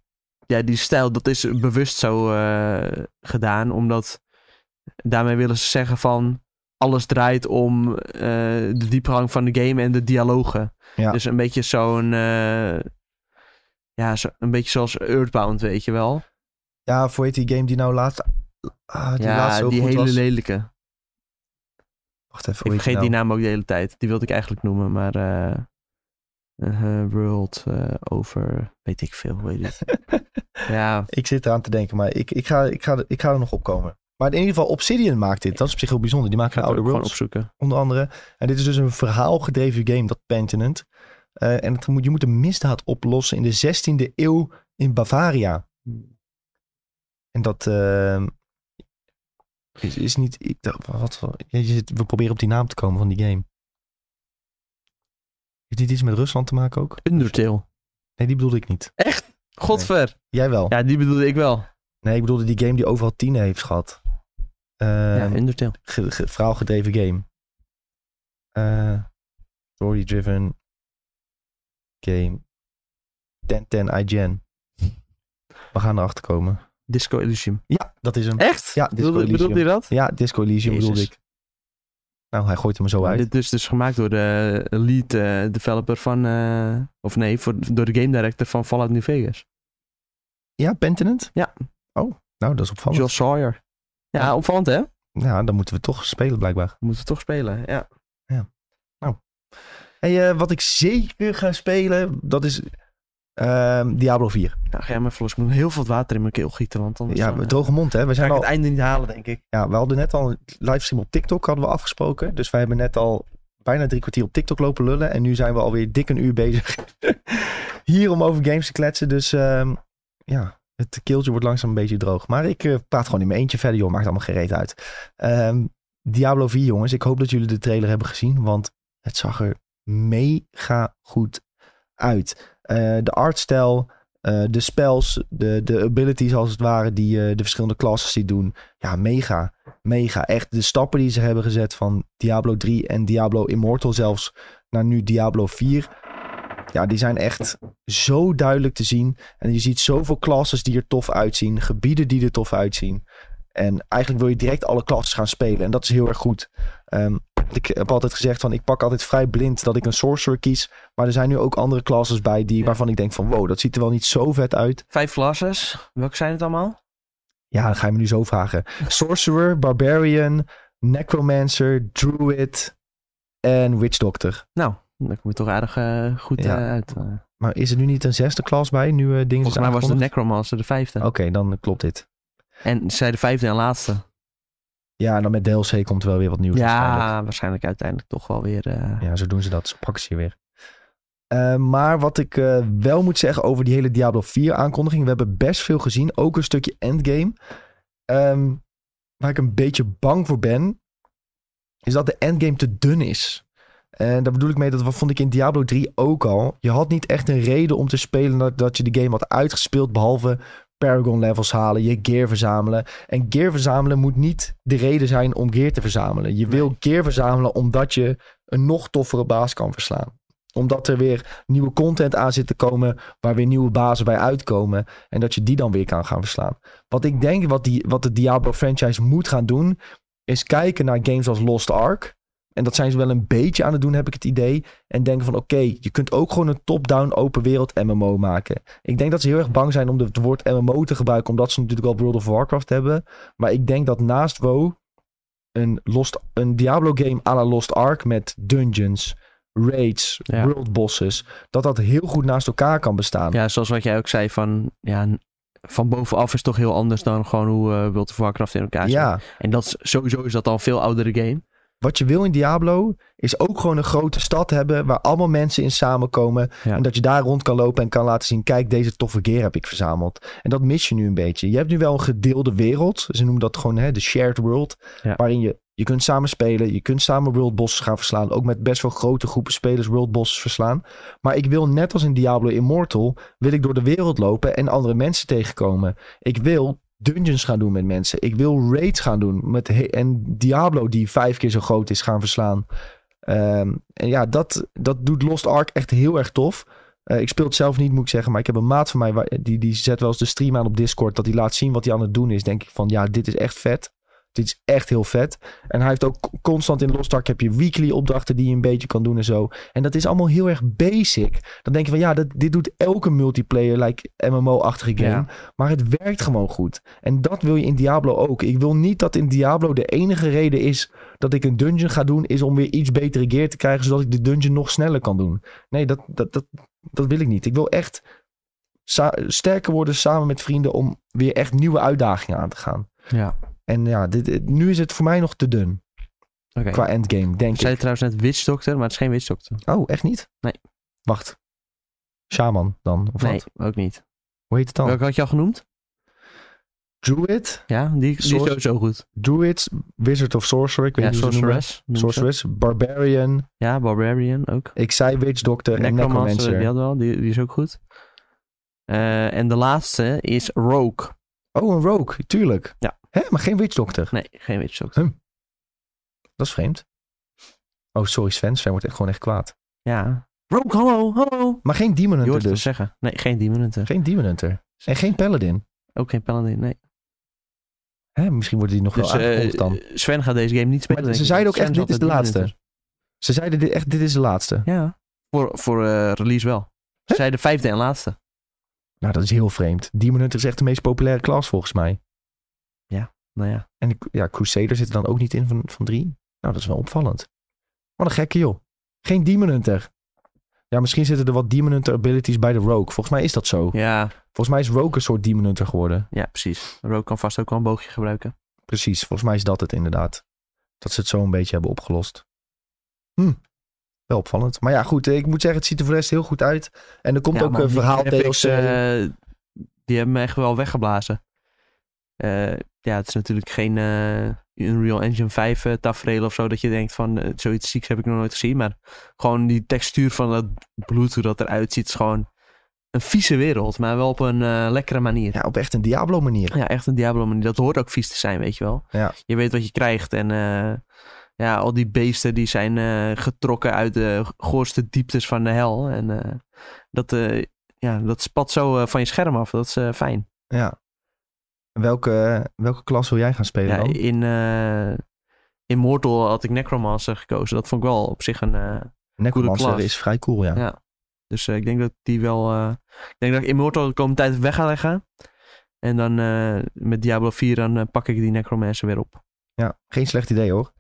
S2: ja, die stijl, dat is bewust zo eh, gedaan. Omdat daarmee willen ze zeggen van... Alles draait om eh, de diepgang van de game en de dialogen.
S1: Ja.
S2: Dus een beetje zo'n... eh, ja, zo- een beetje zoals Earthbound, weet je wel.
S1: ja, voor heet die game die nou laatst. ah, die laatst
S2: ja,
S1: zo
S2: die
S1: goed
S2: hele
S1: was.
S2: lelijke.
S1: Wacht even.
S2: Ik
S1: Hoe heet
S2: vergeet
S1: die nou?
S2: die naam ook de hele tijd. Die wilde ik eigenlijk noemen, maar... eh, eh, world eh, over... Weet ik veel, weet ik. ja,
S1: Ik zit eraan te denken, maar ik, ik, ga, ik, ga, ik ga er nog op komen. Maar in ieder geval, Obsidian maakt dit. Dat is op zich heel bijzonder. Die
S2: ik
S1: maken
S2: ga het
S1: Outer
S2: ook gewoon
S1: Worlds.
S2: opzoeken.
S1: onder andere. En dit is dus een verhaalgedreven game, dat Pentinent. Eh, en het moet, je moet een misdaad oplossen in de 16e eeuw in Bavaria. En dat eh, is, is niet... Ik, dacht, wat, je zit- we proberen op die naam te komen van die game. Is dit iets met Rusland te maken ook?
S2: Undertale.
S1: Nee, die bedoelde ik niet.
S2: Godver.
S1: Jij wel.
S2: Ja, die bedoelde ik wel.
S1: Nee, ik bedoelde die game die overal tien heeft gehad.
S2: ja,
S1: Ehm,
S2: Undertale.
S1: ge, ge- verhaalgedreven game. Eh, Story-driven game. 1010 IGN. We gaan erachter komen.
S2: Disco Elysium.
S1: Ja, dat is hem.
S2: Echt?
S1: Ja, Disco
S2: bedoelde,
S1: Elysium.
S2: bedoelde je dat?
S1: Ja, Disco Elysium
S2: Jezus.
S1: bedoelde ik. Nou, hij gooit hem zo uit.
S2: Dit is dus gemaakt door de lead eh, developer van... eh, of nee, voor, door de game director van Fallout New Vegas.
S1: Ja, Pentinent?
S2: Ja.
S1: Oh, nou, dat is opvallend.
S2: Josh Sawyer. Ja,
S1: Ja.
S2: opvallend hè?
S1: Ja, dan moeten we toch spelen blijkbaar.
S2: Moeten we toch spelen, ja.
S1: Hey, eh, wat ik zeker ga spelen, dat is ehm, Diablo 4.
S2: Nou, ga jij maar verlos. Ik moet heel veel water in mijn keel gieten, want anders
S1: Ja,
S2: dan, eh,
S1: droge mond hè. We
S2: ga
S1: zijn
S2: ik
S1: al
S2: het einde niet halen, denk ik.
S1: Ja, we hadden net al een livestream op TikTok hadden we afgesproken. Dus wij hebben net al bijna drie kwartier op TikTok lopen lullen. En nu zijn we alweer dik een uur bezig hier om over games te kletsen. Dus ehm, ja, het keeltje wordt langzaam een beetje droog. Maar ik eh, praat gewoon in mijn eentje verder, joh. Maakt allemaal geen reet uit. Ehm, Diablo 4, jongens. Ik hoop dat jullie de trailer hebben gezien. Want het zag er mega goed uit. Eh, de artstijl, eh, de spells, de, de abilities als het ware... die eh, de verschillende classes die doen. Ja, mega mega. Echt de stappen die ze hebben gezet van Diablo 3 en Diablo Immortal zelfs naar nu Diablo 4. Ja, die zijn echt zo duidelijk te zien. En je ziet zoveel classes die er tof uitzien. Gebieden die er tof uitzien. En eigenlijk wil je direct alle classes gaan spelen. En dat is heel erg goed. Ehm, ik heb altijd gezegd van ik pak altijd vrij blind dat ik een sorcerer kies. Maar er zijn nu ook andere classes bij die,
S2: Ja.
S1: waarvan ik denk van wow, dat ziet er wel niet zo vet uit.
S2: Vijf classes. Welke zijn het allemaal?
S1: Ja, dan ga je me nu zo vragen. Sorcerer, Barbarian, Necromancer, Druid en Witch Doctor.
S2: Nou, dan kom je toch aardig eh, goed
S1: Ja.
S2: eh, uit. eh.
S1: Maar is er nu niet een zesde klas bij? Nu eh dingen
S2: volgens
S1: zijn
S2: mij was de
S1: aangekondigd?
S2: Necromancer de vijfde.
S1: Oké, dan klopt dit.
S2: En zij de vijfde en laatste.
S1: Ja, en dan met DLC komt wel weer wat nieuws. waarschijnlijk.
S2: Ja, waarschijnlijk uiteindelijk toch wel weer. eh,
S1: ja, zo doen ze dat. Zo pakken ze je weer. Eh, maar wat ik eh, wel moet zeggen over die hele Diablo 4 aankondiging. We hebben best veel gezien. Ook een stukje endgame. Ehm, waar ik een beetje bang voor ben. Is dat de endgame te dun is. En daar bedoel ik mee, dat wat vond ik in Diablo 3 ook al. Je had niet echt een reden om te spelen dat, dat je de game had uitgespeeld. Behalve Paragon levels halen, je gear verzamelen. En gear verzamelen moet niet de reden zijn om gear te verzamelen. Je wil gear verzamelen omdat je een nog toffere baas kan verslaan. Omdat er weer nieuwe content aan zit te komen. Waar weer nieuwe bazen bij uitkomen. En dat je die dan weer kan gaan verslaan. Wat ik denk wat, die, wat de Diablo franchise moet gaan doen. Is kijken naar games als Lost Ark. En dat zijn ze wel een beetje aan het doen, heb ik het idee. En denken van oké, je kunt ook gewoon een top-down open wereld MMO maken. Ik denk dat ze heel erg bang zijn om de- het woord MMO te gebruiken. Omdat ze natuurlijk al World of Warcraft hebben. Maar ik denk dat naast WoW een, Lost, een Diablo game à la Lost Ark met dungeons, raids,
S2: Ja.
S1: world bosses. Dat dat heel goed naast elkaar kan bestaan.
S2: Ja, zoals wat jij ook zei van... Ja, n- van bovenaf is toch heel anders dan gewoon hoe eh, World of Warcraft in elkaar zit.
S1: ja.
S2: En dat is, sowieso is dat al een veel oudere game.
S1: Wat je wil in Diablo is ook gewoon een grote stad hebben waar allemaal mensen in samenkomen.
S2: Ja.
S1: En dat je daar rond kan lopen en kan laten zien, kijk deze toffe gear heb ik verzameld. En dat mis je nu een beetje. Je hebt nu wel een gedeelde wereld. Ze noemen dat gewoon hè, de shared world.
S2: Ja.
S1: Waarin je, je kunt samen spelen, je kunt samen world bosses gaan verslaan. Ook met best wel grote groepen spelers world bosses verslaan. Maar ik wil net als in Diablo Immortal, wil ik door de wereld lopen en andere mensen tegenkomen. Ik wil dungeons gaan doen met mensen. Ik wil raids gaan doen. Met he- en Diablo, die vijf keer zo groot is, gaan verslaan. Ehm, en ja, dat, dat doet Lost Ark echt heel erg tof. Eh, ik speel het zelf niet, moet ik zeggen. Maar ik heb een maat van mij, waar- die, die zet wel eens de stream aan op Discord. Dat hij laat zien wat hij aan het doen is. Denk ik van, ja, dit is echt vet. Dit is echt heel vet. En hij heeft ook constant in Lost Ark heb je weekly opdrachten die je een beetje kan doen en zo. En dat is allemaal heel erg basic. Dan denk je van, ja, dat, dit doet elke multiplayer, like MMO-achtige game.
S2: Ja.
S1: Maar het werkt gewoon goed. En dat wil je in Diablo ook. Ik wil niet dat in Diablo de enige reden is dat ik een dungeon ga doen, is om weer iets betere gear te krijgen, zodat ik de dungeon nog sneller kan doen. Nee, dat, dat, dat, dat wil ik niet. Ik wil echt sa- sterker worden samen met vrienden om weer echt nieuwe uitdagingen aan te gaan.
S2: Ja.
S1: En ja, dit, dit- nu is het voor mij nog te dun
S2: Oké.
S1: qua endgame, denk
S2: Ik zei
S1: ik.
S2: trouwens net Witch Doctor, maar het is geen Witch Doctor.
S1: Oh, echt niet?
S2: Nee.
S1: Wacht. Shaman dan, of
S2: nee,
S1: wat? Oh.
S2: ook niet.
S1: Hoe heet het dan?
S2: Welke had je al genoemd?
S1: Druid?
S2: Ja, die, die
S1: Source-
S2: is sowieso goed.
S1: Druid? Wizard of Sorcerer? Ik weet
S2: Ja,
S1: niet hoe ze het noemen.
S2: Sorceress. noemen ze.
S1: Sorceress, Barbarian,
S2: Ja, Barbarian ook.
S1: ik zei Witch Doctor en
S2: Necromancer, die
S1: Necromancer.
S2: hadden we al. Die, die is ook goed. Eh, en de laatste is Rogue.
S1: Oh, een Rogue, tuurlijk.
S2: Ja.
S1: Hè, maar geen Witch Doctor.
S2: Nee, geen Witch Doctor.
S1: Dat is vreemd. Oh, sorry Sven, Sven wordt echt gewoon echt kwaad.
S2: Ja. Rogue, hallo, hallo.
S1: Maar geen Demon
S2: Je
S1: Hunter
S2: hoort het
S1: dus.
S2: zeggen. Nee, geen Demon Hunter.
S1: Geen Demon Hunter. En geen Paladin.
S2: Ook geen Paladin, nee.
S1: Hè, misschien worden die nog
S2: Dus
S1: wel
S2: eh,
S1: aangekondigd dan.
S2: Sven gaat deze game niet spelen.
S1: Maar ze
S2: denk ik.
S1: zeiden ook
S2: Sven
S1: echt, dit is de
S2: altijd
S1: laatste.
S2: Demon
S1: Ze zeiden dit, echt, dit is de laatste.
S2: Hunter. Ja. Voor, voor eh, release wel. Ze
S1: Hè?
S2: zeiden vijfde en laatste.
S1: Nou, dat is heel vreemd. Demon Hunter is echt de meest populaire klas volgens mij.
S2: Nou ja.
S1: En de, ja, Crusader zit er dan ook niet in van, van drie. Nou, dat is wel opvallend. Wat een gekke joh. Geen Demon Hunter. Ja, misschien zitten er wat Demon Hunter abilities bij de Rogue. Volgens mij is dat zo.
S2: Ja,
S1: Volgens mij is Rogue een soort Demon Hunter geworden.
S2: ja precies. Rogue kan vast ook wel een boogje gebruiken.
S1: Precies, volgens mij is dat het inderdaad. Dat ze het zo een beetje hebben opgelost. Hm. Wel opvallend. Maar ja, goed, eh, ik moet zeggen, het ziet er voor de rest heel goed uit. En er komt
S2: Ja,
S1: ook
S2: man,
S1: een
S2: die
S1: verhaal DLC.
S2: graphics, eh, die hebben me echt wel weggeblazen. Eh, ja, het is natuurlijk geen eh, Unreal Engine 5 eh, tafereel of zo. Dat je denkt van eh, zoiets zieks heb ik nog nooit gezien. Maar gewoon die textuur van dat bloed, hoe dat eruit ziet, is gewoon een vieze wereld. Maar wel op een eh, lekkere manier.
S1: Ja, op echt een Diablo manier.
S2: Ja, echt een Diablo manier. Dat hoort ook vies te zijn, weet je wel.
S1: Ja.
S2: Je weet wat je krijgt. En eh, ja, al die beesten die zijn eh, getrokken uit de goorste dieptes van de hel. En eh, dat, eh, ja, dat spat zo eh, van je scherm af. Dat is eh, fijn.
S1: Ja. En Welke, welke klas wil jij gaan spelen
S2: Ja,
S1: dan?
S2: in eh Immortal had ik Necromancer gekozen. Dat vond ik wel op zich een... eh,
S1: Necromancer
S2: klas.
S1: is vrij cool, ja.
S2: Ja. dus eh, ik denk dat die wel... eh, ik denk dat ik Immortal de komende tijd weg ga leggen. En dan eh, met Diablo 4 dan eh, pak ik die Necromancer weer op.
S1: Ja, geen slecht idee hoor.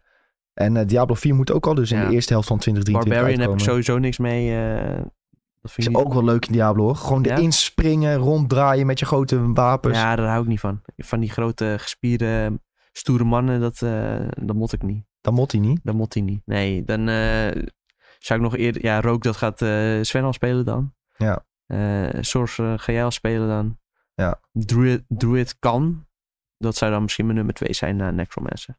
S1: En eh, Diablo 4 moet ook al dus in
S2: Ja.
S1: de eerste helft van 2023
S2: Barbarian heb ik
S1: uitkomen.
S2: sowieso niks mee. eh, dat vind
S1: Is
S2: ik niet-
S1: ook wel leuk in Diablo hoor. Gewoon
S2: Ja?
S1: erin springen, ronddraaien met je grote wapens.
S2: Ja, daar hou ik niet van. Van die grote, gespierde, stoere mannen, dat, eh, dat mot ik niet.
S1: Dan mot hij niet.
S2: Dat mot hij niet. Nee, dan eh, zou ik nog eerder... Ja, Rook, dat gaat eh, Sven al spelen dan.
S1: Ja.
S2: Eh Sorcerer, ga jij al spelen dan.
S1: Ja.
S2: Druid, Druid kan. Dat zou dan misschien mijn nummer twee zijn na Necromancer.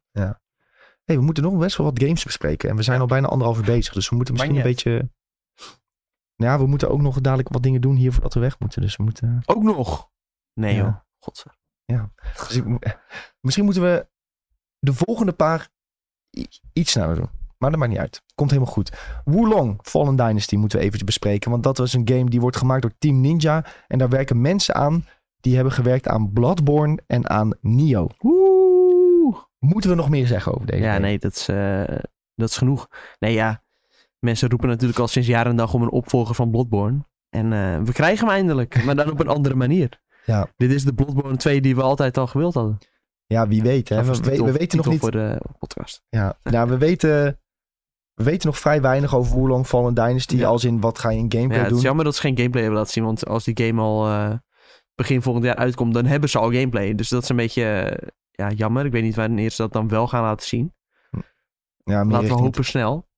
S1: Hey, we moeten nog best wel wat games bespreken. En we zijn al bijna anderhalf uur bezig. Dus we moeten misschien een
S2: Maar
S1: beetje... Nou ja, we moeten ook nog dadelijk wat dingen doen hier voordat we weg moeten. Dus we moeten...
S2: Ook nog? Nee
S1: Ja.
S2: joh, godver.
S1: Dus ik mo- Misschien moeten we de volgende paar i- iets sneller doen. Maar dat maakt niet uit. Komt helemaal goed. Wulong Fallen Dynasty moeten we eventjes bespreken. Want dat was een game die wordt gemaakt door Team Ninja. En daar werken mensen aan die hebben gewerkt aan Bloodborne en aan Nio.
S2: Oeh.
S1: Moeten we nog meer zeggen over deze
S2: Ja,
S1: game?
S2: nee, dat is, eh, dat is genoeg. Nee, ja. Mensen roepen natuurlijk al sinds jaren en dag om een opvolger van Bloodborne. En eh, we krijgen hem eindelijk, maar dan op een andere manier.
S1: Ja.
S2: Dit is de Bloodborne 2 die we altijd al gewild hadden.
S1: Ja, wie weet. Hè?
S2: Of
S1: We,
S2: als
S1: we-
S2: titel-
S1: we weten nog
S2: titel
S1: niet.
S2: voor de podcast.
S1: Ja, nou, we weten. We weten nog vrij weinig over Wulong Fallen Dynasty.
S2: Ja.
S1: Als in wat ga je in gameplay
S2: ja, het
S1: doen.
S2: is jammer dat ze geen gameplay hebben laten zien. Want als die game al eh, begin volgend jaar uitkomt, dan hebben ze al gameplay. Dus dat is een beetje eh, ja, jammer. Ik weet niet wanneer ze dat dan wel gaan laten zien.
S1: Ja, meer
S2: Laten we
S1: richting,
S2: hopen snel.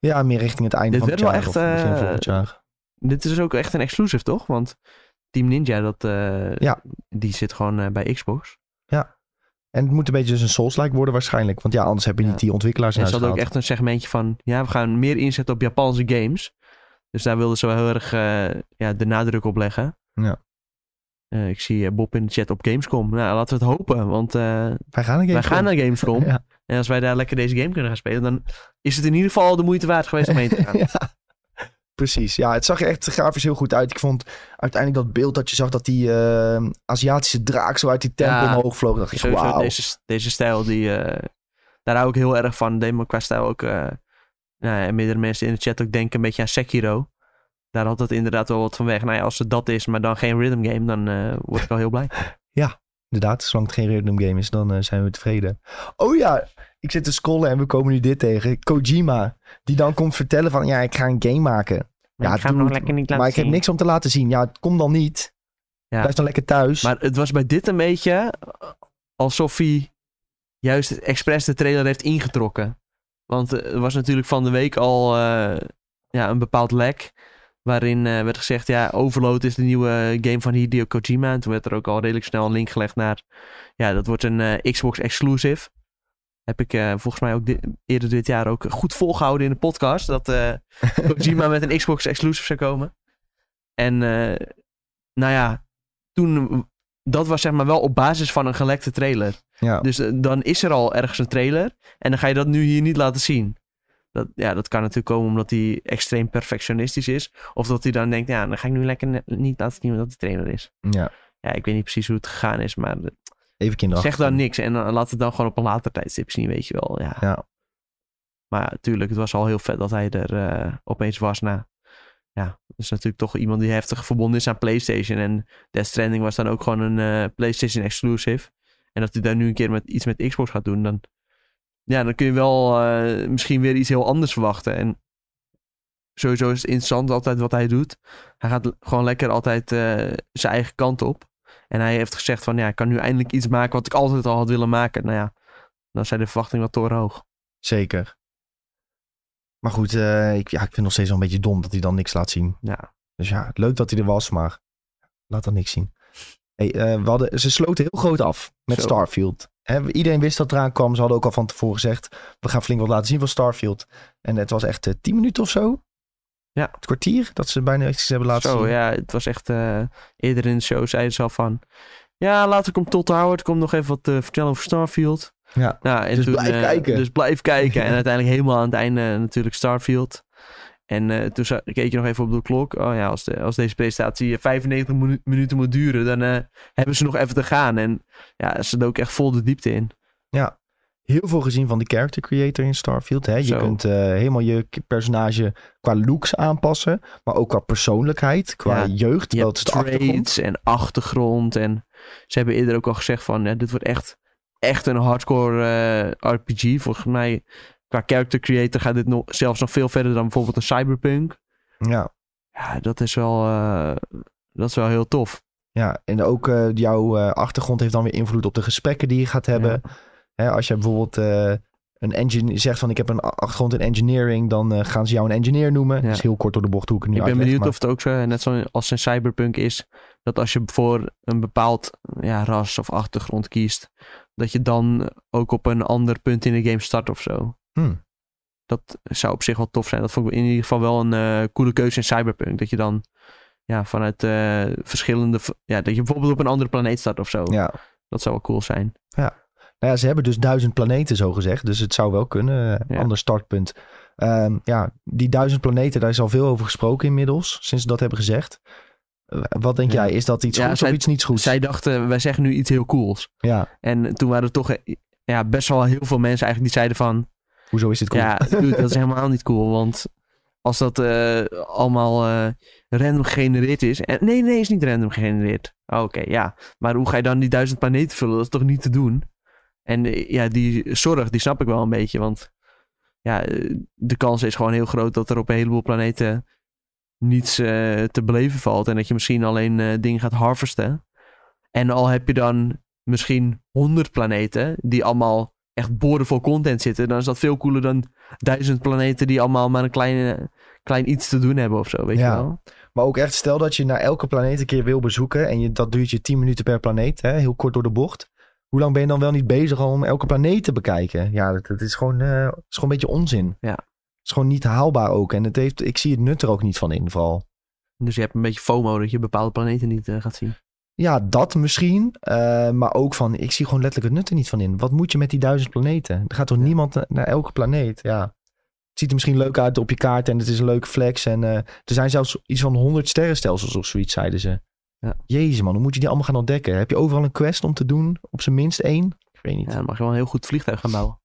S1: ja, meer richting het einde
S2: Dit
S1: van het
S2: werd
S1: jaar.
S2: wel
S1: of
S2: echt,
S1: begin
S2: eh,
S1: volgend jaar.
S2: Dit is ook echt een exclusive, toch? Want Team Ninja, dat, eh,
S1: Ja.
S2: die zit gewoon eh, bij Xbox.
S1: En het moet een beetje dus een Souls-like worden waarschijnlijk. Want ja, anders heb je
S2: Ja.
S1: niet die ontwikkelaars in
S2: En ze
S1: huis
S2: hadden ook
S1: gehad.
S2: echt een segmentje van... Ja, we gaan meer inzetten op Japanse games. Dus daar wilden ze wel heel erg eh, ja, de nadruk op leggen.
S1: Ja.
S2: Eh, ik zie eh, Bob in de chat op Gamescom. Nou, laten we het hopen. Want eh,
S1: Wij gaan een game
S2: wij gaan naar Gamescom.
S1: Ja.
S2: En als wij daar lekker deze game kunnen gaan spelen, dan is het in ieder geval de moeite waard geweest om heen te gaan.
S1: ja. Precies, ja. Het zag er echt grafisch heel goed uit. Ik vond uiteindelijk dat beeld dat je zag dat die eh, Aziatische draak zo uit die tempel
S2: Ja.
S1: omhoog vloog. dacht ik,
S2: Sowieso
S1: wauw.
S2: deze, deze stijl, die, eh, daar hou ik heel erg van. Deed me qua stijl ook, eh nou, ja, en meerdere mensen in de chat ook denken een beetje aan Sekiro. Daar had het inderdaad wel wat van weg. Nou ja, als het dat is, maar dan geen rhythm game, dan eh, word ik wel heel blij.
S1: Inderdaad, zolang het geen random game is, dan eh, zijn we tevreden. Oh ja, ik zit te scrollen en we komen nu dit tegen. Kojima, die dan komt vertellen van, ja, ik ga een game maken. Ja,
S2: ik ga
S1: doe
S2: hem nog
S1: het.
S2: lekker niet laten
S1: maar ik heb
S2: zien.
S1: niks om te laten zien. Ja, kom dan niet.
S2: Ja.
S1: Blijf dan lekker thuis.
S2: Maar het was bij dit een beetje alsof hij juist expres de trailer heeft ingetrokken. Want eh, er was natuurlijk van de week al eh, ja, een bepaald lek. Waarin eh, werd gezegd, ja, Overload is de nieuwe game van Hideo Kojima. En toen werd er ook al redelijk snel een link gelegd naar... Ja, dat wordt een eh, Xbox exclusive. Heb ik eh, volgens mij ook di- eerder dit jaar ook goed volgehouden in de podcast. Dat eh, Kojima met een Xbox exclusive zou komen. En eh, nou ja, toen dat was zeg maar wel op basis van een gelekte trailer.
S1: ja.
S2: Dus eh, dan is er al ergens een trailer. En dan ga je dat nu hier niet laten zien. Dat, ja, dat kan natuurlijk komen omdat hij extreem perfectionistisch is. Of dat hij dan denkt, ja, dan ga ik nu lekker ne- niet laten zien dat de trailer is.
S1: ja,
S2: Ja, ik weet niet precies hoe het gegaan is, maar eh,
S1: even kinderachtig.
S2: zeg dan niks. En dan laat het dan gewoon op een later tijdstip zien, weet je wel. Ja.
S1: Ja.
S2: Maar ja, tuurlijk, het was al heel vet dat hij er eh, opeens was na. Ja, dat is natuurlijk toch iemand die heftig verbonden is aan PlayStation. En Death Stranding was dan ook gewoon een eh, PlayStation exclusive. En dat hij daar nu een keer met, iets met Xbox gaat doen, dan, ja, dan kun je wel eh, misschien weer iets heel anders verwachten. En sowieso is het interessant altijd wat hij doet. Hij gaat l- gewoon lekker altijd eh, zijn eigen kant op. En hij heeft gezegd van, ja, ik kan nu eindelijk iets maken wat ik altijd al had willen maken. Nou ja, dan zijn de verwachtingen wel torenhoog.
S1: Zeker. Maar goed, eh, ik, ja, ik vind het nog steeds wel een beetje dom dat hij dan niks laat zien.
S2: Ja.
S1: Dus ja, leuk dat hij er was, maar laat dan niks zien. Hey, eh, we hadden, ze sloten heel groot af met
S2: Zo.
S1: Starfield. Hè, iedereen wist dat eraan kwam. Ze hadden ook al van tevoren gezegd, we gaan flink wat laten zien van Starfield. En het was echt eh, 10 minuten of zo.
S2: Ja.
S1: Het kwartier dat ze bijna iets hebben laten
S2: Zo,
S1: zien.
S2: ja, het was echt... eh, eerder in de show zeiden ze al van... Ja, laat ik hem tot houden. Er komt nog even wat eh, vertellen over Starfield.
S1: Ja.
S2: Nou, en
S1: Dus
S2: toen,
S1: blijf
S2: eh,
S1: kijken.
S2: Dus blijf kijken. En uiteindelijk helemaal aan het einde eh, natuurlijk Starfield. En eh, toen za- keek je nog even op de klok. Oh ja, als, de, als deze presentatie eh, 95 minu- minuten moet duren... dan eh, hebben ze nog even te gaan. En ja, ze dook echt vol de diepte in.
S1: Heel veel gezien van de character creator in Starfield. Hè. Je
S2: Zo.
S1: kunt eh, helemaal je k- personage qua looks aanpassen. Maar ook qua persoonlijkheid, qua
S2: Ja.
S1: jeugd.
S2: Je
S1: Terwijl
S2: hebt
S1: het is de achtergrond.
S2: trades en achtergrond. En ze hebben eerder ook al gezegd van... ja, dit wordt echt, echt een hardcore eh, RPG. Volgens mij, qua character creator gaat dit nog, zelfs nog veel verder... dan bijvoorbeeld een cyberpunk.
S1: Ja.
S2: Ja, dat is wel, eh, dat is wel heel tof.
S1: Ja, en ook eh, jouw eh, achtergrond heeft dan weer invloed op de gesprekken die je gaat hebben. Hè, als je bijvoorbeeld eh, een engine zegt van ik heb een a- achtergrond in engineering, dan eh, gaan ze jou een engineer noemen.
S2: Ja.
S1: Dat is heel kort door de bocht hoe ik het nu
S2: ik ben
S1: uitleg,
S2: benieuwd
S1: maar-
S2: of het ook zo, net zo als in cyberpunk is... dat als je voor een bepaald ja, ras of achtergrond kiest... dat je dan ook op een ander punt in de game start of zo.
S1: Hmm.
S2: dat zou op zich wel tof zijn. Dat vond ik in ieder geval wel een eh, coole keuze in Cyberpunk. Dat je dan ja, vanuit eh, verschillende... v- Ja, dat je bijvoorbeeld op een andere planeet start of zo.
S1: Ja.
S2: Dat zou wel cool zijn.
S1: Nou ja, ze hebben dus duizend planeten, zo gezegd. Dus het zou wel kunnen. eh,
S2: Ja.
S1: Ander startpunt. Ehm, ja, die duizend planeten, daar is al veel over gesproken inmiddels. Sinds ze dat hebben gezegd. Eh, Wat denk
S2: Ja.
S1: jij? Is dat iets
S2: Ja,
S1: goeds
S2: zij-
S1: of iets niet goeds?
S2: Zij dachten, wij zeggen nu iets heel cools.
S1: Ja,
S2: En toen waren er toch eh, ja, best wel heel veel mensen eigenlijk die zeiden van...
S1: hoezo is dit cool?
S2: Ja, dude, dat is helemaal niet cool. Want als dat eh, allemaal eh, random gegenereerd is... En, nee, nee, is niet random gegenereerd. Oh, Oké, ja. Maar hoe ga je dan die duizend planeten vullen? Dat is toch niet te doen? En eh, ja, die zorg, die snap ik wel een beetje. Want ja, eh, de kans is gewoon heel groot dat er op een heleboel planeten niets eh, te beleven valt. En dat je misschien alleen eh, dingen gaat harvesten. En al heb je dan misschien 100 planeten die allemaal echt boordevol content zitten, dan is dat veel cooler dan duizend planeten die allemaal maar een klein, klein iets te doen hebben of zo, weet
S1: Ja.
S2: je wel?
S1: Maar ook echt, stel dat je naar elke planeet een keer wil bezoeken. En je, dat duurt je 10 minuten per planeet. Hè, heel kort door de bocht. Hoe lang ben je dan wel niet bezig om elke planeet te bekijken? Ja, dat, dat is, gewoon, eh, is gewoon een beetje onzin.
S2: Ja.
S1: Het is gewoon niet haalbaar ook. En het heeft, ik zie het nut er ook niet van in, vooral.
S2: Dus je hebt een beetje FOMO dat je bepaalde planeten niet eh, gaat zien.
S1: Ja, dat misschien. eh, maar ook van, ik zie gewoon letterlijk het nut er niet van in. Wat moet je met die duizend planeten? Er gaat toch
S2: Ja.
S1: niemand na- naar elke planeet? Ja. Het ziet er misschien leuk uit op je kaart en het is een leuke flex. En eh, er zijn zelfs iets van honderd sterrenstelsels of zoiets, zeiden ze.
S2: Ja.
S1: Jezus man, hoe moet je die allemaal gaan ontdekken? Heb je overal een quest om te doen? Op zijn minst één? Ik weet niet.
S2: Ja,
S1: Ja,
S2: dan mag je wel een heel goed vliegtuig gaan bouwen.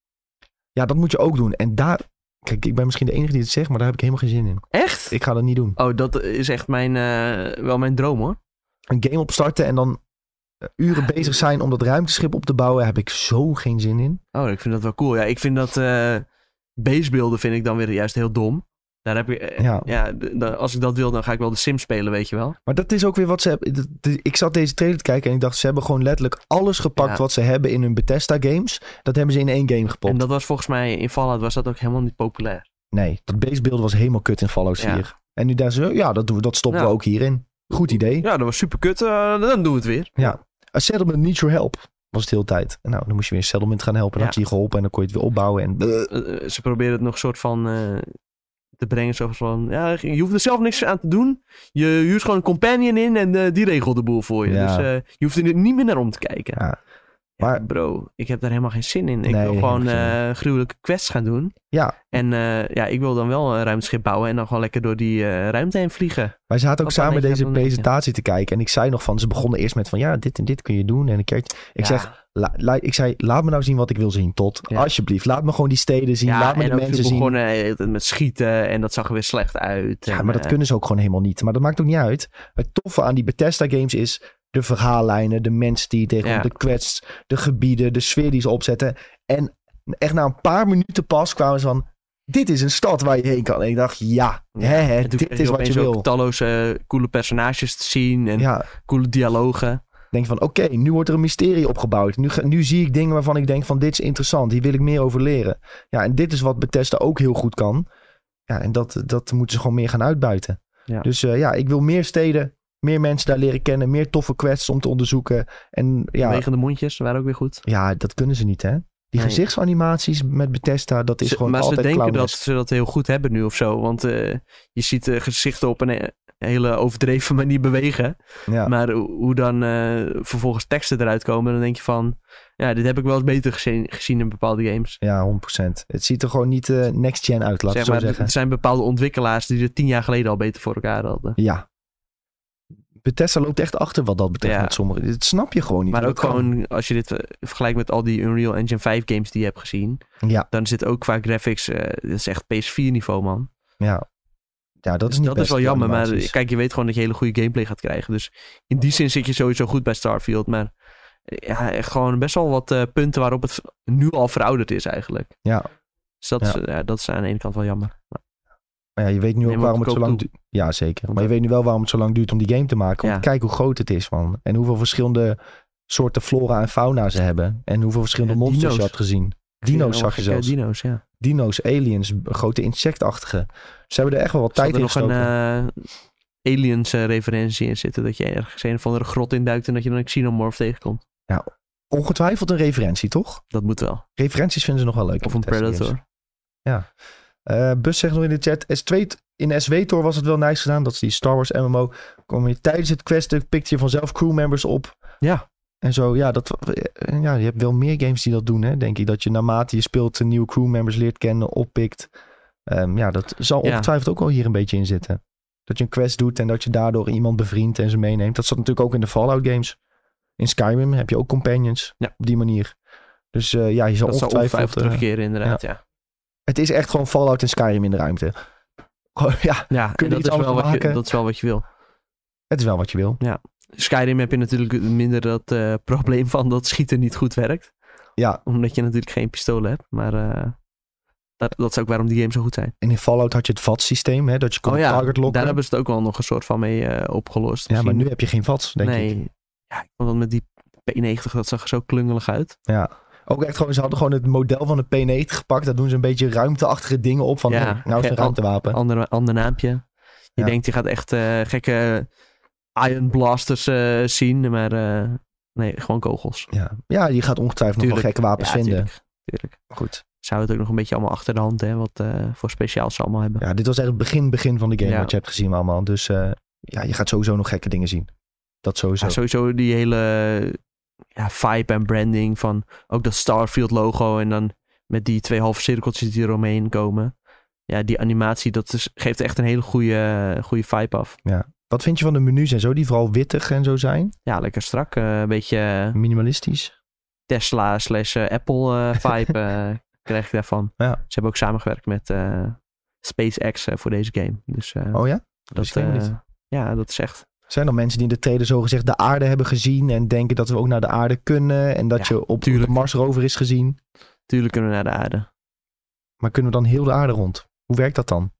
S1: dat moet je ook doen. En daar, kijk, ik ben misschien de enige die het zegt, maar daar heb ik helemaal geen zin in.
S2: Echt?
S1: Ik ga dat niet doen.
S2: Oh, dat is echt mijn, eh, wel mijn droom hoor.
S1: Een game opstarten en dan eh,
S2: Ah,
S1: uren bezig zijn om dat ruimteschip op te bouwen, heb ik zo geen zin in.
S2: Oh, ik vind dat wel cool. Ja, ik vind dat eh basebeelden vind ik dan weer juist heel dom. Daar heb je, eh,
S1: Ja.
S2: ja. d- d- als ik dat wil, dan ga ik wel de Sim spelen, weet je wel.
S1: Maar dat is ook weer wat ze hebben. dat- dat- Ik zat deze trailer te kijken en ik dacht, ze hebben gewoon letterlijk alles gepakt
S2: Ja.
S1: wat ze hebben in hun Bethesda games. Dat hebben ze in één game gepopt.
S2: En dat was volgens mij, in Fallout was dat ook helemaal niet populair.
S1: Nee, dat basebeeld was helemaal kut in Fallout
S2: Ja.
S1: 4. En nu daar ze, ja, dat, doen we, dat stoppen
S2: Ja.
S1: we ook hierin. Goed idee.
S2: Ja, dat was super kut. dan doen we het weer.
S1: A settlement needs your help, was het de hele tijd. Nou, dan moest je weer een settlement gaan helpen. Dan
S2: Ja.
S1: had je die geholpen en dan kon je het weer opbouwen. En,
S2: Eh, eh, ze proberen het nog soort van eh, te brengen. Zo van, ja, je hoeft er zelf niks aan te doen. Je huurt gewoon een companion in en eh, die regelt de boel voor je.
S1: Ja.
S2: Dus eh, je hoeft er niet meer naar om te kijken.
S1: Ja.
S2: Ja,
S1: Maar-
S2: bro, ik heb daar helemaal geen zin in.
S1: Nee,
S2: Ik wil gewoon
S1: helemaal geen
S2: eh, gruwelijke quests gaan doen.
S1: Ja.
S2: En eh, ja, ik wil dan wel een ruimteschip bouwen en dan gewoon lekker door die eh, ruimte heen vliegen.
S1: wij zaten ook
S2: Wat
S1: samen
S2: dan weet je,
S1: deze
S2: dat dan weet je.
S1: presentatie te kijken. En ik zei nog van, ze begonnen eerst met van, ja, dit en dit kun je doen. En een keertje. Ik
S2: Ja.
S1: zeg, La- la- ik zei, laat me nou zien wat ik wil zien, tot.
S2: Ja.
S1: Alsjeblieft, laat me gewoon die steden zien.
S2: ja,
S1: laat me
S2: en
S1: de
S2: ook
S1: mensen
S2: ze
S1: zien.
S2: begonnen de hele tijd met schieten en dat zag er weer slecht uit.
S1: Ja,
S2: En,
S1: maar dat
S2: eh,
S1: kunnen ze ook gewoon helemaal niet. Maar dat maakt ook niet uit. Het toffe aan die Bethesda games is de verhaallijnen, de mensen die je tegenkomt,
S2: Ja.
S1: de quests, de gebieden, de sfeer die ze opzetten. En echt na een paar minuten pas kwamen ze van, dit is een stad waar je heen kan. En ik dacht, ja,
S2: Ja,
S1: hè, hè,
S2: en toen
S1: dit
S2: kreeg
S1: is wat je
S2: opeens ook
S1: wil.
S2: talloze eh, coole personages te zien en
S1: Ja,
S2: coole dialogen.
S1: denk van, oké, nu wordt er een mysterie opgebouwd. Nu, ga- nu zie ik dingen waarvan ik denk van, dit is interessant. Hier wil ik meer over leren. Ja, en dit is wat Bethesda ook heel goed kan. Ja, en dat, dat moeten ze gewoon meer gaan uitbuiten.
S2: Ja.
S1: Dus eh, ja, ik wil meer steden, meer mensen daar leren kennen, meer toffe quests om te onderzoeken. En
S2: Ja.
S1: ja,
S2: mondjes waren ook weer goed.
S1: ja dat kunnen ze niet, hè? Die
S2: Nee.
S1: gezichtsanimaties met Bethesda, dat is
S2: Ze-
S1: gewoon
S2: maar ze
S1: altijd
S2: denken dat
S1: clownesk.
S2: ze dat heel goed hebben nu of zo. Want eh, je ziet eh, gezichten op een eh, hele overdreven manier bewegen.
S1: Ja.
S2: Maar ho- hoe dan eh, vervolgens teksten eruit komen, dan denk je van... Ja, dit heb ik wel eens beter gezien, gezien in bepaalde games.
S1: ja, 100%. Het ziet er gewoon niet eh, next-gen uit, laat ik het
S2: Zeg
S1: zo
S2: maar,
S1: zeggen.
S2: er zijn bepaalde ontwikkelaars die het tien jaar geleden al beter voor elkaar hadden.
S1: Ja. Bethesda loopt echt achter wat dat betreft
S2: Ja.
S1: met sommige. Dit snap je gewoon niet.
S2: Maar
S1: hoe
S2: ook
S1: dat kan.
S2: gewoon, als je dit eh, vergelijkt met al die Unreal Engine 5 games die je hebt gezien...
S1: Ja.
S2: dan zit ook qua graphics, eh dat is echt PS4 niveau man.
S1: Ja. Ja, dat is
S2: Dus
S1: niet
S2: dat is
S1: best,
S2: wel
S1: die
S2: jammer, maar
S1: animaties.
S2: kijk, je weet gewoon dat je hele goede gameplay gaat krijgen. Dus in die zin zit je sowieso goed bij Starfield, maar eh, ja, echt gewoon best wel wat eh, punten waarop het nu al verouderd is eigenlijk.
S1: Ja.
S2: Dus dat, Is, eh, ja, dat is aan de ene kant wel jammer.
S1: Maar ja, je weet nu ook
S2: neem het
S1: waarom
S2: ook
S1: het zo lang
S2: toe.
S1: duurt. Ja, zeker.
S2: Want
S1: Maar je weet nu wel waarom het zo lang duurt om die game te maken. Want
S2: Ja.
S1: kijk hoe groot het is, man. En hoeveel verschillende soorten flora en fauna ze hebben. En hoeveel verschillende
S2: Ja,
S1: monsters je
S2: dino's.
S1: had gezien. Dino's
S2: Ja,
S1: zag je
S2: gekke
S1: zelfs.
S2: Dino's, ja.
S1: Dino's, aliens, b- grote insectachtige. Ze hebben er echt wel wat
S2: Zal
S1: tijd
S2: er
S1: in
S2: nog een
S1: gestoken.
S2: eh, Aliens eh, referentie in zitten, dat je ergens een of andere grot induikt en dat je dan een xenomorph tegenkomt.
S1: Ongetwijfeld een referentie, toch?
S2: Dat moet wel.
S1: Referenties vinden ze nog wel leuk.
S2: Of
S1: in
S2: een
S1: Bethesda games.
S2: Predator.
S1: Eh, Bus zegt nog in de chat, S2, t- in SW-Tor was het wel nice gedaan. Dat is die Star Wars MMO. Kom je tijdens het questen, pikte je vanzelf crewmembers op.
S2: Ja.
S1: En zo, ja, dat, eh, ja, je hebt wel meer games die dat doen, hè, denk ik. Dat je naarmate je speelt eh, nieuwe crewmembers leert kennen, oppikt. Ehm, ja, dat zal
S2: Ja.
S1: ongetwijfeld ook wel hier een beetje in zitten. Dat je een quest doet en dat je daardoor iemand bevriendt en ze meeneemt. Dat zat natuurlijk ook in de Fallout games. In Skyrim heb je ook companions
S2: Ja.
S1: op die manier. Dus eh, ja, je zal
S2: Dat zal
S1: ongetwijfeld...
S2: ongetwijfeld
S1: eh,
S2: terugkeren, inderdaad. Ja,
S1: het is echt gewoon Fallout en Skyrim in de ruimte. Gewoon, ja,
S2: ja. en
S1: Kunnen
S2: dat
S1: iets
S2: is, wel
S1: anders
S2: wat je,
S1: maken?
S2: dat is wel wat je wil.
S1: het is wel wat je wil.
S2: Skyrim heb je natuurlijk minder dat eh, probleem van dat schieten niet goed werkt.
S1: Ja,
S2: Omdat je natuurlijk geen pistolen hebt. Maar eh, dat, dat is ook waarom die games zo goed zijn.
S1: en in Fallout had je het VAT-systeem, hè, dat je kon target locken.
S2: Oh daar hebben ze het ook wel nog een soort van mee eh, opgelost.
S1: Ja, maar
S2: Misschien-
S1: nu heb je geen VATS, denk ik.
S2: nee. Ja, want met die P90, dat zag er zo klungelig uit.
S1: Ook echt gewoon, ze hadden gewoon het model van de P90 gepakt. Daar doen ze een beetje ruimteachtige dingen op. Van,
S2: Ja.
S1: hey, nou is het een
S2: Ja,
S1: ruimtewapen.
S2: Ander, ander naampje. Je
S1: Ja.
S2: denkt, je gaat echt eh, gekke Iron Blasters eh, zien, maar eh, nee, gewoon kogels.
S1: Ja. ja, je gaat ongetwijfeld nog
S2: Tuurlijk.
S1: wel gekke wapens
S2: ja,
S1: vinden.
S2: tuurlijk, tuurlijk.
S1: Maar Goed.
S2: Zou het ook nog een beetje allemaal achter de hand, hè, wat eh, voor speciaals ze allemaal hebben.
S1: Ja, dit was echt het begin, begin van de game
S2: Ja.
S1: wat je hebt gezien allemaal. Dus eh, ja, je gaat sowieso nog gekke dingen zien. Dat sowieso.
S2: Ja, sowieso die hele ja, vibe en branding van ook dat Starfield logo en dan met die twee halve cirkeltjes die eromheen komen. Ja, die animatie, dat is, geeft echt een hele goede, goede vibe af.
S1: Wat vind je van de menus en zo? Die vooral wittig en zo zijn.
S2: Ja, lekker strak. eh, een beetje
S1: Minimalistisch.
S2: Tesla slash eh, Apple eh, vibe eh, krijg ik daarvan.
S1: Ja.
S2: Ze hebben ook samengewerkt met eh, SpaceX eh, voor deze game. Dus eh,
S1: Oh ja?
S2: dat,
S1: wist ik helemaal
S2: eh, ja, dat is echt...
S1: Zijn er mensen die in de trailer zogezegd de aarde hebben gezien. En denken dat we ook naar de aarde kunnen. En dat
S2: Ja,
S1: je op de
S2: tuurlijk.
S1: Mars rover is gezien.
S2: Tuurlijk kunnen we naar de aarde.
S1: Maar kunnen we dan heel de aarde rond? Hoe werkt dat dan?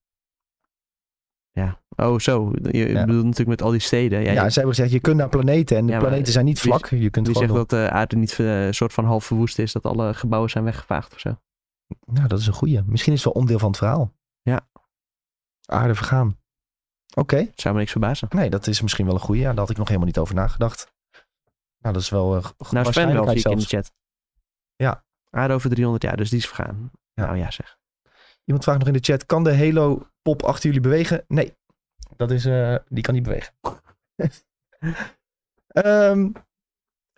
S2: Oh, zo. Je je
S1: Ja.
S2: bedoelt natuurlijk met al die steden. Ja,
S1: Ja,
S2: je-
S1: ze hebben gezegd, je kunt naar planeten. En de
S2: Ja, maar
S1: planeten zijn niet
S2: wie-
S1: vlak. Je kunt
S2: Die
S1: gewoon
S2: zegt dat de aarde niet eh, een soort van half verwoest is, dat alle gebouwen zijn weggevaagd of zo.
S1: Nou, dat is een goeie. Misschien is het wel onderdeel van het verhaal.
S2: Ja.
S1: Aarde vergaan. Oké.
S2: Zou me niks verbazen. Nou,
S1: Nee, dat is misschien wel een goeie. Ja, daar had ik nog helemaal niet over nagedacht. Nou, dat is wel eh, goed.
S2: Nou, Sven wel, zie ik in de
S1: zelfs.
S2: chat.
S1: Ja.
S2: Aarde over 300 jaar, dus die is vergaan.
S1: Ja.
S2: Nou ja, zeg.
S1: Iemand vraagt nog in de chat, kan de Halo-pop achter jullie bewegen? Nee, dat is, eh, die kan niet bewegen. Ehm,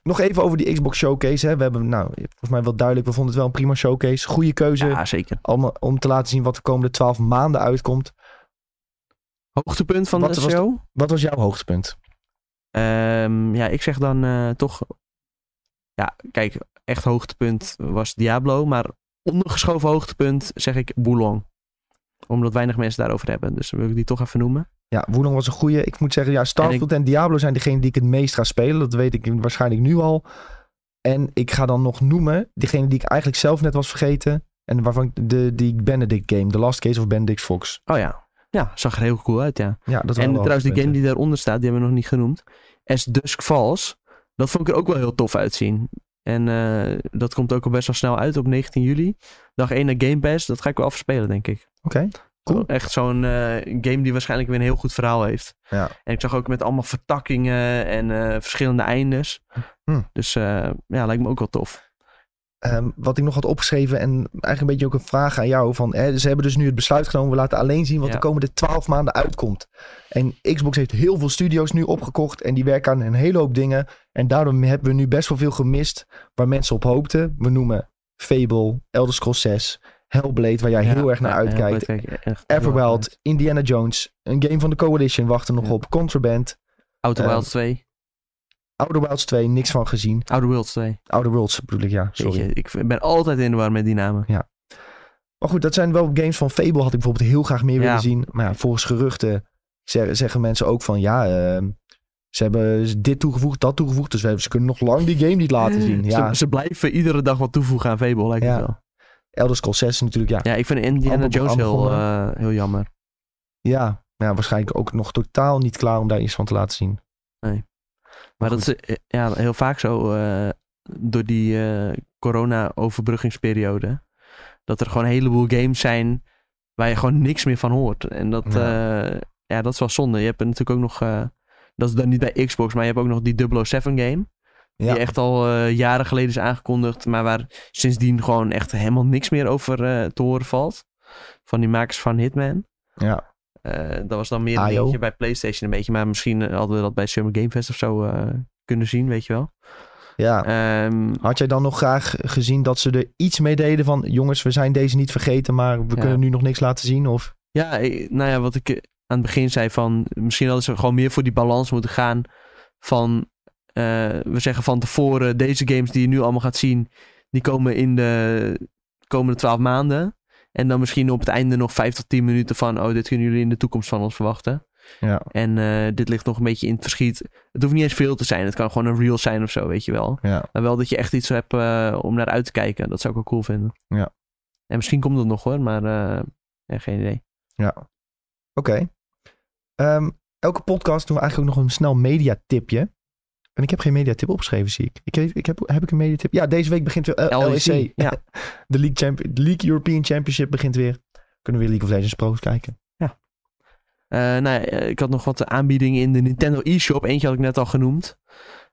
S1: nog even over die Xbox Showcase. Hè. We hebben, nou, volgens mij wel duidelijk, we vonden het wel een prima showcase. Goede keuze
S2: Ja, zeker.
S1: om, om te laten zien wat de komende twaalf maanden uitkomt.
S2: Hoogtepunt van
S1: Wat
S2: de
S1: was de-
S2: show?
S1: Wat was jouw hoogtepunt?
S2: Ehm, ja, ik zeg dan eh, toch... Ja, kijk, echt hoogtepunt was Diablo, maar ondergeschoven hoogtepunt zeg ik Boulong. Omdat weinig mensen daarover hebben, dus dan wil ik die toch even noemen.
S1: Ja, Woelong was een goeie. Ik moet zeggen, ja, Starfield en, Diablo zijn degene die ik het meest ga spelen. Dat weet ik waarschijnlijk nu al. En ik ga dan nog noemen, degene die ik eigenlijk zelf net was vergeten. En waarvan ik de, die Benedict game, The Last Case of Benedict Fox.
S2: Oh ja. Ja, zag er heel cool uit, ja.
S1: Ja, dat
S2: En
S1: waren wel
S2: trouwens, die game
S1: hoogtepunten.
S2: die daaronder staat, die hebben we nog niet genoemd. As Dusk Falls. Dat vond ik er ook wel heel tof uitzien. En eh, dat komt ook al best wel snel uit op 19 juli. Dag 1 naar Game Pass. Dat ga ik wel afspelen, denk ik.
S1: Oké, cool.
S2: Echt zo'n eh, game die waarschijnlijk weer een heel goed verhaal heeft.
S1: Ja.
S2: En ik zag ook met allemaal vertakkingen en eh, verschillende eindes.
S1: Hm.
S2: Dus eh, ja, lijkt me ook wel tof.
S1: Ehm, wat ik nog had opgeschreven en eigenlijk een beetje ook een vraag aan jou. Van, hè, ze hebben dus nu het besluit genomen. We laten alleen zien wat
S2: Ja.
S1: de komende twaalf maanden uitkomt. En Xbox heeft heel veel studio's nu opgekocht. En die werken aan een hele hoop dingen. En daardoor hebben we nu best wel veel gemist waar mensen op hoopten. We noemen Fable, Elder Scrolls 6, Hellblade, waar jij
S2: Ja,
S1: heel erg naar
S2: ja,
S1: uitkijkt.
S2: Hellblade kijk ik echt heel erg naar uit.
S1: Everwild, Indiana Jones, een game van de Coalition wachten nog
S2: Ja.
S1: op. Contraband,
S2: Outer
S1: Eh,
S2: Wilds 2.
S1: Outer Wilds 2, niks van gezien.
S2: Outer Wilds 2.
S1: Outer Worlds bedoel ik, ja, sorry.
S2: Jeetje, ik ben altijd in de war met die namen.
S1: Maar goed, dat zijn wel games van Fable had ik bijvoorbeeld heel graag meer
S2: Ja.
S1: willen zien. Maar ja, volgens geruchten ze- zeggen mensen ook van ja, ehm, ze hebben dit toegevoegd, dat toegevoegd. Dus we hebben- ze kunnen nog lang die game niet laten zien. Ja,
S2: Eh, Ze, ze blijven iedere dag wat toevoegen aan Fable, lijkt
S1: Ja.
S2: het wel.
S1: Elder Scrolls 6 is natuurlijk, ja.
S2: Ja, ik vind Indiana
S1: Amper
S2: Jones heel,
S1: begonnen.
S2: eh, heel jammer.
S1: Ja, ja, waarschijnlijk ook nog totaal niet klaar om daar iets van te laten zien.
S2: Maar dat is eh, ja, heel vaak zo eh, door die eh, corona-overbruggingsperiode. Dat er gewoon een heleboel games zijn waar je gewoon niks meer van hoort. En dat,
S1: Ja.
S2: eh, ja, dat is wel zonde. Je hebt er natuurlijk ook nog, eh, dat is dan niet bij Xbox, maar je hebt ook nog die 007 game.
S1: Ja.
S2: Die echt al eh, jaren geleden is aangekondigd, maar waar sindsdien gewoon echt helemaal niks meer over eh, te horen valt. Van die makers van Hitman.
S1: Ja,
S2: Eh, dat was dan meer een
S1: Ah, joh.
S2: dingetje bij PlayStation een beetje. Maar misschien eh, hadden we dat bij Summer Game Fest of zo eh, kunnen zien, weet je wel.
S1: Ja.
S2: Ehm,
S1: Had jij dan nog graag gezien dat ze er iets mee deden van... jongens, we zijn deze niet vergeten, maar we
S2: Ja.
S1: kunnen nu nog niks laten zien? Of
S2: ja, ik- nou ja, wat ik eh, aan het begin zei van... Misschien hadden ze gewoon meer voor die balans moeten gaan van... eh, we zeggen van tevoren, deze games die je nu allemaal gaat zien... die komen in de komende twaalf maanden. En dan misschien op het einde nog vijf tot tien minuten van... oh, dit kunnen jullie in de toekomst van ons verwachten.
S1: ja.
S2: En eh, dit ligt nog een beetje in het verschiet. Het hoeft niet eens veel te zijn. Het kan gewoon een reel zijn of zo, weet je wel.
S1: Ja.
S2: Maar wel dat je echt iets hebt eh, om naar uit te kijken. Dat zou ik wel cool vinden.
S1: Ja.
S2: En misschien komt dat nog hoor, maar eh, ja, geen idee.
S1: Oké. Ehm, elke podcast doen we eigenlijk ook nog een snel mediatipje. En ik heb geen mediatip opgeschreven, zie ik. ik, heb, ik heb, heb ik een mediatip? Ja, deze week begint weer eh,
S2: E
S1: L- E LEC.
S2: Ja.
S1: De League, Champi- de League European Championship begint weer. Kunnen we weer League of Legends Pro's kijken.
S2: Eh, nou, ja, ik had nog wat aanbiedingen in de Nintendo eShop. Eentje had ik net al genoemd.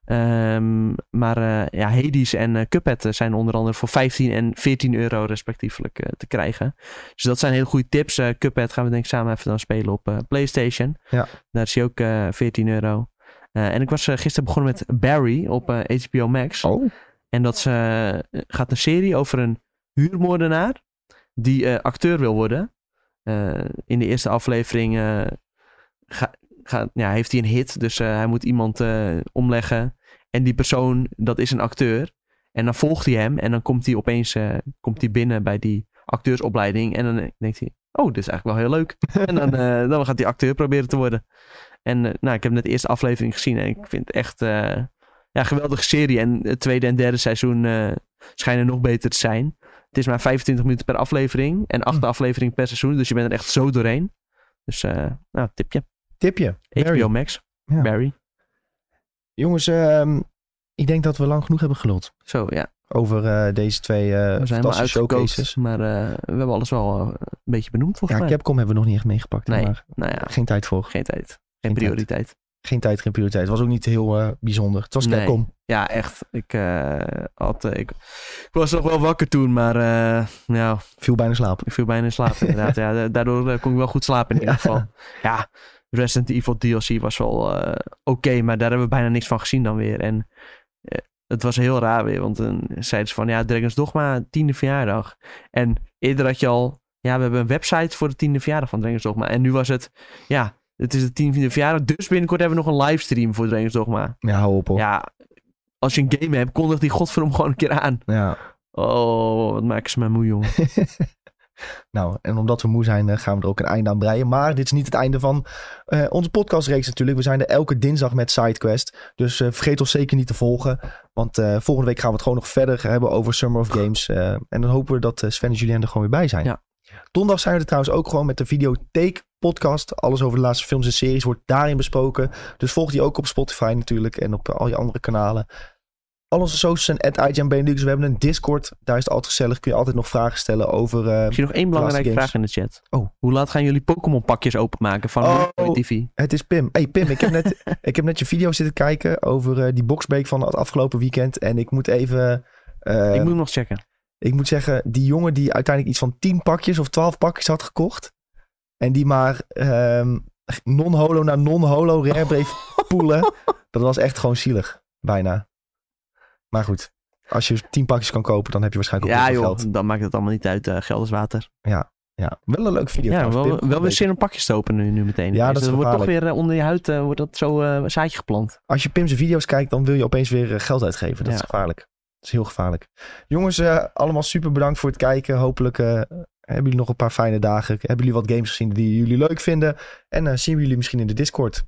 S2: Ehm, maar eh, ja, Hades en eh, Cuphead eh, zijn onder andere voor 15 en 14 euro respectievelijk eh, te krijgen. Dus dat zijn hele goede tips. Eh, Cuphead gaan we denk ik samen even dan spelen op eh, PlayStation.
S1: Ja.
S2: Daar is hij ook eh 14 euro. Eh, en ik was eh, gisteren begonnen met Barry op eh, HBO Max.
S1: Oh.
S2: En dat ze, eh, gaat een serie over een huurmoordenaar die eh, acteur wil worden. Eh, in de eerste aflevering eh, ga- ga- ja, heeft hij een hit, dus eh, hij moet iemand eh, omleggen. En die persoon, dat is een acteur. En dan volgt hij hem en dan komt hij opeens eh, komt hij binnen bij die acteursopleiding. En dan eh, denkt hij, oh, dit is eigenlijk wel heel leuk. en dan, eh, dan gaat hij acteur proberen te worden. En eh, nou, ik heb net de eerste aflevering gezien en ik vind het echt... eh, ja, geweldige serie. En het tweede en derde seizoen eh, schijnen nog beter te zijn. Het is maar 25 minuten per aflevering. En acht
S1: Hm.
S2: afleveringen per seizoen. Dus je bent er echt zo doorheen. Dus, eh, nou, tipje.
S1: Tipje. Barry.
S2: HBO Max.
S1: Ja.
S2: Barry.
S1: Jongens, ehm, ik denk dat we lang genoeg hebben geluld.
S2: Zo, ja.
S1: Over eh, deze twee eh
S2: We zijn wel
S1: fantastische
S2: uitgekookt.
S1: showcases.
S2: Maar eh, we hebben alles wel eh, een beetje benoemd,
S1: Ja,
S2: volgens mij.
S1: Capcom hebben we nog niet echt meegepakt. hè,
S2: Nee.
S1: Maar
S2: Nou ja,
S1: geen tijd voor.
S2: geen tijd.
S1: tijd.
S2: Geen prioriteit.
S1: Geen tijd, geen prioriteit. Het was ook niet heel eh, bijzonder. Het was
S2: Nee.
S1: Capcom.
S2: Ja, echt. Ik, eh, had, eh, ik, ik was nog wel wakker toen, maar eh, nou,
S1: Viel bijna slaap.
S2: Ik viel bijna in slaap inderdaad. ja, da- daardoor eh, kon ik wel goed slapen in ieder geval. Ja, Resident Evil DLC was wel eh, oké, maar daar hebben we bijna niks van gezien dan weer. En eh, het was heel raar weer, want dan zeiden ze van ja, Dragon's Dogma, tiende verjaardag. En eerder had je al, ja, we hebben een website voor de tiende verjaardag van Dragon's Dogma. En nu was het, ja, het is de tiende verjaardag, dus binnenkort hebben we nog een livestream voor Dragon's Dogma.
S1: Ja, hou op hoor. Ja.
S2: Ja, als je een game hebt, kondig die godverdomme gewoon een keer aan. Oh, wat maken ze mij moe, jongen.
S1: nou, en omdat we moe zijn, eh, gaan we er ook een einde aan breien. Maar dit is niet het einde van eh, onze podcastreeks natuurlijk. We zijn er elke dinsdag met SideQuest. Dus eh, vergeet ons zeker niet te volgen. Want eh, volgende week gaan we het gewoon nog verder hebben over Summer of Games. eh, en dan hopen we dat eh, Sven en Julien er gewoon weer bij zijn.
S2: Ja.
S1: Donderdag zijn we er trouwens ook gewoon met de Videotheek podcast. Alles over de laatste films en series wordt daarin besproken. Dus volg die ook op Spotify natuurlijk en op eh, al je andere kanalen. Al onze socials zijn at We hebben een Discord. Daar is het altijd gezellig. Kun je altijd nog vragen stellen over... eh,
S2: Misschien nog één belangrijke
S1: games.
S2: vraag in de chat.
S1: Oh.
S2: Hoe laat gaan jullie Pokémon pakjes openmaken van
S1: Oh.
S2: Mooi TV?
S1: Het is Pim. Hey Pim, ik heb net, ik heb net je video zitten kijken over eh, die boxbreak van het afgelopen weekend. En ik moet even... eh,
S2: ik moet nog checken.
S1: ik moet zeggen, die jongen die uiteindelijk iets van 10 pakjes of 12 pakjes had gekocht. En die maar ehm, non-holo naar non-holo rare bleef poelen. Dat was echt gewoon zielig. Bijna. Maar goed, als je 10 pakjes kan kopen, dan heb je waarschijnlijk ook
S2: Ja
S1: heel veel
S2: joh,
S1: geld.
S2: dan maakt het allemaal niet uit. eh geld is water.
S1: Ja, wel een leuke video
S2: Ja,
S1: trouwens,
S2: wel,
S1: Pim.
S2: wel weer zin om pakjes te openen nu, nu meteen.
S1: Ja, dat is
S2: dat wordt toch weer eh, onder je huid eh, wordt dat zo eh, een zaadje geplant.
S1: Als je Pim's video's kijkt, dan wil je opeens weer eh, geld uitgeven. Dat is
S2: Ja.
S1: gevaarlijk. Dat is heel gevaarlijk. Jongens, eh, allemaal super bedankt voor het kijken. Hopelijk eh, hebben jullie nog een paar fijne dagen. Hebben jullie wat games gezien die jullie leuk vinden? En eh, zien we jullie misschien in de Discord.